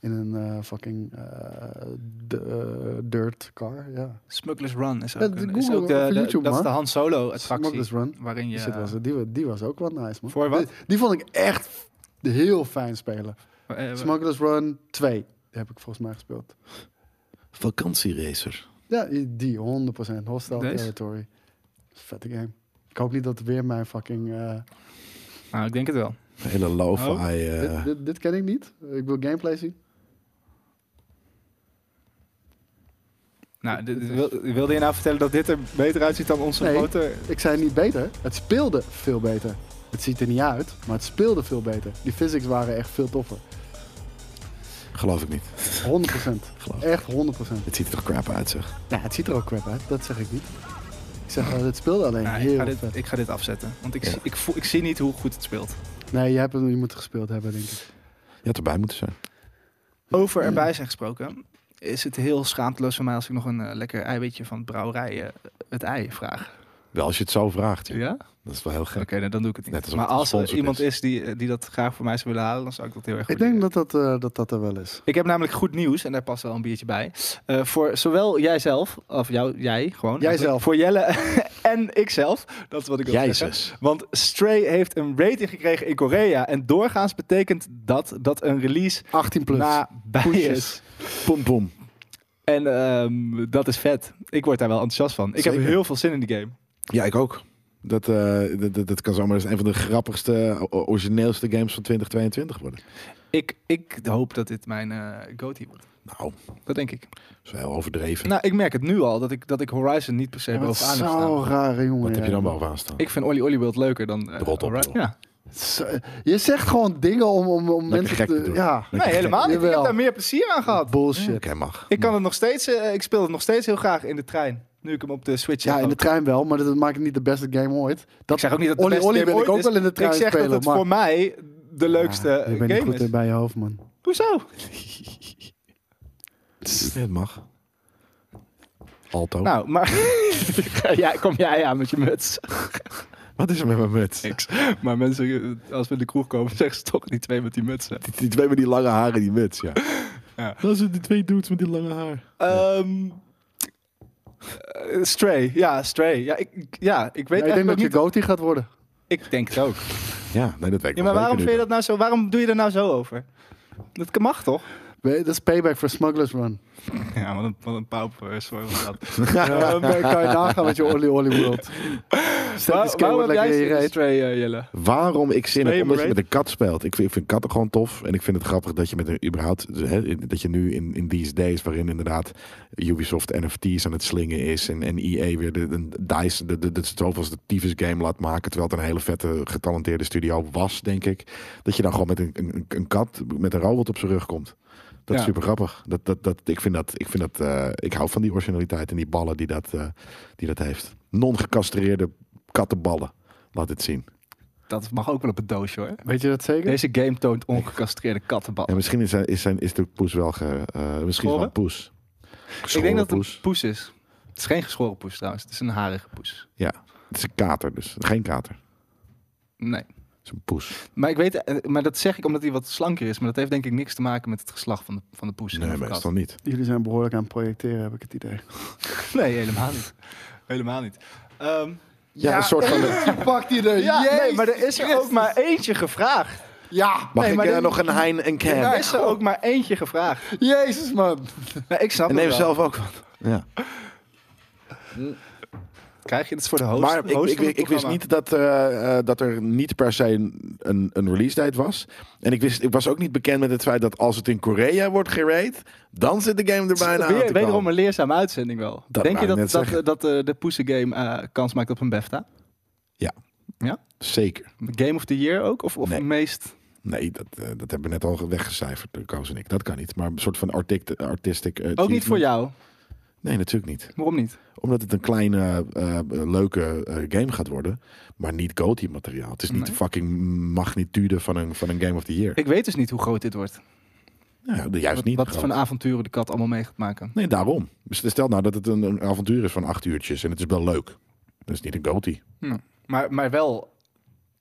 Speaker 2: in een eh, fucking eh, d- eh, dirt car. Ja.
Speaker 1: Smugglers Run is ook,
Speaker 2: Ja,
Speaker 1: een-
Speaker 2: de
Speaker 1: is
Speaker 2: Google
Speaker 1: ook de,
Speaker 2: of
Speaker 1: de-
Speaker 2: YouTube,
Speaker 1: dat is de
Speaker 2: man.
Speaker 1: Han Solo attractie.
Speaker 2: Smugglers Run.
Speaker 1: Waarin je,
Speaker 2: Die, shit was, die, wa- die was ook wel nice, man.
Speaker 1: Voor wat?
Speaker 2: Die, die vond ik echt f- heel fijn spelen.
Speaker 1: eh, eh,
Speaker 2: Smugglers Run 2 heb ik volgens mij gespeeld.
Speaker 3: Vakantieracer.
Speaker 2: Ja, die 100% Hostile
Speaker 1: Deze?
Speaker 2: Territory. Vette game. Ik hoop niet dat weer mijn fucking... eh,
Speaker 1: nou, ik denk het wel.
Speaker 3: Een Hele lo-fi.
Speaker 1: Oh,
Speaker 3: eh,
Speaker 2: dit, dit, dit ken ik niet. Ik wil gameplay zien.
Speaker 1: Nou, dit- dit wil- wilde je nou vertellen dat dit er beter uitziet dan onze
Speaker 2: Nee.
Speaker 1: grote...
Speaker 2: Ik zei niet beter. Het speelde veel beter. Het ziet er niet uit, maar het speelde veel beter. Die physics waren echt veel toffer.
Speaker 3: Geloof ik niet.
Speaker 2: 100%.
Speaker 3: Geloof.
Speaker 2: Echt 100%.
Speaker 3: Het ziet er toch crap uit, zeg.
Speaker 2: Nou, het ziet er ook crap uit. Dat zeg ik niet. Ik zeg, eh, het speelde alleen
Speaker 1: Nou, ik,
Speaker 2: heel
Speaker 1: ga dit,
Speaker 2: vet.
Speaker 1: ik ga dit afzetten, want ik,
Speaker 3: Ja.
Speaker 1: zie- ik, voel, ik zie niet hoe goed het speelt.
Speaker 2: Nee, je, hebt hem, je moet het gespeeld hebben, denk ik.
Speaker 3: Je had erbij moeten zijn.
Speaker 1: Over erbij zijn gesproken, is het heel schaamteloos voor mij als ik nog een eh, lekker eiwitje van brouwerij eh, het ei vraag.
Speaker 3: Wel, als je het zo vraagt. ja.
Speaker 1: Ja?
Speaker 3: Dat is wel heel
Speaker 1: Oké,
Speaker 3: gek.
Speaker 1: nou, dan doe ik het
Speaker 3: Net
Speaker 1: niet.
Speaker 3: alsof
Speaker 1: Maar
Speaker 3: het
Speaker 1: als er
Speaker 3: gesponsord
Speaker 1: iemand
Speaker 3: is.
Speaker 1: is die, eh, die dat graag voor mij zou willen halen, dan zou ik dat heel erg
Speaker 2: Ik
Speaker 1: waarderen.
Speaker 2: denk dat dat, eh, dat, dat er wel is.
Speaker 1: Ik heb namelijk goed nieuws, en daar past wel een biertje bij. Eh, voor zowel jijzelf, of jou, jij gewoon. eigenlijk,
Speaker 2: Jijzelf.
Speaker 1: Voor Jelle en ikzelf. Dat is wat ik wil zeggen.
Speaker 3: Jezus.
Speaker 1: Want Stray heeft een rating gekregen in Korea. En doorgaans betekent dat dat een release
Speaker 2: 18 plus.
Speaker 1: nabij is.
Speaker 2: Pushes.
Speaker 3: Pom pom.
Speaker 1: En ehm, dat is vet. Ik word daar wel enthousiast van. Ik heb
Speaker 3: Zeker.
Speaker 1: heel veel zin in die game.
Speaker 3: Ja, ik ook. Dat, eh, dat, dat, dat kan zomaar eens een van de grappigste, o- o- origineelste games van 2022 worden.
Speaker 1: Ik, ik hoop dat dit mijn eh goatee wordt.
Speaker 3: Nou,
Speaker 1: Dat denk ik.
Speaker 3: dat is wel heel overdreven.
Speaker 1: Nou, ik merk het nu al dat ik, dat ik Horizon niet per se
Speaker 2: Ja, maar het
Speaker 1: bovenaan
Speaker 2: is
Speaker 1: heb staan.
Speaker 2: zo rare jongen.
Speaker 3: Wat
Speaker 2: ja.
Speaker 3: heb je dan bovenaan staan?
Speaker 1: eh, Ik vind Olly Olly World leuker dan... eh,
Speaker 3: Rot op,
Speaker 1: Horizon.
Speaker 3: joh.
Speaker 1: Ja.
Speaker 2: Zo- Je zegt gewoon dingen om, om, om mensen
Speaker 3: gek te
Speaker 2: te...
Speaker 3: doen.
Speaker 2: Ja,
Speaker 3: Lekker
Speaker 1: Nee,
Speaker 3: gek.
Speaker 1: helemaal niet. Ik heb
Speaker 2: Jawel.
Speaker 1: daar meer plezier aan gehad.
Speaker 2: bullshit.
Speaker 3: Oké, mag.
Speaker 1: Ik kan het nog steeds, eh, ik speel het nog steeds heel graag in de trein. Nu ik hem op de Switch
Speaker 2: Ja,
Speaker 1: heb.
Speaker 2: in de
Speaker 1: ook.
Speaker 2: trein wel, maar dat maakt het niet de beste game ooit. Dat
Speaker 1: Ik zeg ook niet dat het
Speaker 2: Olly
Speaker 1: de beste
Speaker 2: Olly
Speaker 1: game
Speaker 2: wil ik
Speaker 1: ooit
Speaker 2: ook
Speaker 1: is.
Speaker 2: wel in de trein
Speaker 1: Ik zeg
Speaker 2: spelen,
Speaker 1: dat het
Speaker 2: maar-
Speaker 1: voor mij de leukste
Speaker 2: Ja,
Speaker 1: eh,
Speaker 2: je bent niet
Speaker 1: game
Speaker 2: goed
Speaker 1: is.
Speaker 2: bij je hoofd, man.
Speaker 1: Hoezo?
Speaker 3: Nee, het mag. Alto.
Speaker 1: Nou, maar ja, kom jij aan met je muts.
Speaker 3: Wat is er met mijn muts?
Speaker 1: Niks. Maar mensen, eh, als we in de kroeg komen, zeggen ze toch die twee met die mutsen.
Speaker 3: Die, die twee met die lange haren, die muts, ja.
Speaker 1: Ja.
Speaker 3: Dat zijn die twee dudes met die lange haar.
Speaker 1: Ehm, eh, Stray, ja, Stray. Ja, ik, ik- ja, ik weet
Speaker 2: Ja, ik
Speaker 1: eigenlijk
Speaker 2: denk
Speaker 1: ook
Speaker 2: dat je
Speaker 1: niet.
Speaker 2: Goatie gaat worden.
Speaker 1: Ik denk het ook.
Speaker 3: Ja, nee, dat weet ik
Speaker 1: Ja,
Speaker 3: wel
Speaker 1: maar waarom vind je
Speaker 3: zeker nu.
Speaker 1: dat nou zo? Waarom doe je er nou zo over? Dat mag toch?
Speaker 2: Weet je, Dat is payback voor Smugglers Run.
Speaker 1: Ja, wat een, wat een pauper, sorry voor dat.
Speaker 2: Ja, dan kan je nagaan met je Olly Olly World. Stel
Speaker 1: Waar-
Speaker 2: die scale
Speaker 1: waarom
Speaker 2: wat
Speaker 1: heb jij
Speaker 2: lekker in
Speaker 1: zin
Speaker 2: je
Speaker 1: in
Speaker 2: reet.
Speaker 1: Stray, eh, Jelle?
Speaker 3: Waarom ik zin
Speaker 1: Snake
Speaker 3: heb, omdat je
Speaker 1: Raid?
Speaker 3: met een kat speelt. Ik vind, ik vind katten gewoon tof. En ik vind het grappig dat je met een überhaupt... Hè, in- dat je nu in, in these days, waarin inderdaad Ubisoft NFT's aan het slingen is... en, en EA weer de, de, de DICE, de, de, de, zoveelste tyfus game laat maken... terwijl het een hele vette, getalenteerde studio was, denk ik. Dat je dan gewoon met een, een, een kat, met een robot op zijn rug komt. Dat
Speaker 1: Ja.
Speaker 3: is super grappig. Dat, dat, dat, ik vind dat... Ik, vind dat eh, ik hou van die originaliteit en die ballen die dat, eh, die dat heeft. Non-gecastreerde kattenballen. Laat het zien.
Speaker 1: Dat mag ook wel op het doosje hoor.
Speaker 2: Weet je dat zeker?
Speaker 1: Deze game toont ongecastreerde kattenbal.
Speaker 3: En misschien is, zijn, is, zijn, is de poes wel ge, eh, misschien is het wel
Speaker 1: Geschoren?
Speaker 3: een poes.
Speaker 1: Ik denk dat het
Speaker 3: poes.
Speaker 1: een poes is. Het is geen geschoren poes trouwens. Het is een harige poes.
Speaker 3: Het is een kater dus. Geen kater.
Speaker 1: Nee.
Speaker 3: Het is een poes.
Speaker 1: Maar, ik weet, eh, maar dat zeg ik omdat hij wat slanker is. Maar dat heeft denk ik niks te maken met het geslacht van de, van de poes. en
Speaker 3: Nee,
Speaker 1: of kat.
Speaker 3: meestal niet.
Speaker 2: Jullie zijn behoorlijk aan het projecteren, heb ik het idee.
Speaker 1: Nee, helemaal niet. Helemaal niet. Ehm,
Speaker 3: Ja, een soort van...
Speaker 2: Pak die er.
Speaker 1: ja, nee, maar er is er ook maar eentje gevraagd.
Speaker 2: Ja,
Speaker 3: mag
Speaker 1: Nee,
Speaker 3: ik
Speaker 1: maar
Speaker 3: eh,
Speaker 1: dit-
Speaker 3: nog een hein en cam?
Speaker 1: Er is er ook maar eentje gevraagd.
Speaker 2: jezus man.
Speaker 1: Nee, ik snap
Speaker 3: en
Speaker 1: het
Speaker 3: neem
Speaker 1: wel.
Speaker 3: zelf ook wat. Ja.
Speaker 1: Krijg je het voor de host?
Speaker 3: Maar ik,
Speaker 1: host
Speaker 3: ik,
Speaker 1: van
Speaker 3: ik,
Speaker 1: het
Speaker 3: ik wist
Speaker 1: programma?
Speaker 3: niet dat, eh, eh, dat er niet per se een, een, een release date was. En ik, wist, ik was ook niet bekend met het feit dat als het in Korea wordt gerate, dan zit de game er bijna aan
Speaker 1: Weer-
Speaker 3: te
Speaker 1: wederom
Speaker 3: komen.
Speaker 1: een leerzame uitzending wel.
Speaker 3: Dat
Speaker 1: Denk
Speaker 3: wou
Speaker 1: je
Speaker 3: ik
Speaker 1: dat,
Speaker 3: net
Speaker 1: dat,
Speaker 3: zeggen.
Speaker 1: dat eh, de Poesen Game eh, kans maakt op een BAFTA?
Speaker 3: Zeker.
Speaker 1: Game of the Year ook? Of, of
Speaker 3: Nee.
Speaker 1: meest...
Speaker 3: Nee, dat, eh, dat hebben we net al weggecijferd, Koos en ik. Dat kan niet. Maar een soort van artic- artistic... eh,
Speaker 1: Ook niet voor
Speaker 3: achievement.
Speaker 1: jou?
Speaker 3: Nee, natuurlijk niet.
Speaker 1: Waarom niet?
Speaker 3: Omdat het een kleine, eh, eh, leuke eh, game gaat worden. Maar niet goatee materiaal. Het is niet
Speaker 1: Nee.
Speaker 3: de fucking magnitude van een, van een Game of the Year.
Speaker 1: Ik weet dus niet hoe groot dit wordt.
Speaker 3: Nou, ja, juist
Speaker 1: Wat,
Speaker 3: niet.
Speaker 1: wat
Speaker 3: groot.
Speaker 1: voor avonturen de kat allemaal mee gaat maken.
Speaker 3: Nee, daarom. Dus Stel nou dat het een, een avontuur is van acht uurtjes. En het is wel leuk. Dat is niet een goatee.
Speaker 1: Maar, maar wel,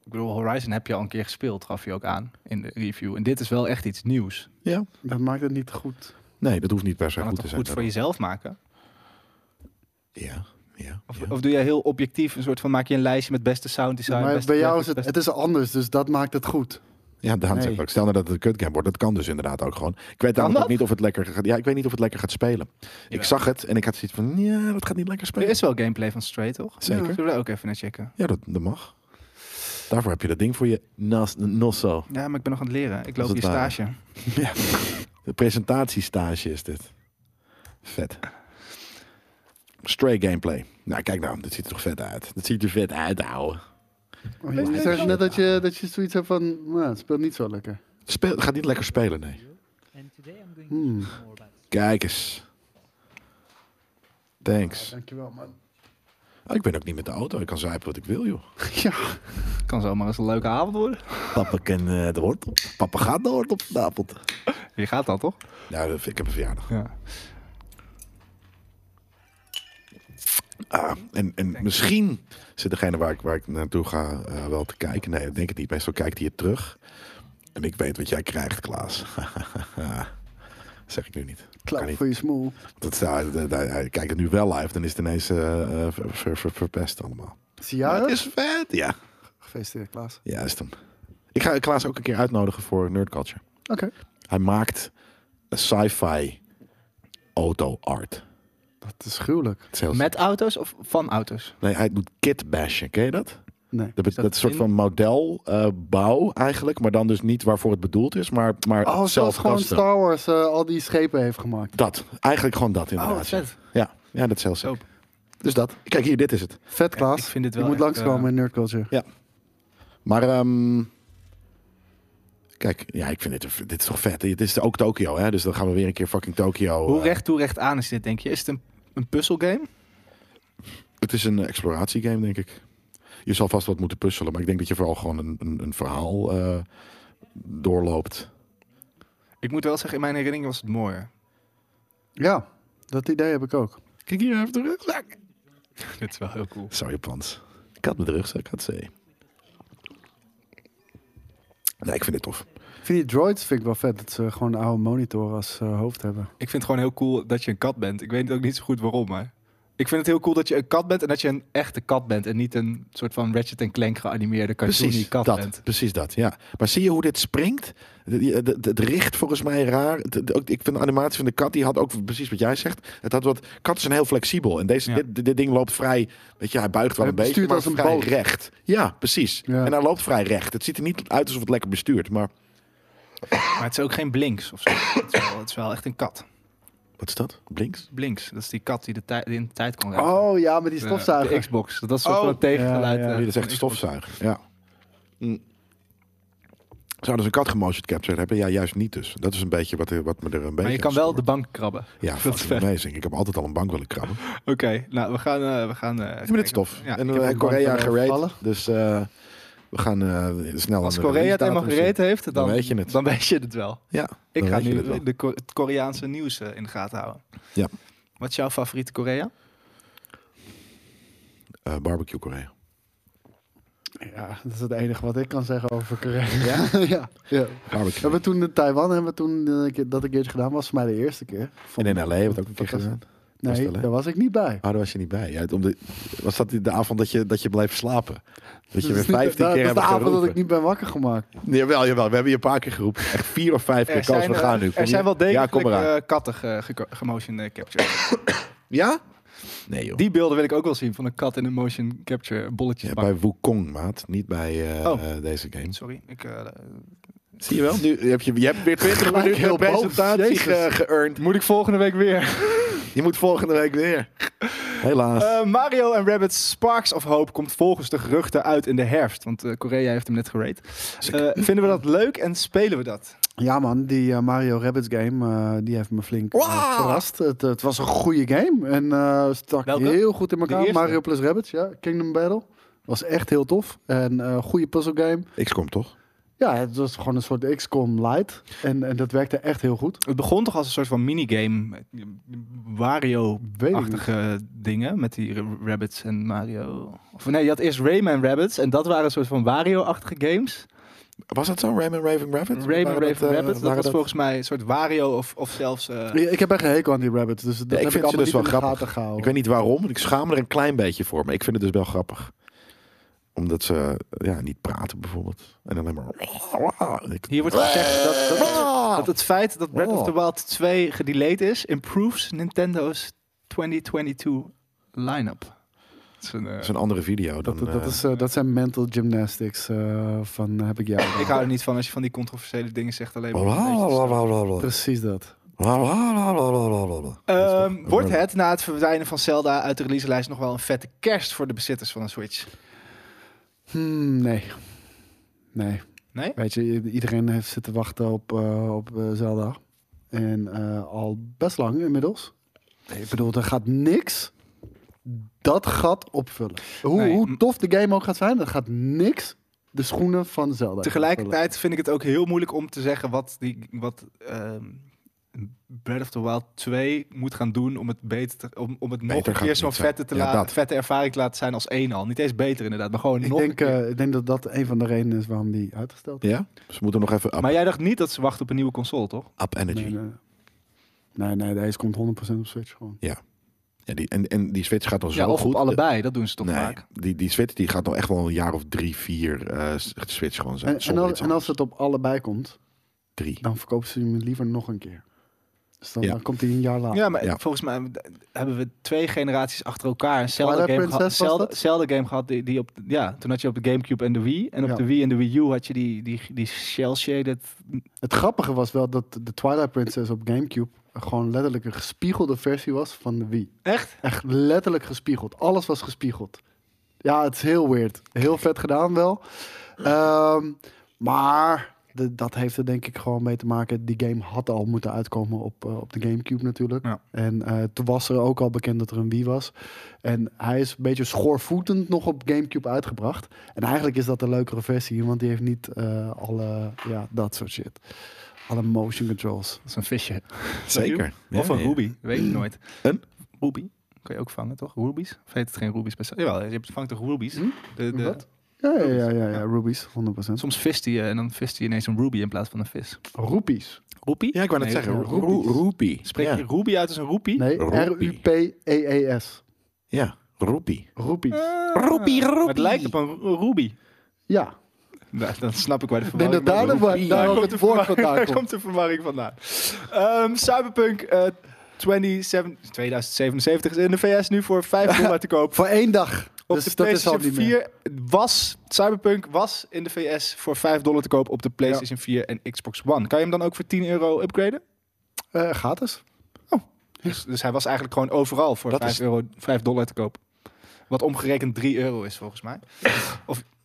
Speaker 1: ik bedoel, Horizon heb je al een keer gespeeld, gaf je ook aan in de review. En dit is wel echt iets nieuws.
Speaker 3: Ja.
Speaker 2: Dat maakt het niet goed.
Speaker 3: Nee, dat hoeft niet per se
Speaker 1: Kan het toch
Speaker 3: goed te
Speaker 1: goed
Speaker 3: zijn.
Speaker 1: voor jezelf maken?
Speaker 3: Ja, ja.
Speaker 1: Of,
Speaker 3: ja.
Speaker 1: of doe jij heel objectief een soort van, maak je een lijstje met beste sound design?
Speaker 2: maar
Speaker 1: beste
Speaker 2: bij jou is
Speaker 1: graphics,
Speaker 2: het,
Speaker 1: beste-
Speaker 2: het is anders, dus dat maakt het goed.
Speaker 3: Ja, daarom
Speaker 2: Nee.
Speaker 3: zeg ik ook. Stel nou dat het een kutgame wordt. Dat kan dus inderdaad ook gewoon. Ik weet namelijk
Speaker 1: dat?
Speaker 3: ook niet of het lekker gaat. Ja, ik weet niet of het lekker gaat spelen. Ik
Speaker 1: Jawel.
Speaker 3: zag het en ik had zoiets van, ja, dat gaat niet lekker
Speaker 1: Er
Speaker 3: spelen.
Speaker 1: is wel gameplay van Stray, toch?
Speaker 3: Zeker.
Speaker 1: Zullen we daar ook even naar checken?
Speaker 3: Ja, dat, dat mag. Daarvoor heb je dat ding voor je nas, nosso.
Speaker 1: Ja, maar ik ben nog aan het leren. Ik
Speaker 3: Als
Speaker 1: loop
Speaker 3: het
Speaker 1: hier
Speaker 3: ware.
Speaker 1: stage.
Speaker 3: Ja. De presentatiestage is dit. Vet. Stray gameplay. Nou, kijk nou, dit ziet er toch vet uit. Dat ziet er vet uit, ouwe.
Speaker 2: Oh,
Speaker 1: Nee,
Speaker 2: je
Speaker 1: nee,
Speaker 2: zegt
Speaker 1: nee.
Speaker 2: net dat je, dat je zoiets hebt van, nou, het speelt niet zo lekker.
Speaker 3: Speel, gaat niet lekker spelen, nee.
Speaker 4: And today I'm going
Speaker 2: Hmm.
Speaker 4: to talk more about
Speaker 3: Kijk eens. Thanks.
Speaker 2: Dankjewel, man.
Speaker 3: Oh, ik ben ook niet met de auto. Ik kan zuipen wat ik wil, joh.
Speaker 2: Ja,
Speaker 1: Kan zomaar eens een leuke avond worden.
Speaker 3: Papa kan eh, de hoort op. Papa gaat de hoort op vanavond.
Speaker 1: Je gaat dat, toch?
Speaker 3: Ja, dat- ik heb een verjaardag.
Speaker 1: Ja.
Speaker 3: Ah, en en misschien zit degene waar ik, waar ik naartoe ga eh, wel te kijken. Nee, ik denk het niet. Meestal kijkt hij het terug. En ik weet wat jij krijgt, Klaas. zeg ik nu niet. Kan
Speaker 2: klap
Speaker 3: niet.
Speaker 2: voor je smoel.
Speaker 3: Dat zou, dat- hij- hij kijkt het nu wel live. Dan is het ineens eh, eh, ver- ver- ver- verpest allemaal.
Speaker 2: Zie
Speaker 3: Maar
Speaker 2: je?
Speaker 3: het is vet. Ja,
Speaker 2: Gefeliciteerd, Klaas.
Speaker 3: ja is het hem. Ik ga Klaas ook een keer uitnodigen voor Nerd Culture.
Speaker 2: Oké.
Speaker 3: Hij maakt sci-fi auto art.
Speaker 2: Dat is gruwelijk.
Speaker 3: Het is heel-
Speaker 1: Met auto's of van auto's?
Speaker 3: Nee, hij doet kit bashen. Ken je dat?
Speaker 2: Nee.
Speaker 3: Dat, bet-
Speaker 1: dat
Speaker 3: dat is een soort
Speaker 1: in-
Speaker 3: van modelbouw eigenlijk, maar dan dus niet waarvoor het bedoeld is, maar, maar
Speaker 2: Oh,
Speaker 3: zelf
Speaker 2: zelfs gewoon
Speaker 3: custom.
Speaker 2: Star Wars eh, al die schepen heeft gemaakt.
Speaker 3: Dat, eigenlijk gewoon dat inderdaad.
Speaker 1: Oh, wat vet.
Speaker 3: Ja. ja, dat is heel sick.
Speaker 1: Dope.
Speaker 3: Dus dat. Kijk hier, dit is het.
Speaker 2: Vet, Klaas.
Speaker 1: ik vind dit
Speaker 2: je
Speaker 1: wel
Speaker 2: moet
Speaker 1: echt,
Speaker 2: langskomen
Speaker 1: eh,
Speaker 2: in Nerd Culture.
Speaker 3: Maar ehm, kijk, ja, ik vind dit, dit is toch vet. Dit is ook Tokio, hè? Dus dan gaan we weer een keer fucking Tokio.
Speaker 1: Hoe
Speaker 3: eh,
Speaker 1: recht toe recht aan is dit, denk je? Is het een, een puzzelgame?
Speaker 3: Het is een exploratiegame, denk ik. Je zal vast wat moeten puzzelen, maar ik denk dat je vooral gewoon een, een, een verhaal eh, doorloopt.
Speaker 1: Ik moet wel zeggen, in mijn herinnering was het mooier.
Speaker 2: Ja, dat idee heb ik ook.
Speaker 3: Kijk hier, hij heeft de rugzak.
Speaker 1: dit is wel heel cool.
Speaker 3: Zo Japans. Ik had met de rugzak, had ze. Nee, ik vind dit tof.
Speaker 2: Ik vind die droids vind ik wel vet. Dat ze gewoon een oude monitor als eh, hoofd hebben.
Speaker 1: Ik vind het gewoon heel cool dat je een kat bent. Ik weet ook niet zo goed waarom, maar... Ik vind het heel cool dat je een kat bent en dat je een echte kat bent. En niet een soort van Ratchet Clank geanimeerde cartoony kat
Speaker 3: dat.
Speaker 1: bent.
Speaker 3: Precies dat, ja. Maar zie je hoe dit springt? Het richt volgens mij raar. Het- het- ook- Ik vind de animatie van de kat, die had ook precies wat jij zegt. Het had wat, katten zijn heel flexibel. En deze,
Speaker 1: Ja.
Speaker 3: dit, dit- dit ding loopt vrij, weet je, hij buigt wel
Speaker 2: Hij
Speaker 3: een beetje,
Speaker 2: bestuurt
Speaker 3: maar
Speaker 2: als een
Speaker 3: vrij
Speaker 2: boot.
Speaker 3: recht. Ja, precies.
Speaker 2: Ja.
Speaker 3: En hij loopt vrij recht. Het ziet er niet uit alsof het lekker bestuurt, maar...
Speaker 1: Maar het is ook geen Blinks of zo. het, is wel, het is wel echt een kat.
Speaker 3: Wat is dat? Blinks?
Speaker 1: Blinks, dat is die kat die, de tij- die in de tijd kon rijden.
Speaker 2: Oh ja, met die
Speaker 1: De-
Speaker 2: stofzuiger.
Speaker 1: De Xbox. Dat is een soort
Speaker 2: Oh.
Speaker 1: van tegengeluid.
Speaker 2: Ja,
Speaker 1: eh,
Speaker 2: ja.
Speaker 3: Ja, dit is echt een
Speaker 1: van Xbox.
Speaker 3: stofzuiger. Ja. Hm. Zouden ze dus een kat gemotion captured hebben? Ja, juist niet dus. Dat is een beetje wat, wat me er een beetje...
Speaker 1: Maar je kan
Speaker 3: aan
Speaker 1: wel de
Speaker 3: stoort.
Speaker 1: bank krabben.
Speaker 3: Ja,
Speaker 1: dat is
Speaker 3: fucking
Speaker 1: vet.
Speaker 3: amazing. Ik heb altijd al een bank willen krabben. Maar
Speaker 1: Oké, nou we gaan. eh, we gaan eh,
Speaker 3: dit is
Speaker 1: kijken.
Speaker 3: tof.
Speaker 1: Ja,
Speaker 3: en
Speaker 1: ik
Speaker 3: eh,
Speaker 1: heb een
Speaker 3: Korea
Speaker 1: bank, eh,
Speaker 3: gereed.
Speaker 2: vallen.
Speaker 3: Dus eh, we gaan eh, snel
Speaker 1: Als
Speaker 3: aan
Speaker 1: Korea
Speaker 3: de
Speaker 1: het
Speaker 3: release
Speaker 1: eenmaal
Speaker 3: datums
Speaker 1: gereed heeft, dan,
Speaker 3: Dan weet je het.
Speaker 1: dan weet je het wel.
Speaker 3: zien. Ja,
Speaker 1: Ik
Speaker 3: dan
Speaker 1: ga
Speaker 3: weet je het wel.
Speaker 1: nu de Ko- het Koreaanse nieuws eh, in de gaten houden.
Speaker 3: Ja.
Speaker 1: Wat is jouw favoriete Korea?
Speaker 3: Eh, barbecue Korea.
Speaker 2: Ja, dat is het enige wat ik kan zeggen over Korea.
Speaker 3: Ja?
Speaker 2: ja. ja. We
Speaker 3: Barbecue.
Speaker 2: hebben toen in Taiwan hebben we toen eh, een keer- dat een keertje gedaan. was voor mij de eerste keer.
Speaker 3: En
Speaker 2: Vond-
Speaker 3: in LA hebben we het ook een keer
Speaker 2: Fantastisch.
Speaker 3: gedaan. was het
Speaker 2: nee,
Speaker 3: wel, hè?
Speaker 2: daar was ik niet bij.
Speaker 3: Oh, daar was je niet bij. Ja, om de, was dat de avond dat je, dat je bleef slapen? Dat
Speaker 2: Dus
Speaker 3: je
Speaker 2: het
Speaker 3: weer
Speaker 2: is niet-
Speaker 3: 15
Speaker 2: dat-
Speaker 3: keer
Speaker 2: Dat
Speaker 3: hebt
Speaker 2: is de avond dat
Speaker 3: geroepen.
Speaker 2: ik niet ben wakker gemaakt.
Speaker 3: Nee, Jawel, jawel. We hebben je een paar keer geroepen. Echt vier of vijf keer. Kans, we gaan nu.
Speaker 1: er,
Speaker 3: Kom je?
Speaker 1: zijn wel
Speaker 3: Ja,
Speaker 1: degelijk
Speaker 3: kom eraan.
Speaker 1: eh, katten ge- ge- gemotion eh, capture.
Speaker 3: ja? Nee, joh.
Speaker 1: Die beelden wil ik ook wel zien van een kat in een motion capture bolletjes
Speaker 3: Ja,
Speaker 1: bakken.
Speaker 3: bij Wukong, maat. Niet bij eh,
Speaker 1: Oh.
Speaker 3: eh, deze games.
Speaker 1: Sorry, ik, eh,
Speaker 3: Zie je wel? Nu heb je, je hebt weer 20
Speaker 2: Gelijk
Speaker 3: minuten
Speaker 2: heel boos.
Speaker 3: presentatie
Speaker 2: Jezus.
Speaker 3: ge, geëarnd.
Speaker 1: moet ik volgende week weer.
Speaker 3: Je moet volgende week weer. Helaas.
Speaker 1: Eh, Mario en Rabbit Sparks of Hope komt volgens de geruchten uit in de herfst. Want eh, Korea heeft hem net gerate. Eh, vinden we dat leuk en spelen we dat?
Speaker 2: Ja man, die eh, Mario Rabbids game, eh, die heeft me flink eh,
Speaker 3: Wow!
Speaker 2: verrast. Het, het was een goede game en eh, stak
Speaker 1: Welke?
Speaker 2: heel goed in elkaar.
Speaker 1: eerste?
Speaker 2: Mario plus Rabbids, ja. Kingdom Battle. Was echt heel tof. En eh goede puzzle game.
Speaker 3: XCOM toch?
Speaker 2: Ja, het was gewoon een soort XCOM light. En, en dat werkte echt heel goed.
Speaker 1: Het begon toch als een soort van minigame. eh,
Speaker 2: Weet ik niet.
Speaker 1: Wario-achtige dingen met die r- Rabbits en Mario. Of nee, je had eerst Rayman Rabbits en dat waren een soort van Wario-achtige games.
Speaker 3: Was dat zo? Rayman Raven
Speaker 1: Rayman
Speaker 3: Rabbit? Waren dat,
Speaker 1: Raven
Speaker 3: eh,
Speaker 1: Rabbits, dat
Speaker 3: waren
Speaker 1: was volgens mij een soort Wario of, of zelfs... eh,
Speaker 2: Ja, Ik heb echt een hekel aan die rabbits, dus
Speaker 3: ik
Speaker 2: dat heb
Speaker 3: vind
Speaker 2: ik
Speaker 3: ze
Speaker 2: allemaal
Speaker 3: dus
Speaker 2: niet in
Speaker 3: wel
Speaker 2: de
Speaker 3: grappig.
Speaker 2: gaten gehouden.
Speaker 3: Ik weet niet waarom. Ik schaam er een klein beetje voor. Maar ik vind het dus wel grappig. Omdat ze eh, ja, niet praten bijvoorbeeld. En alleen maar... Ik-
Speaker 1: Hier wordt gezegd dat, dat,
Speaker 3: Ah!
Speaker 1: dat het feit dat Breath
Speaker 3: Oh.
Speaker 1: of the Wild 2 gedelayed is, improves Nintendo's 2022 line-up. Het is een, eh,
Speaker 3: Dat is een andere video dan...
Speaker 2: Dat, dat,
Speaker 3: eh,
Speaker 2: is, eh, dat zijn mental gymnastics eh, van heb ik jou.
Speaker 1: ik hou er niet van als je van die controversiële dingen zegt alleen maar. een beetje zo.
Speaker 3: Blablabla.
Speaker 2: Precies dat.
Speaker 3: Blablabla.
Speaker 1: Ehm, wordt het na het verdwijnen van Zelda uit de releaselijst nog wel een vette kerst voor de bezitters van een Switch?
Speaker 2: Hmm, nee. Nee.
Speaker 1: Nee?
Speaker 2: Weet je, i- iedereen heeft zitten wachten op, eh, op eh, Zelda. En eh, al best lang inmiddels. Ik bedoel, er gaat niks dat gat opvullen. Hoe,
Speaker 1: Nee.
Speaker 2: hoe tof de game ook gaat zijn, er gaat niks de schoenen van Zelda opvullen.
Speaker 1: Tegelijkertijd vind ik het ook heel moeilijk om te zeggen wat, die, wat ehm, Breath of the Wild 2 moet gaan doen om het, beter te- om, om het nog
Speaker 3: Beter
Speaker 1: een
Speaker 3: gaat
Speaker 1: keer
Speaker 3: het
Speaker 1: zo'n
Speaker 3: niet zijn.
Speaker 1: vette, te
Speaker 3: Ja,
Speaker 1: la-
Speaker 3: dat.
Speaker 1: vette ervaring te laten zijn als één al. Niet eens beter inderdaad, maar gewoon nog
Speaker 2: Ik denk,
Speaker 1: een keer.
Speaker 2: eh, ik denk dat dat een van de redenen is waarom die uitgesteld is.
Speaker 3: Ja? Ze Dus moeten nog even up,
Speaker 1: Maar jij dacht niet dat ze wachten op een nieuwe console, toch?
Speaker 3: up energy.
Speaker 2: Nee, nee. nee, nee, deze komt 100% op Switch gewoon.
Speaker 3: Ja, die, en, en die Switch gaat dan
Speaker 1: ja,
Speaker 3: zo
Speaker 1: of
Speaker 3: goed.
Speaker 1: op allebei, dat doen ze toch
Speaker 3: nee,
Speaker 1: vaak.
Speaker 3: Die, die Switch die gaat dan echt wel een jaar of drie, vier eh, Switch gewoon zijn.
Speaker 2: En, en,
Speaker 3: Zonder
Speaker 2: als,
Speaker 3: iets
Speaker 2: en als
Speaker 3: anders.
Speaker 2: het op allebei komt,
Speaker 3: Drie.
Speaker 2: dan verkopen ze hem liever nog een keer. Dus dan,
Speaker 3: Ja.
Speaker 2: dan komt hij een jaar later.
Speaker 1: Ja, maar
Speaker 3: Ja.
Speaker 1: volgens mij d- hebben we twee generaties achter elkaar een Zelda
Speaker 2: Twilight
Speaker 1: game, gehad,
Speaker 2: Princess was
Speaker 1: Zelda,
Speaker 2: dat?
Speaker 1: Zelda game gehad. Die, die op, ja, toen had je op de Gamecube en de Wii. En op
Speaker 2: Ja.
Speaker 1: de Wii en de Wii U had je die, die, die shell-shaded...
Speaker 2: Het grappige was wel dat de Twilight Princess op Gamecube gewoon letterlijk een gespiegelde versie was van de Wii.
Speaker 1: Echt?
Speaker 2: Echt letterlijk gespiegeld. Alles was gespiegeld. Ja, het is heel weird. Heel vet gedaan wel. Ehm, maar de- dat heeft er denk ik gewoon mee te maken. Die game had al moeten uitkomen op, eh, op de Gamecube natuurlijk.
Speaker 1: Ja.
Speaker 2: En eh, toen was er ook al bekend dat er een Wii was. En hij is een beetje schoorvoetend nog op Gamecube uitgebracht. En eigenlijk is dat een leukere versie. Want die heeft niet eh, alle, ja, dat soort shit. Alle motion controls.
Speaker 1: Dat is een visje.
Speaker 3: Zeker.
Speaker 1: of
Speaker 3: Ja,
Speaker 1: een
Speaker 3: ja.
Speaker 1: ruby, weet ik nooit.
Speaker 3: Een?
Speaker 1: Ruby. Kan je ook vangen, toch? Rubies? Of heet het geen rubies? Bij... Zelda? Jawel, je vangt toch rubies? De, de...
Speaker 2: Hm? Wat? Ja, ja, ja, ja, ja. Rubies, 100%.
Speaker 1: Soms vist hij eh, en dan vist hij ineens een ruby in plaats van een vis.
Speaker 2: Roepies.
Speaker 1: Roepie?
Speaker 3: Ja, ik wou net
Speaker 1: Nee,
Speaker 3: zeggen.
Speaker 1: ja,
Speaker 3: ro- ro- Roepie.
Speaker 1: Spreek
Speaker 3: ja.
Speaker 1: je ruby uit als een roepie?
Speaker 2: Nee,
Speaker 3: Roepie.
Speaker 2: R-U-P-E-E-S.
Speaker 3: Ja, roepie.
Speaker 2: Roepies.
Speaker 1: Ah,
Speaker 3: Roepie, roepie.
Speaker 1: maar Het lijkt op een ro- ruby.
Speaker 2: Ja.
Speaker 1: Nou, dan snap ik waar de
Speaker 2: Ik denk
Speaker 1: verwarring
Speaker 2: dat daar, de,
Speaker 1: vandaan
Speaker 2: wo- daar ook het woord vandaan
Speaker 1: Daar
Speaker 2: komt.
Speaker 1: komt de verwarring vandaan. Ehm, Cyberpunk eh, 27 2077 is in de VS nu voor 5 dollar te koop.
Speaker 2: Voor één dag.
Speaker 1: Op
Speaker 2: dus
Speaker 1: de
Speaker 2: dat is al
Speaker 1: PlayStation
Speaker 2: niet meer.
Speaker 1: 4 was Cyberpunk was in de VS voor 5 dollar te koop op de PlayStation 4 en Xbox One. Kan je hem dan ook voor 10 euro upgraden?
Speaker 2: Eh, gratis.
Speaker 1: Dus, dus hij was eigenlijk gewoon overal voor
Speaker 3: Dat
Speaker 1: 5,
Speaker 3: is-
Speaker 1: euro, 5 dollar te koop. Wat omgerekend 3 euro is volgens mij.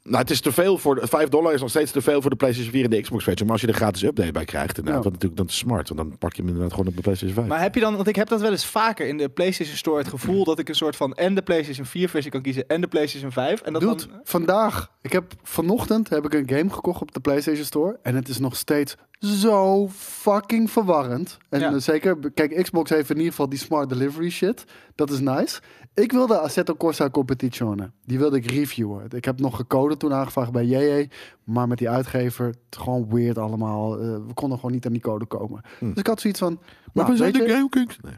Speaker 3: Nou, het is te veel voor... de- 5 dollar is nog steeds te veel voor de PlayStation 4 en de Xbox Switch. Maar als je er gratis update bij krijgt, inderdaad,
Speaker 2: Ja.
Speaker 3: dat natuurlijk dan smart. Want dan pak je hem inderdaad gewoon op de PlayStation 5.
Speaker 1: Maar heb je dan, want ik heb dat wel eens vaker in de PlayStation Store het gevoel dat ik een soort van en de PlayStation 4 versie kan kiezen en de PlayStation 5. En dat
Speaker 2: Dude,
Speaker 1: dan,
Speaker 2: vandaag. Ik heb vanochtend heb ik een game gekocht op de PlayStation Store. En het is nog steeds zo fucking verwarrend. En
Speaker 1: Ja.
Speaker 2: eh, zeker, kijk, Xbox heeft in ieder geval die smart delivery shit. Dat is nice. Ik wilde Assetto Corsa Competizione. Die wilde ik reviewen. Ik heb nog gecode toen aangevraagd bij JJ. Maar met die uitgever, het gewoon weird allemaal. Eh, we konden gewoon niet aan die code komen.
Speaker 1: Hm.
Speaker 2: Dus ik had zoiets van... nou, weet je-
Speaker 3: Game Kings? Nee.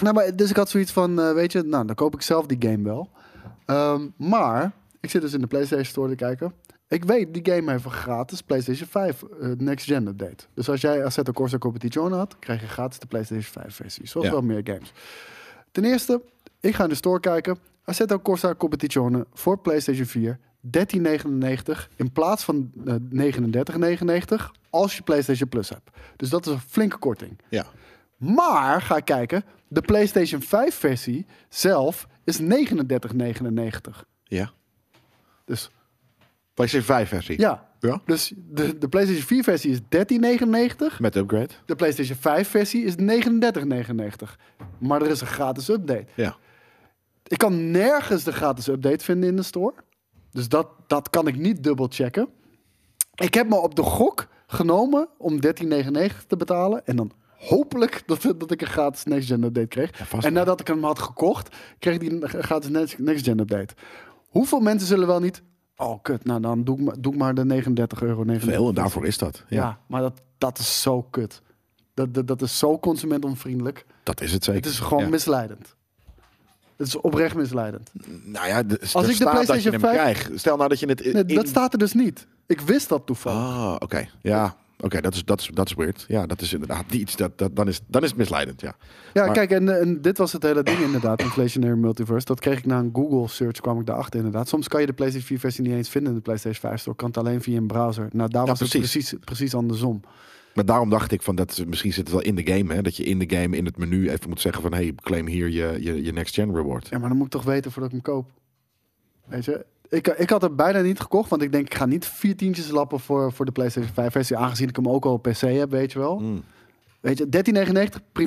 Speaker 2: Nou, maar dus ik had zoiets van, eh, weet je, nou, dan koop ik zelf die game wel. Ehm, maar, ik zit dus in de PlayStation Store te kijken. Ik weet, die game heeft een gratis PlayStation 5 eh, Next Gen update. Dus als jij Assetto Corsa Competizione had, krijg je gratis de PlayStation 5 versie. Zoals
Speaker 3: Ja.
Speaker 2: wel meer games. Ten eerste, ik ga in de store kijken. Assetto Corsa Competizione voor PlayStation 4. 13,99 in plaats van eh, 39,99 als je PlayStation Plus hebt. Dus dat is een flinke korting.
Speaker 3: Ja.
Speaker 2: Maar ga ik kijken, de PlayStation 5 versie zelf is 39,99.
Speaker 3: Ja.
Speaker 2: Dus
Speaker 3: PlayStation 5 versie.
Speaker 2: ja,
Speaker 3: Ja.
Speaker 2: Dus de, de PlayStation 4 versie is 13,99.
Speaker 3: Met upgrade.
Speaker 2: De PlayStation 5 versie is 39,99. Maar er is een gratis update.
Speaker 3: Ja.
Speaker 2: Ik kan nergens de gratis update vinden in de store. Dus dat, dat kan ik niet dubbel checken. Ik heb me op de gok genomen om 13,99 te betalen. En dan hopelijk dat, dat ik een gratis Next Gen update kreeg.
Speaker 3: vast
Speaker 2: en nadat ik hem had gekocht, kreeg ik die een gratis Next- Next Gen update. Hoeveel mensen zullen wel niet... Oh, kut, nou dan doe ik maar, doe ik maar de 39,99 euro.
Speaker 3: Veel en daarvoor is dat. Ja.
Speaker 2: Ja, maar dat, dat is zo kut. Dat, dat, dat is zo consumentonvriendelijk.
Speaker 3: Dat is het zeker.
Speaker 2: Het is gewoon
Speaker 3: Ja.
Speaker 2: misleidend. Het is oprecht misleidend.
Speaker 3: Nou ja, als dat
Speaker 2: ik de
Speaker 3: je
Speaker 2: PlayStation
Speaker 3: hem
Speaker 2: 5
Speaker 3: krijgt. Stel nou dat je het in...
Speaker 2: Nee, Dat staat er dus niet. Ik wist dat toevallig.
Speaker 3: Ah, oké. Ja, oké. dat, is, dat, is, dat is weird. Ja, dat is inderdaad iets. Dat, dat, dan, is, dan is het misleidend, ja.
Speaker 2: ja,
Speaker 3: maar-
Speaker 2: kijk, en, en dit was het hele ding inderdaad. Inflationary Multiverse. Dat kreeg ik na een Google search kwam ik daarachter inderdaad. Soms kan je de PlayStation 4 versie niet eens vinden in de PlayStation 5 store. Kan het alleen via een browser. Nou, daar
Speaker 3: Ja,
Speaker 2: was het
Speaker 3: precies.
Speaker 2: precies, precies andersom.
Speaker 3: Maar daarom dacht ik van dat is- misschien zit het wel in de game. Hè? Dat je in de game in het menu even moet zeggen van hey, claim hier je, je, je next gen reward.
Speaker 2: Ja, maar dan moet ik toch weten voordat ik hem koop. Weet je? Ik, ik had hem bijna niet gekocht, want ik denk, ik ga niet vier tientjes lappen voor, voor de PlayStation 5 versie, aangezien ik hem ook al op PC heb, weet je wel.
Speaker 3: Mm.
Speaker 2: Weet je, 13,99, prima.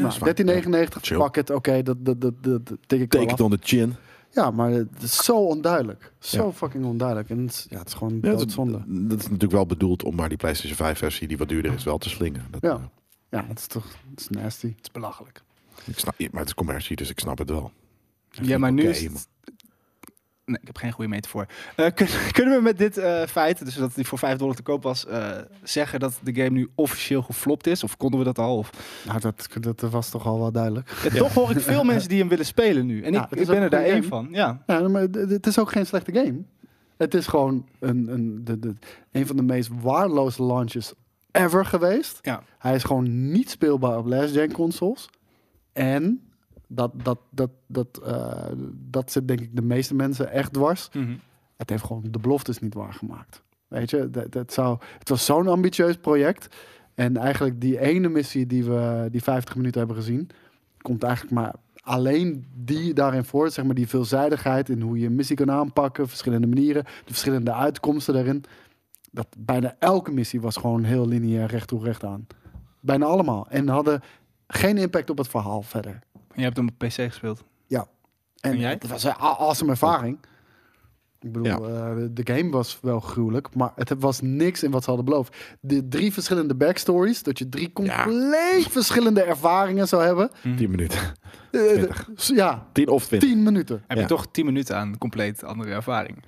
Speaker 3: Ja, dat is fijn.
Speaker 2: 13,99,
Speaker 3: Chill.
Speaker 2: pak het, oké, dat, dat, dat, dat, dat tik ik wel
Speaker 3: Take
Speaker 2: af.
Speaker 3: it on the chin.
Speaker 2: Ja, maar het is zo onduidelijk. Zo
Speaker 3: Ja.
Speaker 2: fucking onduidelijk. En het is, ja, het is gewoon
Speaker 3: Ja, dat,
Speaker 2: doodzonde.
Speaker 3: dat is natuurlijk wel bedoeld om maar die PlayStation 5 versie die wat duurder is wel te slingen. Dat,
Speaker 2: Ja.
Speaker 3: eh,
Speaker 2: Ja, het is toch het is nasty. Het is belachelijk.
Speaker 3: ik snap, maar het is commercie, dus ik snap het wel.
Speaker 1: Ja, maar nu
Speaker 3: Oké,
Speaker 1: is het-
Speaker 3: maar-
Speaker 1: Nee, ik heb geen goede meter voor. Eh, kun- kunnen we met dit eh, feit, dus dat die voor 5 dollar te koop was, eh, zeggen dat de game nu officieel geflopt is? Of konden we dat al? Of...
Speaker 2: Nou, dat, dat was toch al wel duidelijk.
Speaker 1: Ja, Toch hoor ik veel mensen die hem willen spelen nu. En
Speaker 2: Ja,
Speaker 1: ik,
Speaker 2: het
Speaker 1: ik
Speaker 2: is
Speaker 1: ben
Speaker 2: ook
Speaker 1: er daar
Speaker 2: een
Speaker 1: één
Speaker 2: game.
Speaker 1: van. Ja.
Speaker 2: Ja, maar d- d- het is ook geen slechte game. Het is gewoon een, een, de, de, een van de meest waardeloze launches ever geweest.
Speaker 1: Ja.
Speaker 2: Hij is gewoon niet speelbaar op last-gen consoles. En dat, dat, dat, dat, eh, dat zit denk ik de meeste mensen echt dwars.
Speaker 1: Mhm.
Speaker 2: Het heeft gewoon de beloftes niet waargemaakt. Weet je, dat, dat zou, het was zo'n ambitieus project. En eigenlijk die ene missie die we die 50 minuten hebben gezien, komt eigenlijk maar alleen die daarin voort. Zeg maar die veelzijdigheid in hoe je een missie kan aanpakken, verschillende manieren, de verschillende uitkomsten daarin. Dat bijna elke missie was gewoon heel lineair, recht toe, recht aan. Bijna allemaal. En hadden geen impact op het verhaal verder.
Speaker 1: En je hebt hem op PC gespeeld.
Speaker 2: Ja.
Speaker 1: En jij?
Speaker 2: Het was een a- awesome ervaring. Ik bedoel,
Speaker 3: Ja.
Speaker 2: eh, de game was wel gruwelijk, maar het was niks in wat ze hadden beloofd. De drie verschillende backstories, dat je drie compleet verschillende ervaringen zou hebben.
Speaker 3: 10 minuten.
Speaker 2: Eh, de- s- ja,
Speaker 3: 10 Hmm. of 20.
Speaker 2: tien minuten.
Speaker 1: Heb
Speaker 3: Ja.
Speaker 1: je toch 10 minuten aan compleet andere ervaring?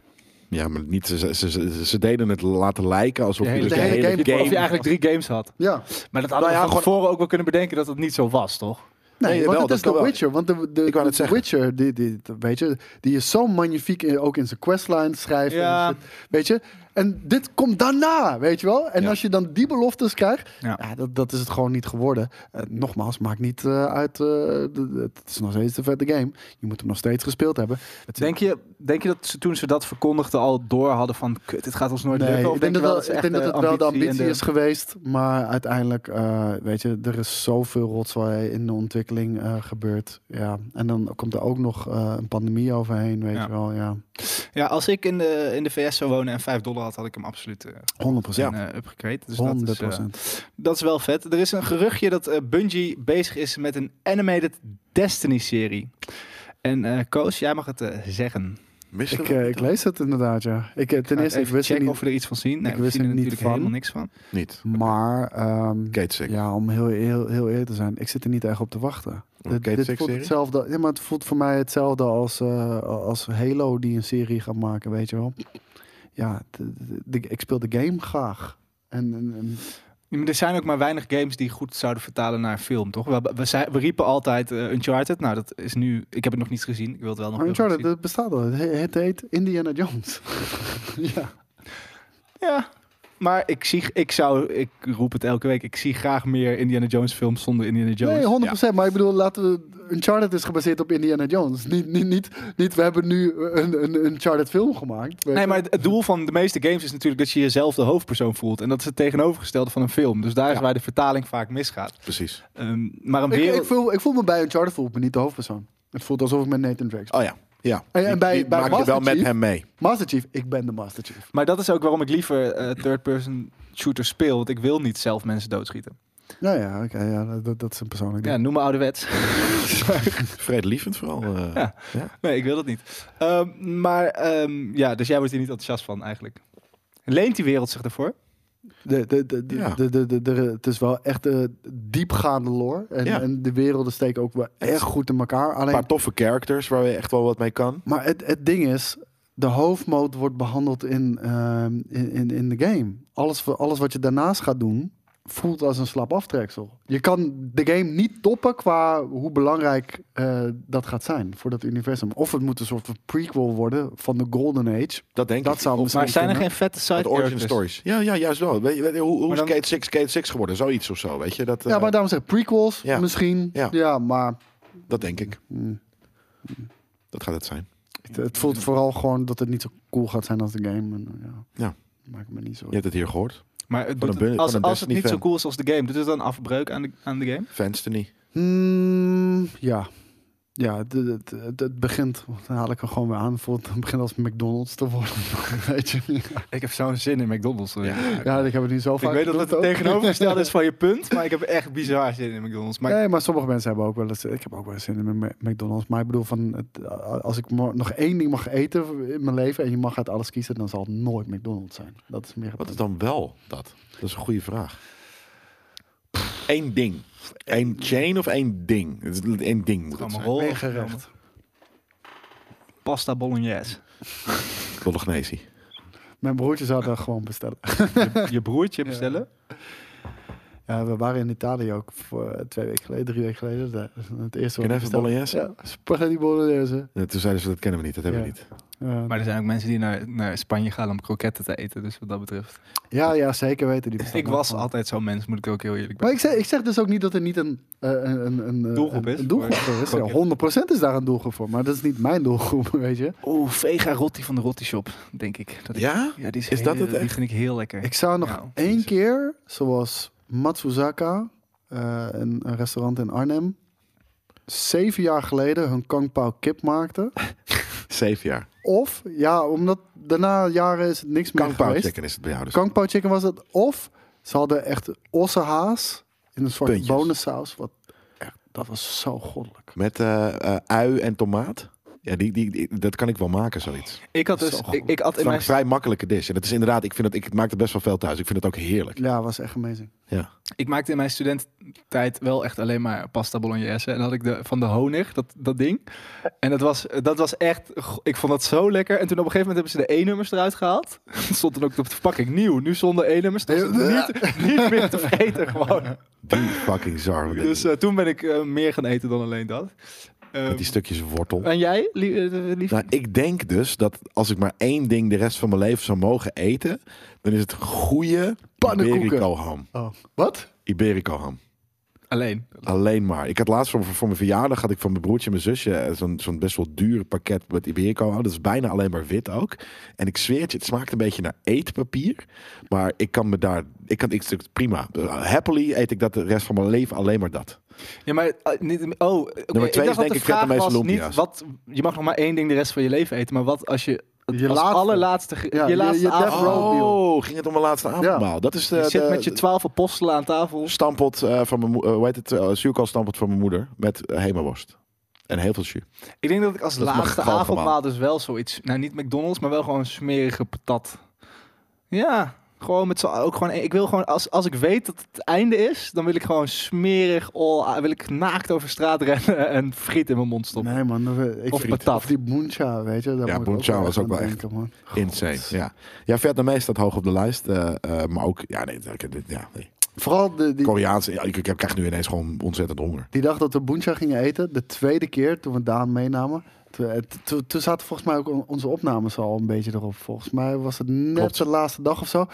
Speaker 3: Ja, maar niet, ze, ze, ze, ze deden het laten lijken alsof
Speaker 1: De
Speaker 3: je
Speaker 1: hele-
Speaker 3: dus
Speaker 2: de hele game-
Speaker 1: Of je eigenlijk drie games had.
Speaker 2: Ja,
Speaker 1: Maar dat hadden
Speaker 3: Nou ja,
Speaker 1: we van
Speaker 3: gewoon-
Speaker 1: tevoren ook wel kunnen bedenken dat het niet zo was, toch?
Speaker 2: nee,
Speaker 3: Nee,
Speaker 2: want
Speaker 3: wel,
Speaker 2: het
Speaker 3: dat
Speaker 2: is
Speaker 3: kan
Speaker 2: The
Speaker 3: wel.
Speaker 2: Witcher. Want de, de,
Speaker 3: Ik wou net
Speaker 2: de
Speaker 3: zeggen.
Speaker 2: Witcher, die, die, weet je, die is zo magnifiek, in- ook in zijn questlines schrijven.
Speaker 1: Ja.
Speaker 2: en shit, weet je, en dit komt daarna, weet je wel. En
Speaker 3: Ja.
Speaker 2: als je dan die beloftes krijgt,
Speaker 1: Ja.
Speaker 2: Ja, dat, dat is het gewoon niet geworden. Eh, nogmaals, maakt niet eh, uit. eh, d- d- het is nog steeds een vette game. Je moet hem nog steeds gespeeld hebben.
Speaker 1: Denk je, denk je dat ze toen ze dat verkondigden al door hadden van... Kut, dit gaat ons nooit lukken? Of
Speaker 2: ik denk,
Speaker 1: je
Speaker 2: dat, wel-
Speaker 1: ze
Speaker 2: ik
Speaker 1: echt,
Speaker 2: denk dat
Speaker 1: eh,
Speaker 2: het wel de
Speaker 1: ambitie en
Speaker 2: ambitie is geweest. Maar uiteindelijk, eh, weet je, er is zoveel rotzooi in de ontwikkeling eh, gebeurd. Ja. En dan komt er ook nog eh, een pandemie overheen, weet
Speaker 1: Ja.
Speaker 2: je wel. Ja.
Speaker 1: Ja, als ik in de, in de VS zou wonen en 5 dollar had, had ik hem absoluut eh
Speaker 2: 100 procent.
Speaker 1: en, eh, upgekreten. Dus dat
Speaker 2: 100
Speaker 1: is, eh, dat is wel vet. Er is een geruchtje dat eh, Bungie bezig is met een animated Destiny-serie. En eh Koos, jij mag het eh, zeggen.
Speaker 3: Missen
Speaker 2: ik,
Speaker 3: we
Speaker 2: eh,
Speaker 3: het
Speaker 2: ik lees het inderdaad, ja. Ik, eh, ten
Speaker 1: Laat
Speaker 2: eerste, ik
Speaker 1: even
Speaker 2: wist het
Speaker 1: checken
Speaker 2: niet.
Speaker 1: of we er iets van zien. Nee,
Speaker 2: ik
Speaker 1: we
Speaker 2: wist
Speaker 1: zien
Speaker 2: er
Speaker 1: er
Speaker 2: niet
Speaker 1: natuurlijk
Speaker 2: van.
Speaker 1: helemaal niks van.
Speaker 3: niet.
Speaker 2: Maar ehm,
Speaker 3: Kate Six.
Speaker 2: Ja, om heel, heel, heel eerlijk te zijn, ik zit er niet echt op te wachten.
Speaker 3: Oké,
Speaker 2: dit dit
Speaker 3: seks
Speaker 2: voelt
Speaker 3: serie?
Speaker 2: hetzelfde. Ja, maar het voelt voor mij hetzelfde als, eh, als Halo die een serie gaat maken, weet je wel. Ja, de- de- de- ik speel de game graag. En, en- en-
Speaker 1: Ja, maar er zijn ook maar weinig games die goed zouden vertalen naar film, toch? We, we, zei- we riepen altijd eh, Uncharted. Nou, dat is nu... Ik heb het nog niet gezien. Ik wil het wel nog
Speaker 2: maar
Speaker 1: heel graag
Speaker 2: Uncharted, dat bestaat al. Het, he- het heet Indiana Jones. ja.
Speaker 1: zien. Ja, maar ik, zie, ik zou... Ik roep het elke week. Ik zie graag meer Indiana Jones films zonder Indiana Jones.
Speaker 2: Nee, 100%. Maar ik bedoel, laten we... Uncharted is gebaseerd op Indiana Jones. Niet, niet, niet, niet we hebben nu een, een Uncharted film gemaakt. weet
Speaker 1: Nee,
Speaker 2: je.
Speaker 1: maar het het doel van de meeste games is natuurlijk dat je jezelf de hoofdpersoon voelt. En dat is het tegenovergestelde van een film. Dus daar is
Speaker 2: Ja.
Speaker 1: waar de vertaling vaak misgaat.
Speaker 3: Precies.
Speaker 1: Ehm, maar een
Speaker 2: Ik,
Speaker 1: wereld...
Speaker 2: ik, voel, ik voel me bij Uncharted voel ik me niet de hoofdpersoon. Het voelt alsof ik met Nathan Drake speel.
Speaker 3: Oh ja. Ja.
Speaker 2: En- en
Speaker 3: Die-
Speaker 2: bij-
Speaker 3: die
Speaker 2: bij
Speaker 3: maak je wel
Speaker 2: Master
Speaker 3: met
Speaker 2: Chief-
Speaker 3: hem mee.
Speaker 2: Master Chief, ik ben de Master Chief.
Speaker 1: Maar dat is ook waarom ik liever eh, third-person shooter speel. Want ik wil niet zelf mensen doodschieten.
Speaker 2: Nou ja, oké, ja dat- dat, dat is een persoonlijk
Speaker 1: Ja,
Speaker 2: ding.
Speaker 1: noem me ouderwets.
Speaker 3: Vredelievend vooral. eh.
Speaker 1: Ja. nee, ik wil dat niet. Ehm, maar ehm, ja, dus jij wordt hier niet enthousiast van eigenlijk. Leent die wereld zich daarvoor?
Speaker 2: De, de, de, de,
Speaker 3: Ja.
Speaker 2: de, de, de- de- het is wel echt eh, diepgaande lore. En,
Speaker 3: Ja.
Speaker 2: en de werelden steken ook wel
Speaker 3: Het is-
Speaker 2: echt goed in elkaar.
Speaker 3: Een
Speaker 2: Alleen,
Speaker 3: paar toffe characters waar je echt wel wat mee kan.
Speaker 2: maar het, het ding is, de hoofdmoot wordt behandeld in, ehm, in, in, in de game. Alles, voor- alles wat je daarnaast gaat doen, voelt als een slap aftreksel. Je kan de game niet toppen qua hoe belangrijk eh, dat gaat zijn voor dat universum. Of het moet een soort van prequel worden van de Golden Age.
Speaker 3: Dat denk
Speaker 2: Dat
Speaker 3: ik.
Speaker 2: zou
Speaker 3: Of
Speaker 2: misschien
Speaker 1: Maar zijn er
Speaker 2: kunnen.
Speaker 1: geen vette side
Speaker 3: wat origin
Speaker 1: characters?
Speaker 3: stories. Ja, ja, juist wel. Weet je, weet je, hoe hoe
Speaker 1: Maar
Speaker 3: is
Speaker 1: dan-
Speaker 3: Skate 6 Skate 6 geworden? Zoiets of zo, weet je? Dat, eh,
Speaker 2: Ja, maar daarom zeg ik prequels
Speaker 3: Ja.
Speaker 2: misschien. Ja,
Speaker 3: Ja.
Speaker 2: maar
Speaker 3: dat denk ik.
Speaker 2: mm,
Speaker 3: Dat gaat het zijn.
Speaker 2: het, het voelt vooral gewoon dat het niet zo cool gaat zijn als de game. En, eh, ja,
Speaker 3: Ja.
Speaker 2: Maakt me niet zo.
Speaker 3: Je hebt het hier gehoord.
Speaker 1: Maar het
Speaker 3: Van
Speaker 1: doet
Speaker 3: een
Speaker 1: het-
Speaker 3: bu-
Speaker 1: als,
Speaker 3: van een
Speaker 1: als het niet zo
Speaker 3: Destiny-fan.
Speaker 1: cool is als de game, doet het dan afbreuk aan de, aan de game?
Speaker 3: Fanstony.
Speaker 2: Mm, ja. Ja, het, het, het- het begint, dan haal ik er gewoon weer aan, voelt, het begint als McDonald's te worden. Weet je?
Speaker 1: Ik heb zo'n zin in McDonald's.
Speaker 2: Ja, ik heb het nu zo
Speaker 1: Ik
Speaker 2: vaak
Speaker 1: weet dat
Speaker 2: bedoeld
Speaker 1: het
Speaker 2: ook.
Speaker 1: tegenovergestelde is van je punt, maar ik heb echt bizar zin in McDonald's. Maar
Speaker 2: Nee, maar sommige mensen hebben ook wel eens. Ik heb ook wel eens zin in mijn McDonald's. Maar ik bedoel, van het, eh, als ik maar nog één ding mag eten in mijn leven en je mag uit alles kiezen, dan zal het nooit McDonald's zijn. Dat is meer. het
Speaker 3: Wat is dan wel dat? Dat is een goede vraag. Eén ding. Eén chain of één ding? Het is Eén ding moet het
Speaker 1: Allemaal
Speaker 3: zijn.
Speaker 1: rol.
Speaker 2: Eén gerecht.
Speaker 1: Pasta bolognese.
Speaker 3: Bolognese.
Speaker 2: Mijn broertje zou dat gewoon bestellen.
Speaker 1: Je, je broertje bestellen.
Speaker 2: Ja, we waren in Italië ook voor eh, twee weken geleden, drie weken geleden. De- het eerste
Speaker 3: Ken
Speaker 2: wat
Speaker 3: je
Speaker 2: ik
Speaker 3: even
Speaker 2: bestelde-
Speaker 3: bolognese?
Speaker 2: Ja, spaghetti bolognese.
Speaker 3: Ja, Toen zeiden ze, dat kennen we niet, dat hebben we
Speaker 2: Ja.
Speaker 3: niet.
Speaker 2: Ja,
Speaker 1: Maar er zijn ook mensen die naar, naar Spanje gaan om kroketten te eten, dus wat dat betreft.
Speaker 2: ja, ja, zeker weten die bestaan
Speaker 1: Ik was
Speaker 2: ook.
Speaker 1: altijd zo'n mens, moet ik ook heel eerlijk
Speaker 2: Maar
Speaker 1: bij
Speaker 2: ik zeg, ik zeg dus ook niet dat er niet een, eh, een, een, een eh,
Speaker 1: Doelgroep
Speaker 2: een-
Speaker 1: is
Speaker 2: Een doelgroep voor is. Ja, 100% is daar een doelgroep voor, maar dat is niet mijn doelgroep, weet je.
Speaker 1: Oeh, Vega Rotti van de Rotti Shop, denk ik. Dat ik
Speaker 3: Ja?
Speaker 1: Ja, die is,
Speaker 3: Is
Speaker 1: heel-
Speaker 3: dat het
Speaker 1: Die
Speaker 3: echt?
Speaker 1: vind ik heel lekker. Nou.
Speaker 2: Ik zou nog
Speaker 1: Ja,
Speaker 2: één
Speaker 1: precies.
Speaker 2: keer, zoals Matsuzaka, eh, een, een restaurant in Arnhem, zeven jaar geleden hun kangpao kip maakte.
Speaker 3: Zeven jaar.
Speaker 2: Of, ja, omdat daarna jaren is het niks meer
Speaker 3: Kangpao
Speaker 2: geweest.
Speaker 3: checken is het bij jou dus.
Speaker 2: Kangpao chicken was het. Of ze hadden echt ossenhaas in een soort
Speaker 3: Puntjes.
Speaker 2: bonensaus. Wat, echt, dat was zo goddelijk.
Speaker 3: Met eh, eh, ui en tomaat. Ja, die, die, die- dat kan ik wel maken, zoiets.
Speaker 1: Ik had dus,
Speaker 2: Zo goed.
Speaker 1: ik, ik had
Speaker 3: Het
Speaker 1: in
Speaker 3: is
Speaker 1: mijn
Speaker 3: een vrij makkelijke dish. En dat is inderdaad, ik, vind dat, ik maak er best wel veel thuis. Ik vind het ook heerlijk.
Speaker 2: Ja, was echt amazing.
Speaker 3: Ja.
Speaker 1: Ik maakte in mijn studententijd wel echt alleen maar pasta bolognese. En dan had ik de, van de honig, dat, dat ding. En dat was, dat was echt... go- Ik vond dat zo lekker. En toen op een gegeven moment hebben ze de E-nummers eruit gehaald. Stond dan ook op de verpakking nieuw. Nu zonder E-nummers. Dat is niet, niet meer te vreten gewoon.
Speaker 3: Die fucking zar.
Speaker 1: Dus eh, toen ben ik eh, meer gaan eten dan alleen dat. Ehm,
Speaker 3: met die stukjes wortel.
Speaker 1: en jij, lie- eh, lief?
Speaker 3: Nou, ik denk dus dat als ik maar één ding de rest van mijn leven zou mogen eten, dan is het goede
Speaker 2: Pannenkoeken.
Speaker 3: Iberico ham.
Speaker 2: Oh. Wat?
Speaker 3: Iberico ham.
Speaker 1: Alleen.
Speaker 3: Alleen maar. Ik had laatst voor, voor mijn verjaardag had ik van mijn broertje en mijn zusje eh, zo'n zo'n best wel duur pakket met Iberico. ham. Dat is bijna alleen maar wit ook. En ik zweer het je, het smaakt een beetje naar eetpapier. Maar ik kan me daar. Ik kan ik, prima. Happily eet ik dat de rest van mijn leven alleen maar dat.
Speaker 1: Ja, maar... eh, niet, oh, oké,
Speaker 3: twee
Speaker 1: ik dacht
Speaker 3: is
Speaker 1: dat
Speaker 3: denk
Speaker 1: de
Speaker 3: ik
Speaker 1: vraag
Speaker 3: Vietnamese
Speaker 1: was niet
Speaker 3: lumpia's.
Speaker 1: wat... Je mag nog maar één ding de rest van je leven eten. Maar wat als je...
Speaker 2: Je
Speaker 1: als
Speaker 2: laatste.
Speaker 1: allerlaatste... ge-
Speaker 2: Ja, je-
Speaker 1: je laatste
Speaker 2: je death
Speaker 1: avond-
Speaker 2: row meal.
Speaker 3: Oh, ging het om mijn laatste avondmaal. Dat is de,
Speaker 1: Je zit
Speaker 3: de-
Speaker 1: met je twaalf apostelen aan tafel.
Speaker 3: stampot eh, van mijn moeder. hoe heet het? eh, zuurkoolstampot van mijn moeder. Met eh, hemaworst. En heel veel jus.
Speaker 1: Ik denk dat ik als
Speaker 3: Dat mag
Speaker 1: laatste
Speaker 3: gewoon
Speaker 1: avondmaal
Speaker 3: allemaal.
Speaker 1: dus wel zoiets... Nou, niet McDonald's, maar wel gewoon smerige patat. Ja, gewoon met z'n... Ook gewoon, ik wil gewoon... Als, als ik weet dat het einde is, dan wil ik gewoon smerig... All, wil ik naakt over straat rennen en friet in mijn mond stoppen.
Speaker 2: Nee, man. dat we- Ik
Speaker 1: Of
Speaker 2: vind-
Speaker 1: patat.
Speaker 2: Of die buncha, weet je. Daar
Speaker 3: Ja,
Speaker 2: moet ik
Speaker 3: buncha
Speaker 2: aan
Speaker 3: was ook wel
Speaker 2: denken,
Speaker 3: echt
Speaker 2: man.
Speaker 3: Insane.
Speaker 2: God.
Speaker 3: Ja. ja, Vietnamese staat hoog op de lijst. eh, eh, maar ook, ja, nee, ik- dit- ja, nee.
Speaker 2: Vooral de, die,
Speaker 3: Koreaans. ja, ik, ik heb- krijg nu ineens gewoon ontzettend honger.
Speaker 2: die dag dat we buncha gingen eten, de tweede keer toen we Daan meenamen. Toen eh, toen- toen zaten volgens mij ook on- onze opnames al een beetje erop. Volgens mij was het net
Speaker 3: Klopt.
Speaker 2: de laatste dag of zo.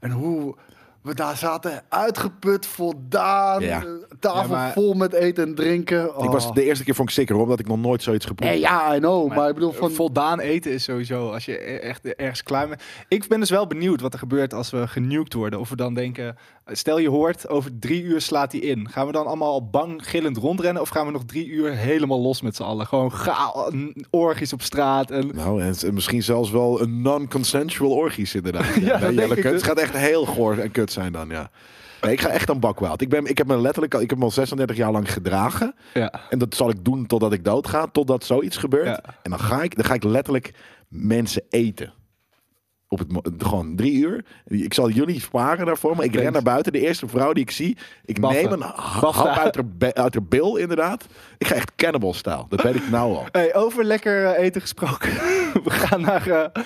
Speaker 2: En hoe... We daar zaten uitgeput, voldaan.
Speaker 3: Ja.
Speaker 2: eh, Tafel
Speaker 1: Ja, maar-
Speaker 2: vol met eten en drinken.
Speaker 3: Ik was,
Speaker 2: Oh.
Speaker 3: de eerste keer vond ik zeker, omdat ik nog nooit zoiets geproefd
Speaker 2: Nee, ja, I know. Maar, ik bedoel,
Speaker 1: van...
Speaker 2: van,
Speaker 1: Eh, Voldaan eten is sowieso als je e- echt ergens klaar bent. Ik ben dus wel benieuwd wat er gebeurt als we genuked worden. Of we dan denken, eh, stel je hoort, over drie uur slaat hij in. Gaan we dan allemaal al bang gillend rondrennen? Of gaan we nog drie uur helemaal los met z'n allen? Gewoon gaal, n- orgies op straat. En...
Speaker 3: Nou, en en misschien zelfs wel een non-consensual orgies inderdaad. Ja,
Speaker 1: dat
Speaker 3: nee,
Speaker 1: denk
Speaker 3: dat
Speaker 1: ik
Speaker 3: kut.
Speaker 1: dus.
Speaker 3: Het gaat echt heel goor en kut zijn dan, ja. Nee, ik ga echt aan bakwaald. Ik, ben, ik heb me letterlijk al, ik heb me al 36 jaar lang gedragen.
Speaker 1: Ja.
Speaker 3: En dat zal ik doen totdat ik doodga, totdat zoiets gebeurt.
Speaker 1: Ja.
Speaker 3: En dan ga, ik, dan ga ik letterlijk mensen eten. Op het, mo- gewoon drie uur. Ik zal jullie sparen daarvoor, maar ik
Speaker 1: Thanks.
Speaker 3: ren naar buiten. De eerste vrouw die ik zie, ik
Speaker 1: Baffen.
Speaker 3: neem een hap uit haar, be- uit haar bil inderdaad. Ik ga echt cannibal-stijl. Dat weet ik nou al.
Speaker 1: Hey, over lekker eh, eten gesproken. we gaan naar, eh,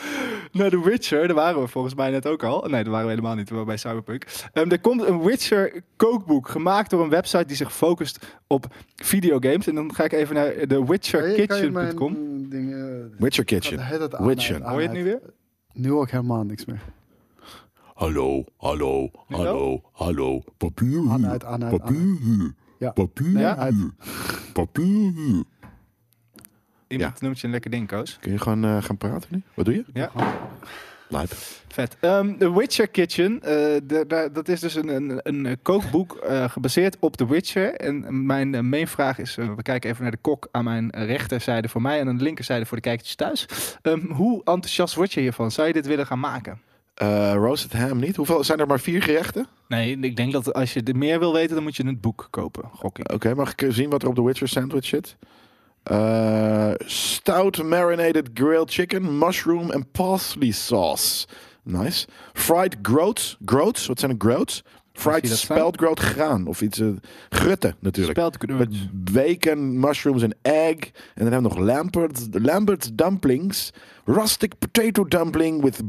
Speaker 1: naar The Witcher. Daar waren we volgens mij net ook al. Nee, daar waren we helemaal niet. We waren bij Cyberpunk. Ehm, er komt een Witcher kookboek gemaakt door een website die zich focust op videogames. En dan ga ik even naar
Speaker 2: Kan je mijn,
Speaker 1: thewitcherkitchen.com.
Speaker 2: mm, Dingen,
Speaker 3: Witcher
Speaker 2: Wat
Speaker 3: Kitchen.
Speaker 2: heet dat? Aan-
Speaker 3: Witchen.
Speaker 2: aan-
Speaker 1: Hoor je het nu weer?
Speaker 2: Nu ook helemaal niks meer.
Speaker 3: Hallo, hallo, hallo, hallo. Papier.
Speaker 2: Aan, uit, aan, uit, aan, uit.
Speaker 3: Papier.
Speaker 2: Ja.
Speaker 3: Papier.
Speaker 2: Nee, uit.
Speaker 3: Papier.
Speaker 1: Iemand noemt je een lekker ding, Koos.
Speaker 3: Kun je gewoon eh, gaan praten nu? Wat doe je?
Speaker 1: Ja,
Speaker 3: Lijp.
Speaker 1: vet. Ehm, The Witcher Kitchen, eh, de- daar- dat is dus een, een, een kookboek eh, gebaseerd op The Witcher. En mijn eh, mainvraag is, eh, we kijken even naar de kok aan mijn rechterzijde voor mij en aan de linkerzijde voor de kijkertjes thuis. Ehm, hoe enthousiast word je hiervan? Zou je dit willen gaan maken?
Speaker 3: Eh, roasted ham niet. Hoeveel zijn er maar vier gerechten?
Speaker 1: Nee, ik denk dat als je er meer wil weten, dan moet je het boek kopen, gok ik.
Speaker 3: Oké, mag ik eh, zien wat er op de Witcher sandwich zit? Eh, stout marinated grilled chicken, mushroom en parsley sauce. Nice. Fried groats. Groats? Wat zijn er groats?
Speaker 1: Zie
Speaker 3: Fried
Speaker 1: je dat staan?
Speaker 3: speldgroot graan of iets. eh, grutten natuurlijk.
Speaker 1: Speld kunnen we
Speaker 3: Met bacon, mushrooms en egg. En dan hebben we nog Lambert's, Lambert's dumplings. Rustic potato dumpling with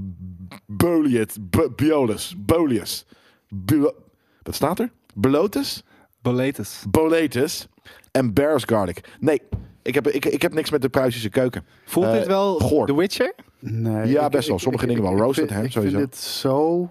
Speaker 3: boliet, b- biolus, bolus. Bulo- Wat staat er? Bolotus?
Speaker 1: Boletus.
Speaker 3: Boletus. En bear's garlic. Nee, ik heb, ik, ik heb niks met de Pruisische keuken.
Speaker 1: Voelt
Speaker 3: Eh,
Speaker 1: dit wel
Speaker 3: goor.
Speaker 1: The Witcher?
Speaker 2: Nee,
Speaker 3: Ja, best wel. Sommige dingen wel. Roasted
Speaker 2: vind-
Speaker 3: ham,
Speaker 2: ik
Speaker 3: sowieso.
Speaker 2: vind het zo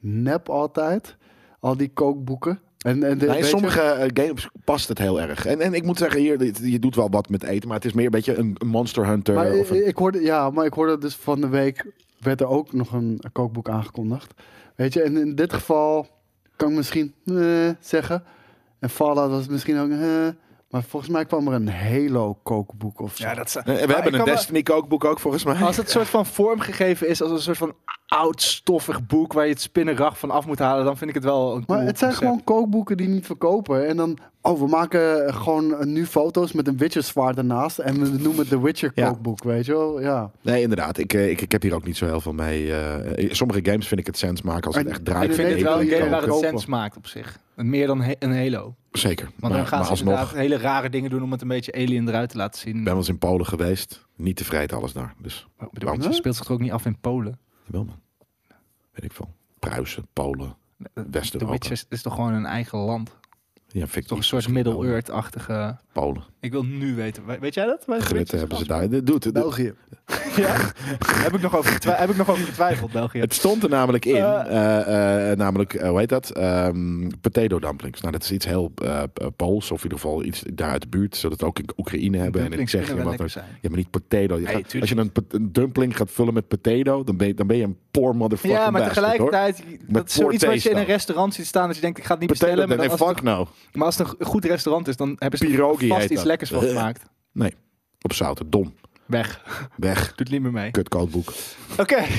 Speaker 2: nep altijd. Al die kookboeken. En, en
Speaker 3: Nee,
Speaker 2: de, weet
Speaker 3: in
Speaker 2: je-
Speaker 3: sommige eh, games past het heel erg. En, en ik moet zeggen, hier, dit- je doet wel wat met eten, maar het is meer een beetje een een Monster Hunter.
Speaker 2: Maar eh,
Speaker 1: eh,
Speaker 3: of een- Eh,
Speaker 2: ik, ik hoorde, ja, maar ik hoorde dus van de week werd er ook nog een kookboek aangekondigd. Weet je, en in dit geval kan ik misschien eh, zeggen. En Fallout was misschien ook. eh, maar volgens mij kwam er een Halo kookboek of zo.
Speaker 1: dat
Speaker 3: Eh, we hebben een Destiny kookboek ook volgens mij.
Speaker 1: Als het een soort van vormgegeven is als een soort van oud stoffig boek waar je het spinnenrag van af moet halen, dan vind ik het wel een
Speaker 2: Maar
Speaker 1: cool
Speaker 2: het zijn
Speaker 1: concept.
Speaker 2: gewoon kookboeken die niet verkopen. En dan, oh, we maken eh, gewoon eh, nu foto's met een Witcher zwaard ernaast. En we noemen het de Witcher
Speaker 3: Ja.
Speaker 2: kookboek, weet je wel. Ja.
Speaker 3: Nee, inderdaad. Ik, eh, ik, ik heb hier ook niet zo heel veel mee. eh, eh, sommige games vind ik het sens maken als Ah, het
Speaker 2: En-
Speaker 3: echt
Speaker 2: en
Speaker 3: draait.
Speaker 1: Ik vind
Speaker 2: Nee,
Speaker 1: het wel een
Speaker 2: die
Speaker 1: game
Speaker 2: kan
Speaker 1: waar
Speaker 2: ik
Speaker 1: het
Speaker 2: kopen.
Speaker 1: sens maakt op zich. Meer dan he- een Halo. Want
Speaker 3: Zeker. Maar,
Speaker 1: dan gaan
Speaker 3: maar
Speaker 1: ze
Speaker 3: alsnog,
Speaker 1: inderdaad
Speaker 3: ik
Speaker 1: hele rare dingen doen om het een beetje alien eruit te laten zien.
Speaker 3: ben wel eens in Polen geweest. Niet tevreden alles daar. Dus
Speaker 1: Maar ik bedoel,
Speaker 3: Wat?
Speaker 1: het speelt zich toch ook niet af in Polen?
Speaker 3: wel man. Weet ik veel. Pruisen, Polen,
Speaker 1: De
Speaker 3: West-Europa.
Speaker 1: Witcher is, is toch gewoon een eigen land? Het
Speaker 3: Ja, vind ik
Speaker 1: is toch een
Speaker 3: niet
Speaker 1: soort
Speaker 3: misschien wel.
Speaker 1: Middle-earth-achtige...
Speaker 3: Polen.
Speaker 1: Ik wil nu weten. We- Weet jij dat? Bij de Witcher?
Speaker 3: Gritten hebben ze daar. Dit- Doet het.
Speaker 2: België.
Speaker 1: Ja? heb, ik nog over getwi- heb ik nog over getwijfeld, België.
Speaker 3: Het stond er namelijk in,
Speaker 1: Eh.
Speaker 3: eh, eh, namelijk, eh, hoe heet dat? Ehm, potato dumplings. Nou, dat is iets heel eh, eh, Pools, of in ieder geval iets daar uit de buurt. Zodat ook in Oekraïne hebben. En ik
Speaker 1: Dumplings
Speaker 3: zeg je
Speaker 1: kunnen wel
Speaker 3: wat
Speaker 1: lekker
Speaker 3: er
Speaker 1: zijn.
Speaker 3: Ja, maar niet potato. Je
Speaker 1: Nee,
Speaker 3: gaat-
Speaker 1: tuurlijk
Speaker 3: als je een, pot- een dumpling gaat vullen met potato, dan ben je, dan ben je een poor motherfucker.
Speaker 1: Ja, maar tegelijkertijd, dat
Speaker 3: Met
Speaker 1: is zoiets
Speaker 3: poor
Speaker 1: wat je in
Speaker 3: taste
Speaker 1: een
Speaker 3: dan.
Speaker 1: restaurant ziet staan dat je denkt, ik ga het niet
Speaker 3: Potato,
Speaker 1: bestellen. Maar,
Speaker 3: nee,
Speaker 1: dan
Speaker 3: nee,
Speaker 1: als het,
Speaker 3: fuck nou.
Speaker 1: maar als het een goed restaurant is, dan hebben ze er
Speaker 3: Pierogi
Speaker 1: vast
Speaker 3: heet
Speaker 1: iets
Speaker 3: dat.
Speaker 1: lekkers van
Speaker 3: Eh.
Speaker 1: gemaakt.
Speaker 3: Nee, op zouten. Dom.
Speaker 1: Weg.
Speaker 3: Weg.
Speaker 1: Doet niet meer mee.
Speaker 3: Kut kookboek.
Speaker 1: Oké.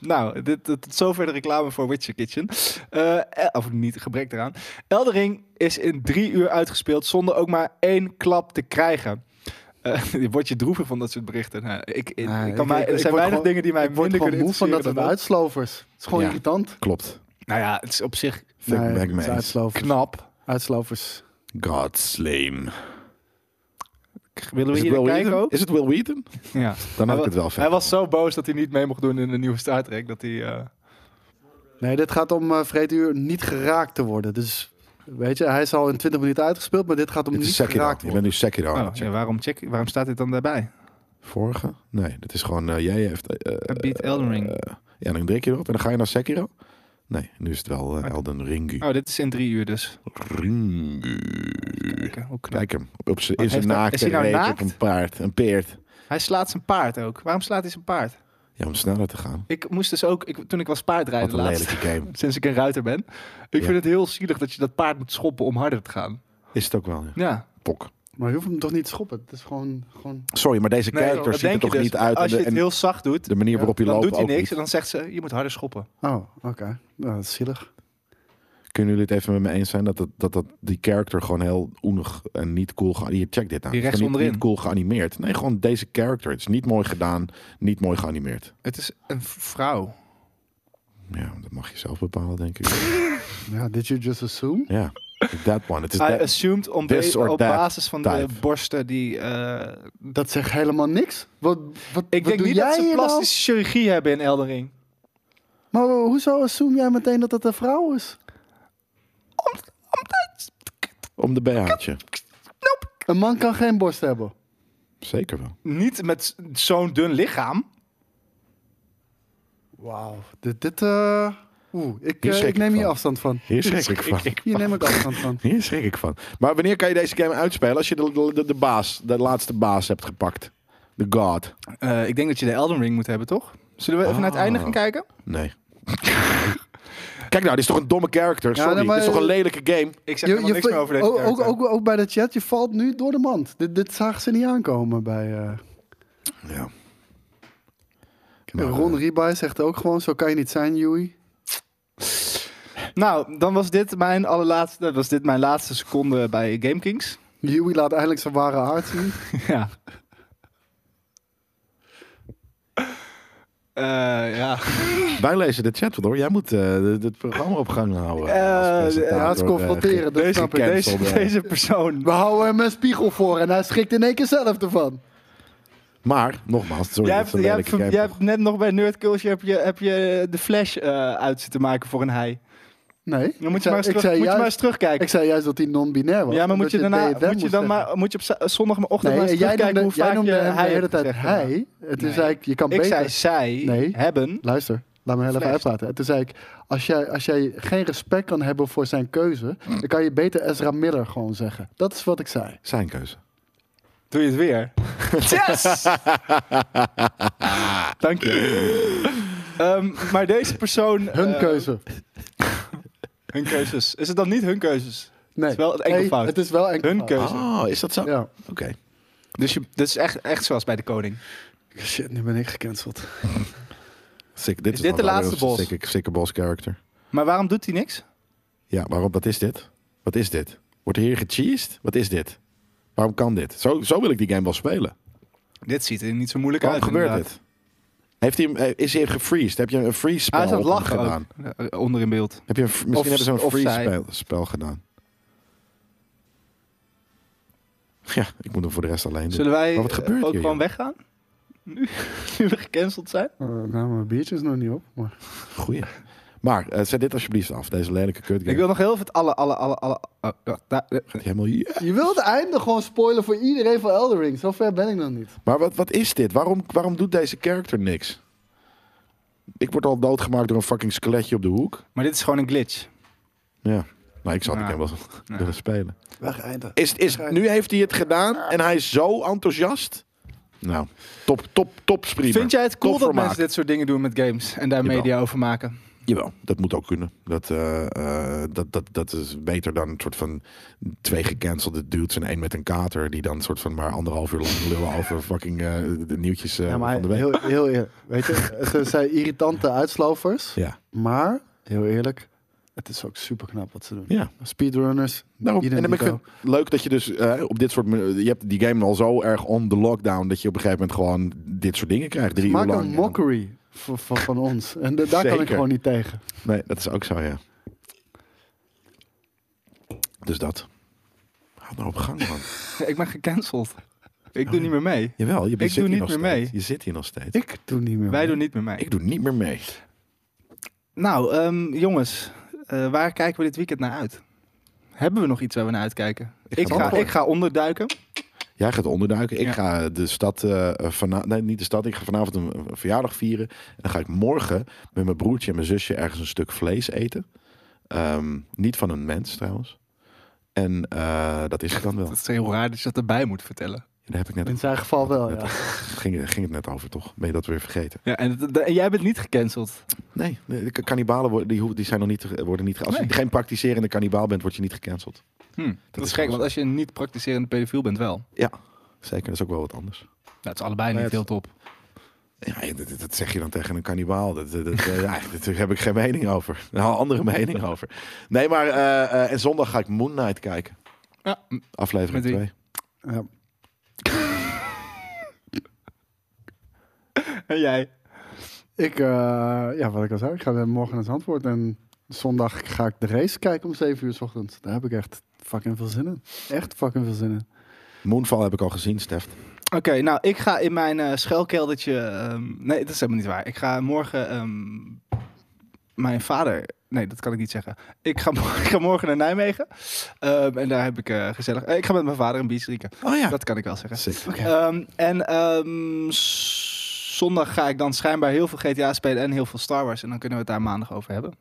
Speaker 1: Nou, dit, dit- tot zover de reclame voor Witcher Kitchen. Eh, eh, of niet, gebrek eraan. Eldering is in drie uur uitgespeeld zonder ook maar één klap te krijgen. Eh, word je droevig van dat soort berichten? Nou, ik, ik,
Speaker 2: Ah,
Speaker 1: ik
Speaker 2: ik-
Speaker 1: kan mij,
Speaker 2: ik-
Speaker 1: er
Speaker 2: ik
Speaker 1: zijn
Speaker 2: word
Speaker 1: weinig
Speaker 2: gewoon-
Speaker 1: dingen die mij
Speaker 2: Ik word
Speaker 1: minder
Speaker 2: gewoon
Speaker 1: kunnen
Speaker 2: moe van dat
Speaker 1: interesseren
Speaker 2: soort
Speaker 1: dan dat.
Speaker 2: uitslovers. Het is gewoon
Speaker 3: Ja.
Speaker 2: irritant.
Speaker 3: Klopt.
Speaker 1: Nou ja, het is op zich
Speaker 3: Fuck
Speaker 2: Nee,
Speaker 3: ben
Speaker 2: het
Speaker 3: ik mee
Speaker 2: is
Speaker 3: eens.
Speaker 2: uitslovers.
Speaker 1: knap.
Speaker 2: Uitslovers.
Speaker 3: God slain.
Speaker 1: Willen
Speaker 3: Is
Speaker 1: we
Speaker 3: het
Speaker 1: hier naar
Speaker 3: Will
Speaker 1: kijken
Speaker 3: Wheaton?
Speaker 1: ook?
Speaker 3: Is het Will Wheaton?
Speaker 1: Ja.
Speaker 3: Dan
Speaker 1: Hij
Speaker 3: had ik het
Speaker 1: wa-
Speaker 3: wel
Speaker 1: Hij
Speaker 3: vet.
Speaker 1: was zo boos dat hij niet mee mocht doen in de nieuwe Star Trek. Dat hij, eh,
Speaker 2: Nee, dit gaat om eh vreeduur niet geraakt te worden. Dus weet je, hij is al in 20 minuten uitgespeeld, maar dit gaat om
Speaker 3: Dit
Speaker 2: niet
Speaker 3: is Sekiro.
Speaker 2: geraakt
Speaker 3: Je
Speaker 2: worden.
Speaker 3: bent nu Sekiro.
Speaker 1: oh,
Speaker 3: aan het
Speaker 1: ja,
Speaker 3: checken.
Speaker 1: waarom, check, waarom staat dit dan daarbij?
Speaker 3: Vorige? Nee, dat is gewoon... eh, jij heeft... eh,
Speaker 1: Hij beat Elden Ring.
Speaker 3: eh, ja, dan druk je erop en dan ga je naar Sekiro. Nee, nu is het wel eh, Elden Ring.
Speaker 1: Oh, dit is in drie uur dus.
Speaker 3: Ringu.
Speaker 1: Kijken, hoe knap.
Speaker 3: Kijk hem. Op zijn, in
Speaker 1: heeft
Speaker 3: zijn
Speaker 1: hij-
Speaker 3: naakte
Speaker 1: is hij nou
Speaker 3: reet
Speaker 1: naakt?
Speaker 3: op een paard. Een peert.
Speaker 1: Hij slaat zijn paard ook. Waarom slaat hij zijn paard?
Speaker 3: Ja, om sneller te gaan.
Speaker 1: Ik moest dus ook, ik, toen ik was paardrijden
Speaker 3: Wat een
Speaker 1: laatst,
Speaker 3: lelijke game.
Speaker 1: sinds ik een ruiter ben. Ik
Speaker 3: Ja.
Speaker 1: vind het heel zielig dat je dat paard moet schoppen om harder te gaan.
Speaker 3: Is het ook wel. Ja.
Speaker 1: Ja,
Speaker 3: Pok.
Speaker 2: Maar je hoeft hem toch niet te schoppen? Het is gewoon... gewoon...
Speaker 3: Sorry, maar deze
Speaker 1: Nee,
Speaker 3: character
Speaker 1: dat
Speaker 3: ziet er
Speaker 1: denk je
Speaker 3: toch
Speaker 1: dus.
Speaker 3: niet uit. En
Speaker 1: Als je
Speaker 3: de,
Speaker 1: het
Speaker 3: en
Speaker 1: heel zacht doet,
Speaker 3: de manier
Speaker 2: Ja,
Speaker 3: waarop je
Speaker 1: dan
Speaker 3: loopt
Speaker 1: doet hij
Speaker 3: ook
Speaker 1: niks. En
Speaker 3: niet.
Speaker 1: dan zegt ze, je moet harder schoppen.
Speaker 2: Oh, oké. Nou, dat is zielig.
Speaker 3: Kunnen jullie het even met me eens zijn dat, dat, dat, dat die character gewoon heel oenig en niet cool... ge- Hier, check dit nou.
Speaker 1: Die
Speaker 3: Het is
Speaker 1: rechts
Speaker 3: gewoon niet,
Speaker 1: onderin.
Speaker 3: niet cool geanimeerd. Nee, gewoon deze character. Het is niet mooi gedaan, niet mooi geanimeerd.
Speaker 1: Het is een vrouw.
Speaker 3: Ja, dat mag je zelf bepalen, denk ik.
Speaker 2: Ja, did you just assume?
Speaker 3: Ja, that one. Het Dus is
Speaker 2: Ah,
Speaker 1: I
Speaker 2: eh,
Speaker 3: that-
Speaker 1: assumed om
Speaker 3: this
Speaker 1: be-
Speaker 3: or
Speaker 1: op
Speaker 3: that
Speaker 1: basis van de
Speaker 3: type.
Speaker 1: borsten die... eh,
Speaker 2: Dat zegt helemaal niks. Wat, wat,
Speaker 1: ik
Speaker 2: wat
Speaker 1: denk
Speaker 2: doe
Speaker 1: niet
Speaker 2: jij
Speaker 1: dat ze
Speaker 2: hier nou?
Speaker 1: plastische chirurgie hebben in Elden Ring.
Speaker 2: Maar hoezo assume jij meteen dat het een vrouw is?
Speaker 3: om de BH'tje.
Speaker 2: Een man kan geen borst hebben.
Speaker 3: Zeker wel.
Speaker 1: Niet met zo'n dun lichaam.
Speaker 2: Wauw. Dit, dit eh, Oeh, ik,
Speaker 3: Hier
Speaker 2: eh,
Speaker 3: schrik
Speaker 2: ik
Speaker 3: ik
Speaker 2: neem hier
Speaker 3: van.
Speaker 2: afstand van.
Speaker 3: Hier schrik ik van.
Speaker 2: Hier neem ik afstand van.
Speaker 3: Hier schrik ik van. Maar wanneer kan je deze game uitspelen? Als je de, de, de, de baas, de laatste baas hebt gepakt. De god.
Speaker 1: Eh, ik denk dat je de Elden Ring moet hebben, toch? Zullen we even naar het einde
Speaker 3: Ah.
Speaker 1: gaan kijken?
Speaker 3: Nee. Kijk nou, dit is toch een domme character. Sorry,
Speaker 2: nee, maar-
Speaker 3: dit is toch een lelijke game.
Speaker 1: Ik zeg helemaal niks
Speaker 2: va-
Speaker 1: meer over deze
Speaker 2: ook, ook,
Speaker 1: character.
Speaker 2: ook, ook bij de chat, je valt nu door de mand. Dit, dit zagen ze niet aankomen bij... eh,
Speaker 3: Ja.
Speaker 2: Ron Ribai zegt ook gewoon, zo kan je niet zijn, Joey.
Speaker 1: Nou, dan was dit mijn allerlaatste, dat was dit mijn laatste seconde bij GameKings.
Speaker 2: Joey laat eindelijk zijn ware aard zien.
Speaker 1: ja. Eh, ja.
Speaker 3: Wij lezen de chat wel hoor. Jij moet het programma op gang houden.
Speaker 1: Eh,
Speaker 3: als presentator,
Speaker 2: ja, het is
Speaker 3: eh,
Speaker 2: confronteren,
Speaker 3: ge-
Speaker 2: dat
Speaker 1: Deze,
Speaker 2: snap ik.
Speaker 1: deze,
Speaker 3: gecanceld, eh.
Speaker 1: deze persoon.
Speaker 2: We houden hem een spiegel voor en hij schrikt in één keer zelf ervan.
Speaker 3: Maar, nogmaals, sorry,
Speaker 1: Jij hebt,
Speaker 3: dat is een
Speaker 1: jij,
Speaker 3: lelijke
Speaker 1: hebt,
Speaker 3: game.
Speaker 1: jij hebt net nog bij Nerd Culture heb je, heb je de flash eh, uit zitten maken voor een hei.
Speaker 2: Nee.
Speaker 1: Dan moet
Speaker 2: ik
Speaker 1: je,
Speaker 2: zei-
Speaker 1: maar eens,
Speaker 2: ik
Speaker 1: terug,
Speaker 2: zei
Speaker 1: moet je maar eens
Speaker 2: juist-
Speaker 1: terugkijken.
Speaker 2: Ik zei juist dat hij non-binair was.
Speaker 1: ja, maar moet
Speaker 2: omdat
Speaker 1: je, daarna,
Speaker 2: they, them
Speaker 1: moet je
Speaker 2: moest
Speaker 1: dan
Speaker 2: zeggen.
Speaker 1: maar, moet je op za- zondagochtend
Speaker 2: Nee,
Speaker 1: maar eens
Speaker 2: jij
Speaker 1: terugkijken
Speaker 2: noemde,
Speaker 1: hoe
Speaker 2: jij
Speaker 1: vaak
Speaker 2: noemde
Speaker 1: je
Speaker 2: hem de
Speaker 1: hij
Speaker 2: hele
Speaker 1: hebt
Speaker 2: tijd
Speaker 1: gezegd.
Speaker 2: hij. En toen
Speaker 1: Nee.
Speaker 2: zei ik, je kan
Speaker 1: Ik
Speaker 2: beter...
Speaker 1: zei zij
Speaker 2: Nee.
Speaker 1: hebben.
Speaker 2: Luister, laat me heel even
Speaker 1: Flasht.
Speaker 2: uitpraten. En toen zei ik, als jij, als jij geen respect kan hebben voor zijn keuze... dan kan je beter Ezra Miller gewoon zeggen. Dat is wat ik zei.
Speaker 3: Zijn keuze.
Speaker 1: Doe je het weer? Yes! Dank je. Ehm, maar deze persoon...
Speaker 2: Hun
Speaker 1: eh,
Speaker 2: keuze.
Speaker 1: Hun keuzes. Is het dan niet hun keuzes?
Speaker 2: Nee.
Speaker 1: is wel het
Speaker 2: Nee,
Speaker 1: enkelvoud.
Speaker 2: het is wel
Speaker 1: Hun
Speaker 2: enkelvoud.
Speaker 1: keuze.
Speaker 3: Oh, is dat zo?
Speaker 2: Ja.
Speaker 3: Oké.
Speaker 1: Dus je, dit is echt, echt zoals bij de koning.
Speaker 2: Shit, nu ben ik gecanceld.
Speaker 3: Sick, dit is,
Speaker 1: dit
Speaker 3: dan
Speaker 1: de
Speaker 3: wel
Speaker 1: laatste
Speaker 3: weer een
Speaker 1: boss?
Speaker 3: Sikke, sikke boss character.
Speaker 1: Maar waarom doet hij niks?
Speaker 3: Ja, waarom? Wat is dit? Wat is dit? Wordt hier gecheesed? Wat is dit? Waarom kan dit? Zo, zo wil ik die game wel spelen.
Speaker 1: Dit ziet er niet zo moeilijk
Speaker 3: Waarom
Speaker 1: uit.
Speaker 3: gebeurt
Speaker 1: inderdaad.
Speaker 3: dit? Heeft hij, hem- eh, is hij gefreezed? Heb je een freeze spel
Speaker 1: Hij is aan het
Speaker 3: op hem
Speaker 1: lachen
Speaker 3: gedaan?
Speaker 1: ook. Eh, Onder in beeld.
Speaker 3: Heb je een, fr- misschien
Speaker 1: Of-
Speaker 3: hebben ze een
Speaker 1: of
Speaker 3: freeze
Speaker 1: zij.
Speaker 3: spel, spel gedaan. Ja, ik moet hem voor de rest alleen doen.
Speaker 1: Zullen wij
Speaker 3: Maar wat
Speaker 1: eh,
Speaker 3: gebeurt
Speaker 1: ook
Speaker 3: hier,
Speaker 1: gewoon
Speaker 3: joh?
Speaker 1: weggaan? Nu, nu we gecanceld zijn?
Speaker 2: nou, mijn biertje is nog niet op. Maar...
Speaker 3: Goeie. Maar eh, zet dit alsjeblieft af, deze lelijke kut game.
Speaker 1: Ik wil nog heel even het alle, alle, alle, alle... oh, oh, daar- eh,
Speaker 3: Helemaal, ja.
Speaker 2: Je wilt het einde gewoon spoilen voor iedereen van Elden Ring. Zo ver ben ik nog niet.
Speaker 3: Maar wat, wat is dit? Waarom, waarom doet deze character niks? Ik word al doodgemaakt door een fucking skeletje op de hoek.
Speaker 1: Maar dit is gewoon een glitch.
Speaker 3: Ja. Maar ik zou die
Speaker 1: Nou,
Speaker 3: game wel willen spelen.
Speaker 2: Weg einde.
Speaker 3: Is, is, nu heeft hij het gedaan en hij is zo enthousiast. Nou, top, top, top spriemer.
Speaker 1: Vind jij het cool
Speaker 3: Top
Speaker 1: dat
Speaker 3: vermaak.
Speaker 1: mensen dit soort dingen doen met games en daar
Speaker 3: Jawel.
Speaker 1: media over maken?
Speaker 3: Jawel, dat moet ook kunnen. Dat, eh, eh, dat, dat, dat is beter dan een soort van twee gecancelde dudes en één met een kater... die dan een soort van maar anderhalf uur lang lullen over fucking eh, de nieuwtjes eh,
Speaker 2: Ja, maar
Speaker 3: van de week.
Speaker 2: heel, heel eerlijk. Weet je, ze zijn irritante uitslovers.
Speaker 3: Ja,
Speaker 2: Maar, heel eerlijk, het is ook super knap wat ze doen.
Speaker 3: ja.
Speaker 2: Speedrunners.
Speaker 3: Daarom, en
Speaker 2: ieder
Speaker 3: dan ben ik
Speaker 2: niveau.
Speaker 3: het leuk dat je dus eh, op dit soort... Je hebt die game al zo erg on the lockdown... dat je op een gegeven moment gewoon dit soort dingen krijgt. Drie uur
Speaker 2: Maak
Speaker 3: lang.
Speaker 2: een
Speaker 3: en dan-
Speaker 2: mockery van, van, van ons. En da- daar kan ik
Speaker 3: Zeker.
Speaker 2: gewoon niet tegen.
Speaker 3: Nee, dat is ook zo, ja. Dus dat. Houd nou op gang, man.
Speaker 1: Ik ben gecanceld. Ik doe niet meer mee.
Speaker 3: Jawel, je
Speaker 1: Ik
Speaker 3: zit
Speaker 1: doe
Speaker 3: hier
Speaker 1: niet
Speaker 3: nog
Speaker 1: meer
Speaker 3: steeds.
Speaker 1: mee.
Speaker 3: Je zit hier nog steeds.
Speaker 2: Ik doe niet meer.
Speaker 1: Wij doen niet meer mee.
Speaker 3: Ik doe niet meer mee.
Speaker 1: Nou, ehm, jongens, eh, waar kijken we dit weekend naar uit? Hebben we nog iets waar we naar uitkijken?
Speaker 3: Ik
Speaker 1: Ik
Speaker 3: ga
Speaker 1: ga,
Speaker 3: door.
Speaker 1: ik ga onderduiken.
Speaker 3: Jij gaat onderduiken. Ik
Speaker 1: Ja.
Speaker 3: ga de stad eh vanavond. Nee, niet de stad. Ik ga vanavond een, een verjaardag vieren. En dan ga ik morgen met mijn broertje en mijn zusje ergens een stuk vlees eten. Ehm, niet van een mens trouwens. En eh, dat is het dan wel.
Speaker 1: Dat is heel raar dat je dat erbij moet vertellen.
Speaker 3: Daar heb ik net
Speaker 2: In zijn geval wel, ja.
Speaker 3: ging, ging het net over, toch? Ben je dat weer vergeten?
Speaker 1: Ja, en, dat- dat- en jij bent niet gecanceld.
Speaker 3: Nee, nee, de k- kannibalen worden, die, hoe- die zijn nog niet, ge- worden niet ge- Als
Speaker 1: Nee.
Speaker 3: je geen praktiserende kannibaal bent, word je niet gecanceld.
Speaker 1: Hm, dat,
Speaker 3: is
Speaker 1: is
Speaker 3: wel
Speaker 1: gek, want
Speaker 3: zo.
Speaker 1: als je een niet praktiserende pedofiel bent wel.
Speaker 3: Ja, zeker. Dat is ook wel wat anders.
Speaker 1: Nou, het is allebei
Speaker 3: Nee,
Speaker 1: niet heel
Speaker 3: het-
Speaker 1: top.
Speaker 3: Ja, dat- dat, dat zeg je dan tegen een kannibaal. Dat, dat, dat- ja, daar heb ik geen mening over. Nou, andere mening over. Nee, maar eh, eh, en zondag ga ik Moon Knight kijken.
Speaker 1: Ja, m-
Speaker 3: Aflevering
Speaker 1: Met wie?
Speaker 3: 2.
Speaker 2: ja.
Speaker 1: en jij?
Speaker 2: Ik, eh, ja, wat ik al zei, ik ga er morgen naar Zandvoort en zondag ga ik de race kijken om 7 uur 's ochtends. Daar heb ik echt fucking veel zin in. Echt fucking veel zin in.
Speaker 3: Moonfall heb ik al gezien, Stef.
Speaker 1: Oké, nou, ik ga in mijn eh, schuilkeldertje... ehm, nee, dat is helemaal niet waar. Ik ga morgen ehm, mijn vader... Nee, dat kan ik niet zeggen. Ik ga, mo- ik ga morgen naar Nijmegen. Ehm, en daar heb ik eh, gezellig... eh, ik ga met mijn vader een bier drinken.
Speaker 3: Oh ja.
Speaker 1: Dat kan ik wel zeggen.
Speaker 3: Sick.
Speaker 1: Ehm, en ehm, s- zondag ga ik dan schijnbaar heel veel GTA spelen en heel veel Star Wars. En dan kunnen we het daar maandag over hebben.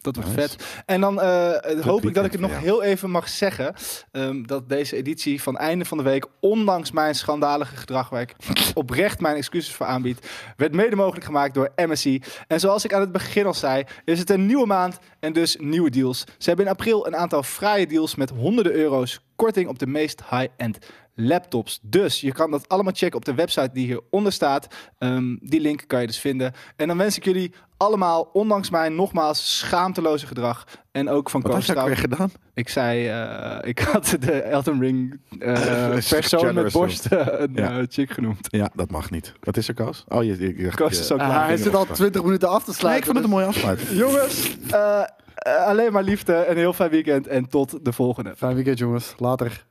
Speaker 1: Dat wordt
Speaker 3: Nice.
Speaker 1: vet. En dan eh, hoop ik dat ik het
Speaker 3: weekend,
Speaker 1: nog
Speaker 3: ja.
Speaker 1: heel even mag zeggen. ehm, dat deze editie van einde van de week, ondanks mijn schandalige gedrag, waar ik oprecht mijn excuses voor aanbied, werd mede mogelijk gemaakt door MSI. En zoals ik aan het begin al zei, is het een nieuwe maand en dus nieuwe deals. Ze hebben in april een aantal fraaie deals met honderden euro's korting op de meest high-end laptops. Dus je kan dat allemaal checken op de website die hieronder staat. Ehm, die link kan je dus vinden. En dan wens ik jullie allemaal, ondanks mijn nogmaals schaamteloze gedrag en ook van
Speaker 3: Wat had
Speaker 1: Koos
Speaker 3: je ook
Speaker 1: Stout-
Speaker 3: weer gedaan?
Speaker 1: ik zei, eh, ik had de Elden Ring eh,
Speaker 3: Is
Speaker 1: persoon met
Speaker 3: generous
Speaker 1: borsten een
Speaker 3: Ja.
Speaker 1: eh, chick genoemd.
Speaker 3: Ja, dat mag niet. Wat is er, Koos? Oh, je, je, je-
Speaker 1: Koos
Speaker 3: je-
Speaker 1: is ook
Speaker 2: Ah,
Speaker 1: klaar.
Speaker 2: hij zit al
Speaker 3: afsluiten.
Speaker 2: 20 minuten af te
Speaker 3: Nee,
Speaker 2: sluiten.
Speaker 3: ik vond het een mooie afsluiting.
Speaker 1: Jongens, eh, eh, alleen maar liefde, een heel fijn weekend en tot de volgende.
Speaker 2: Fijn weekend jongens, later.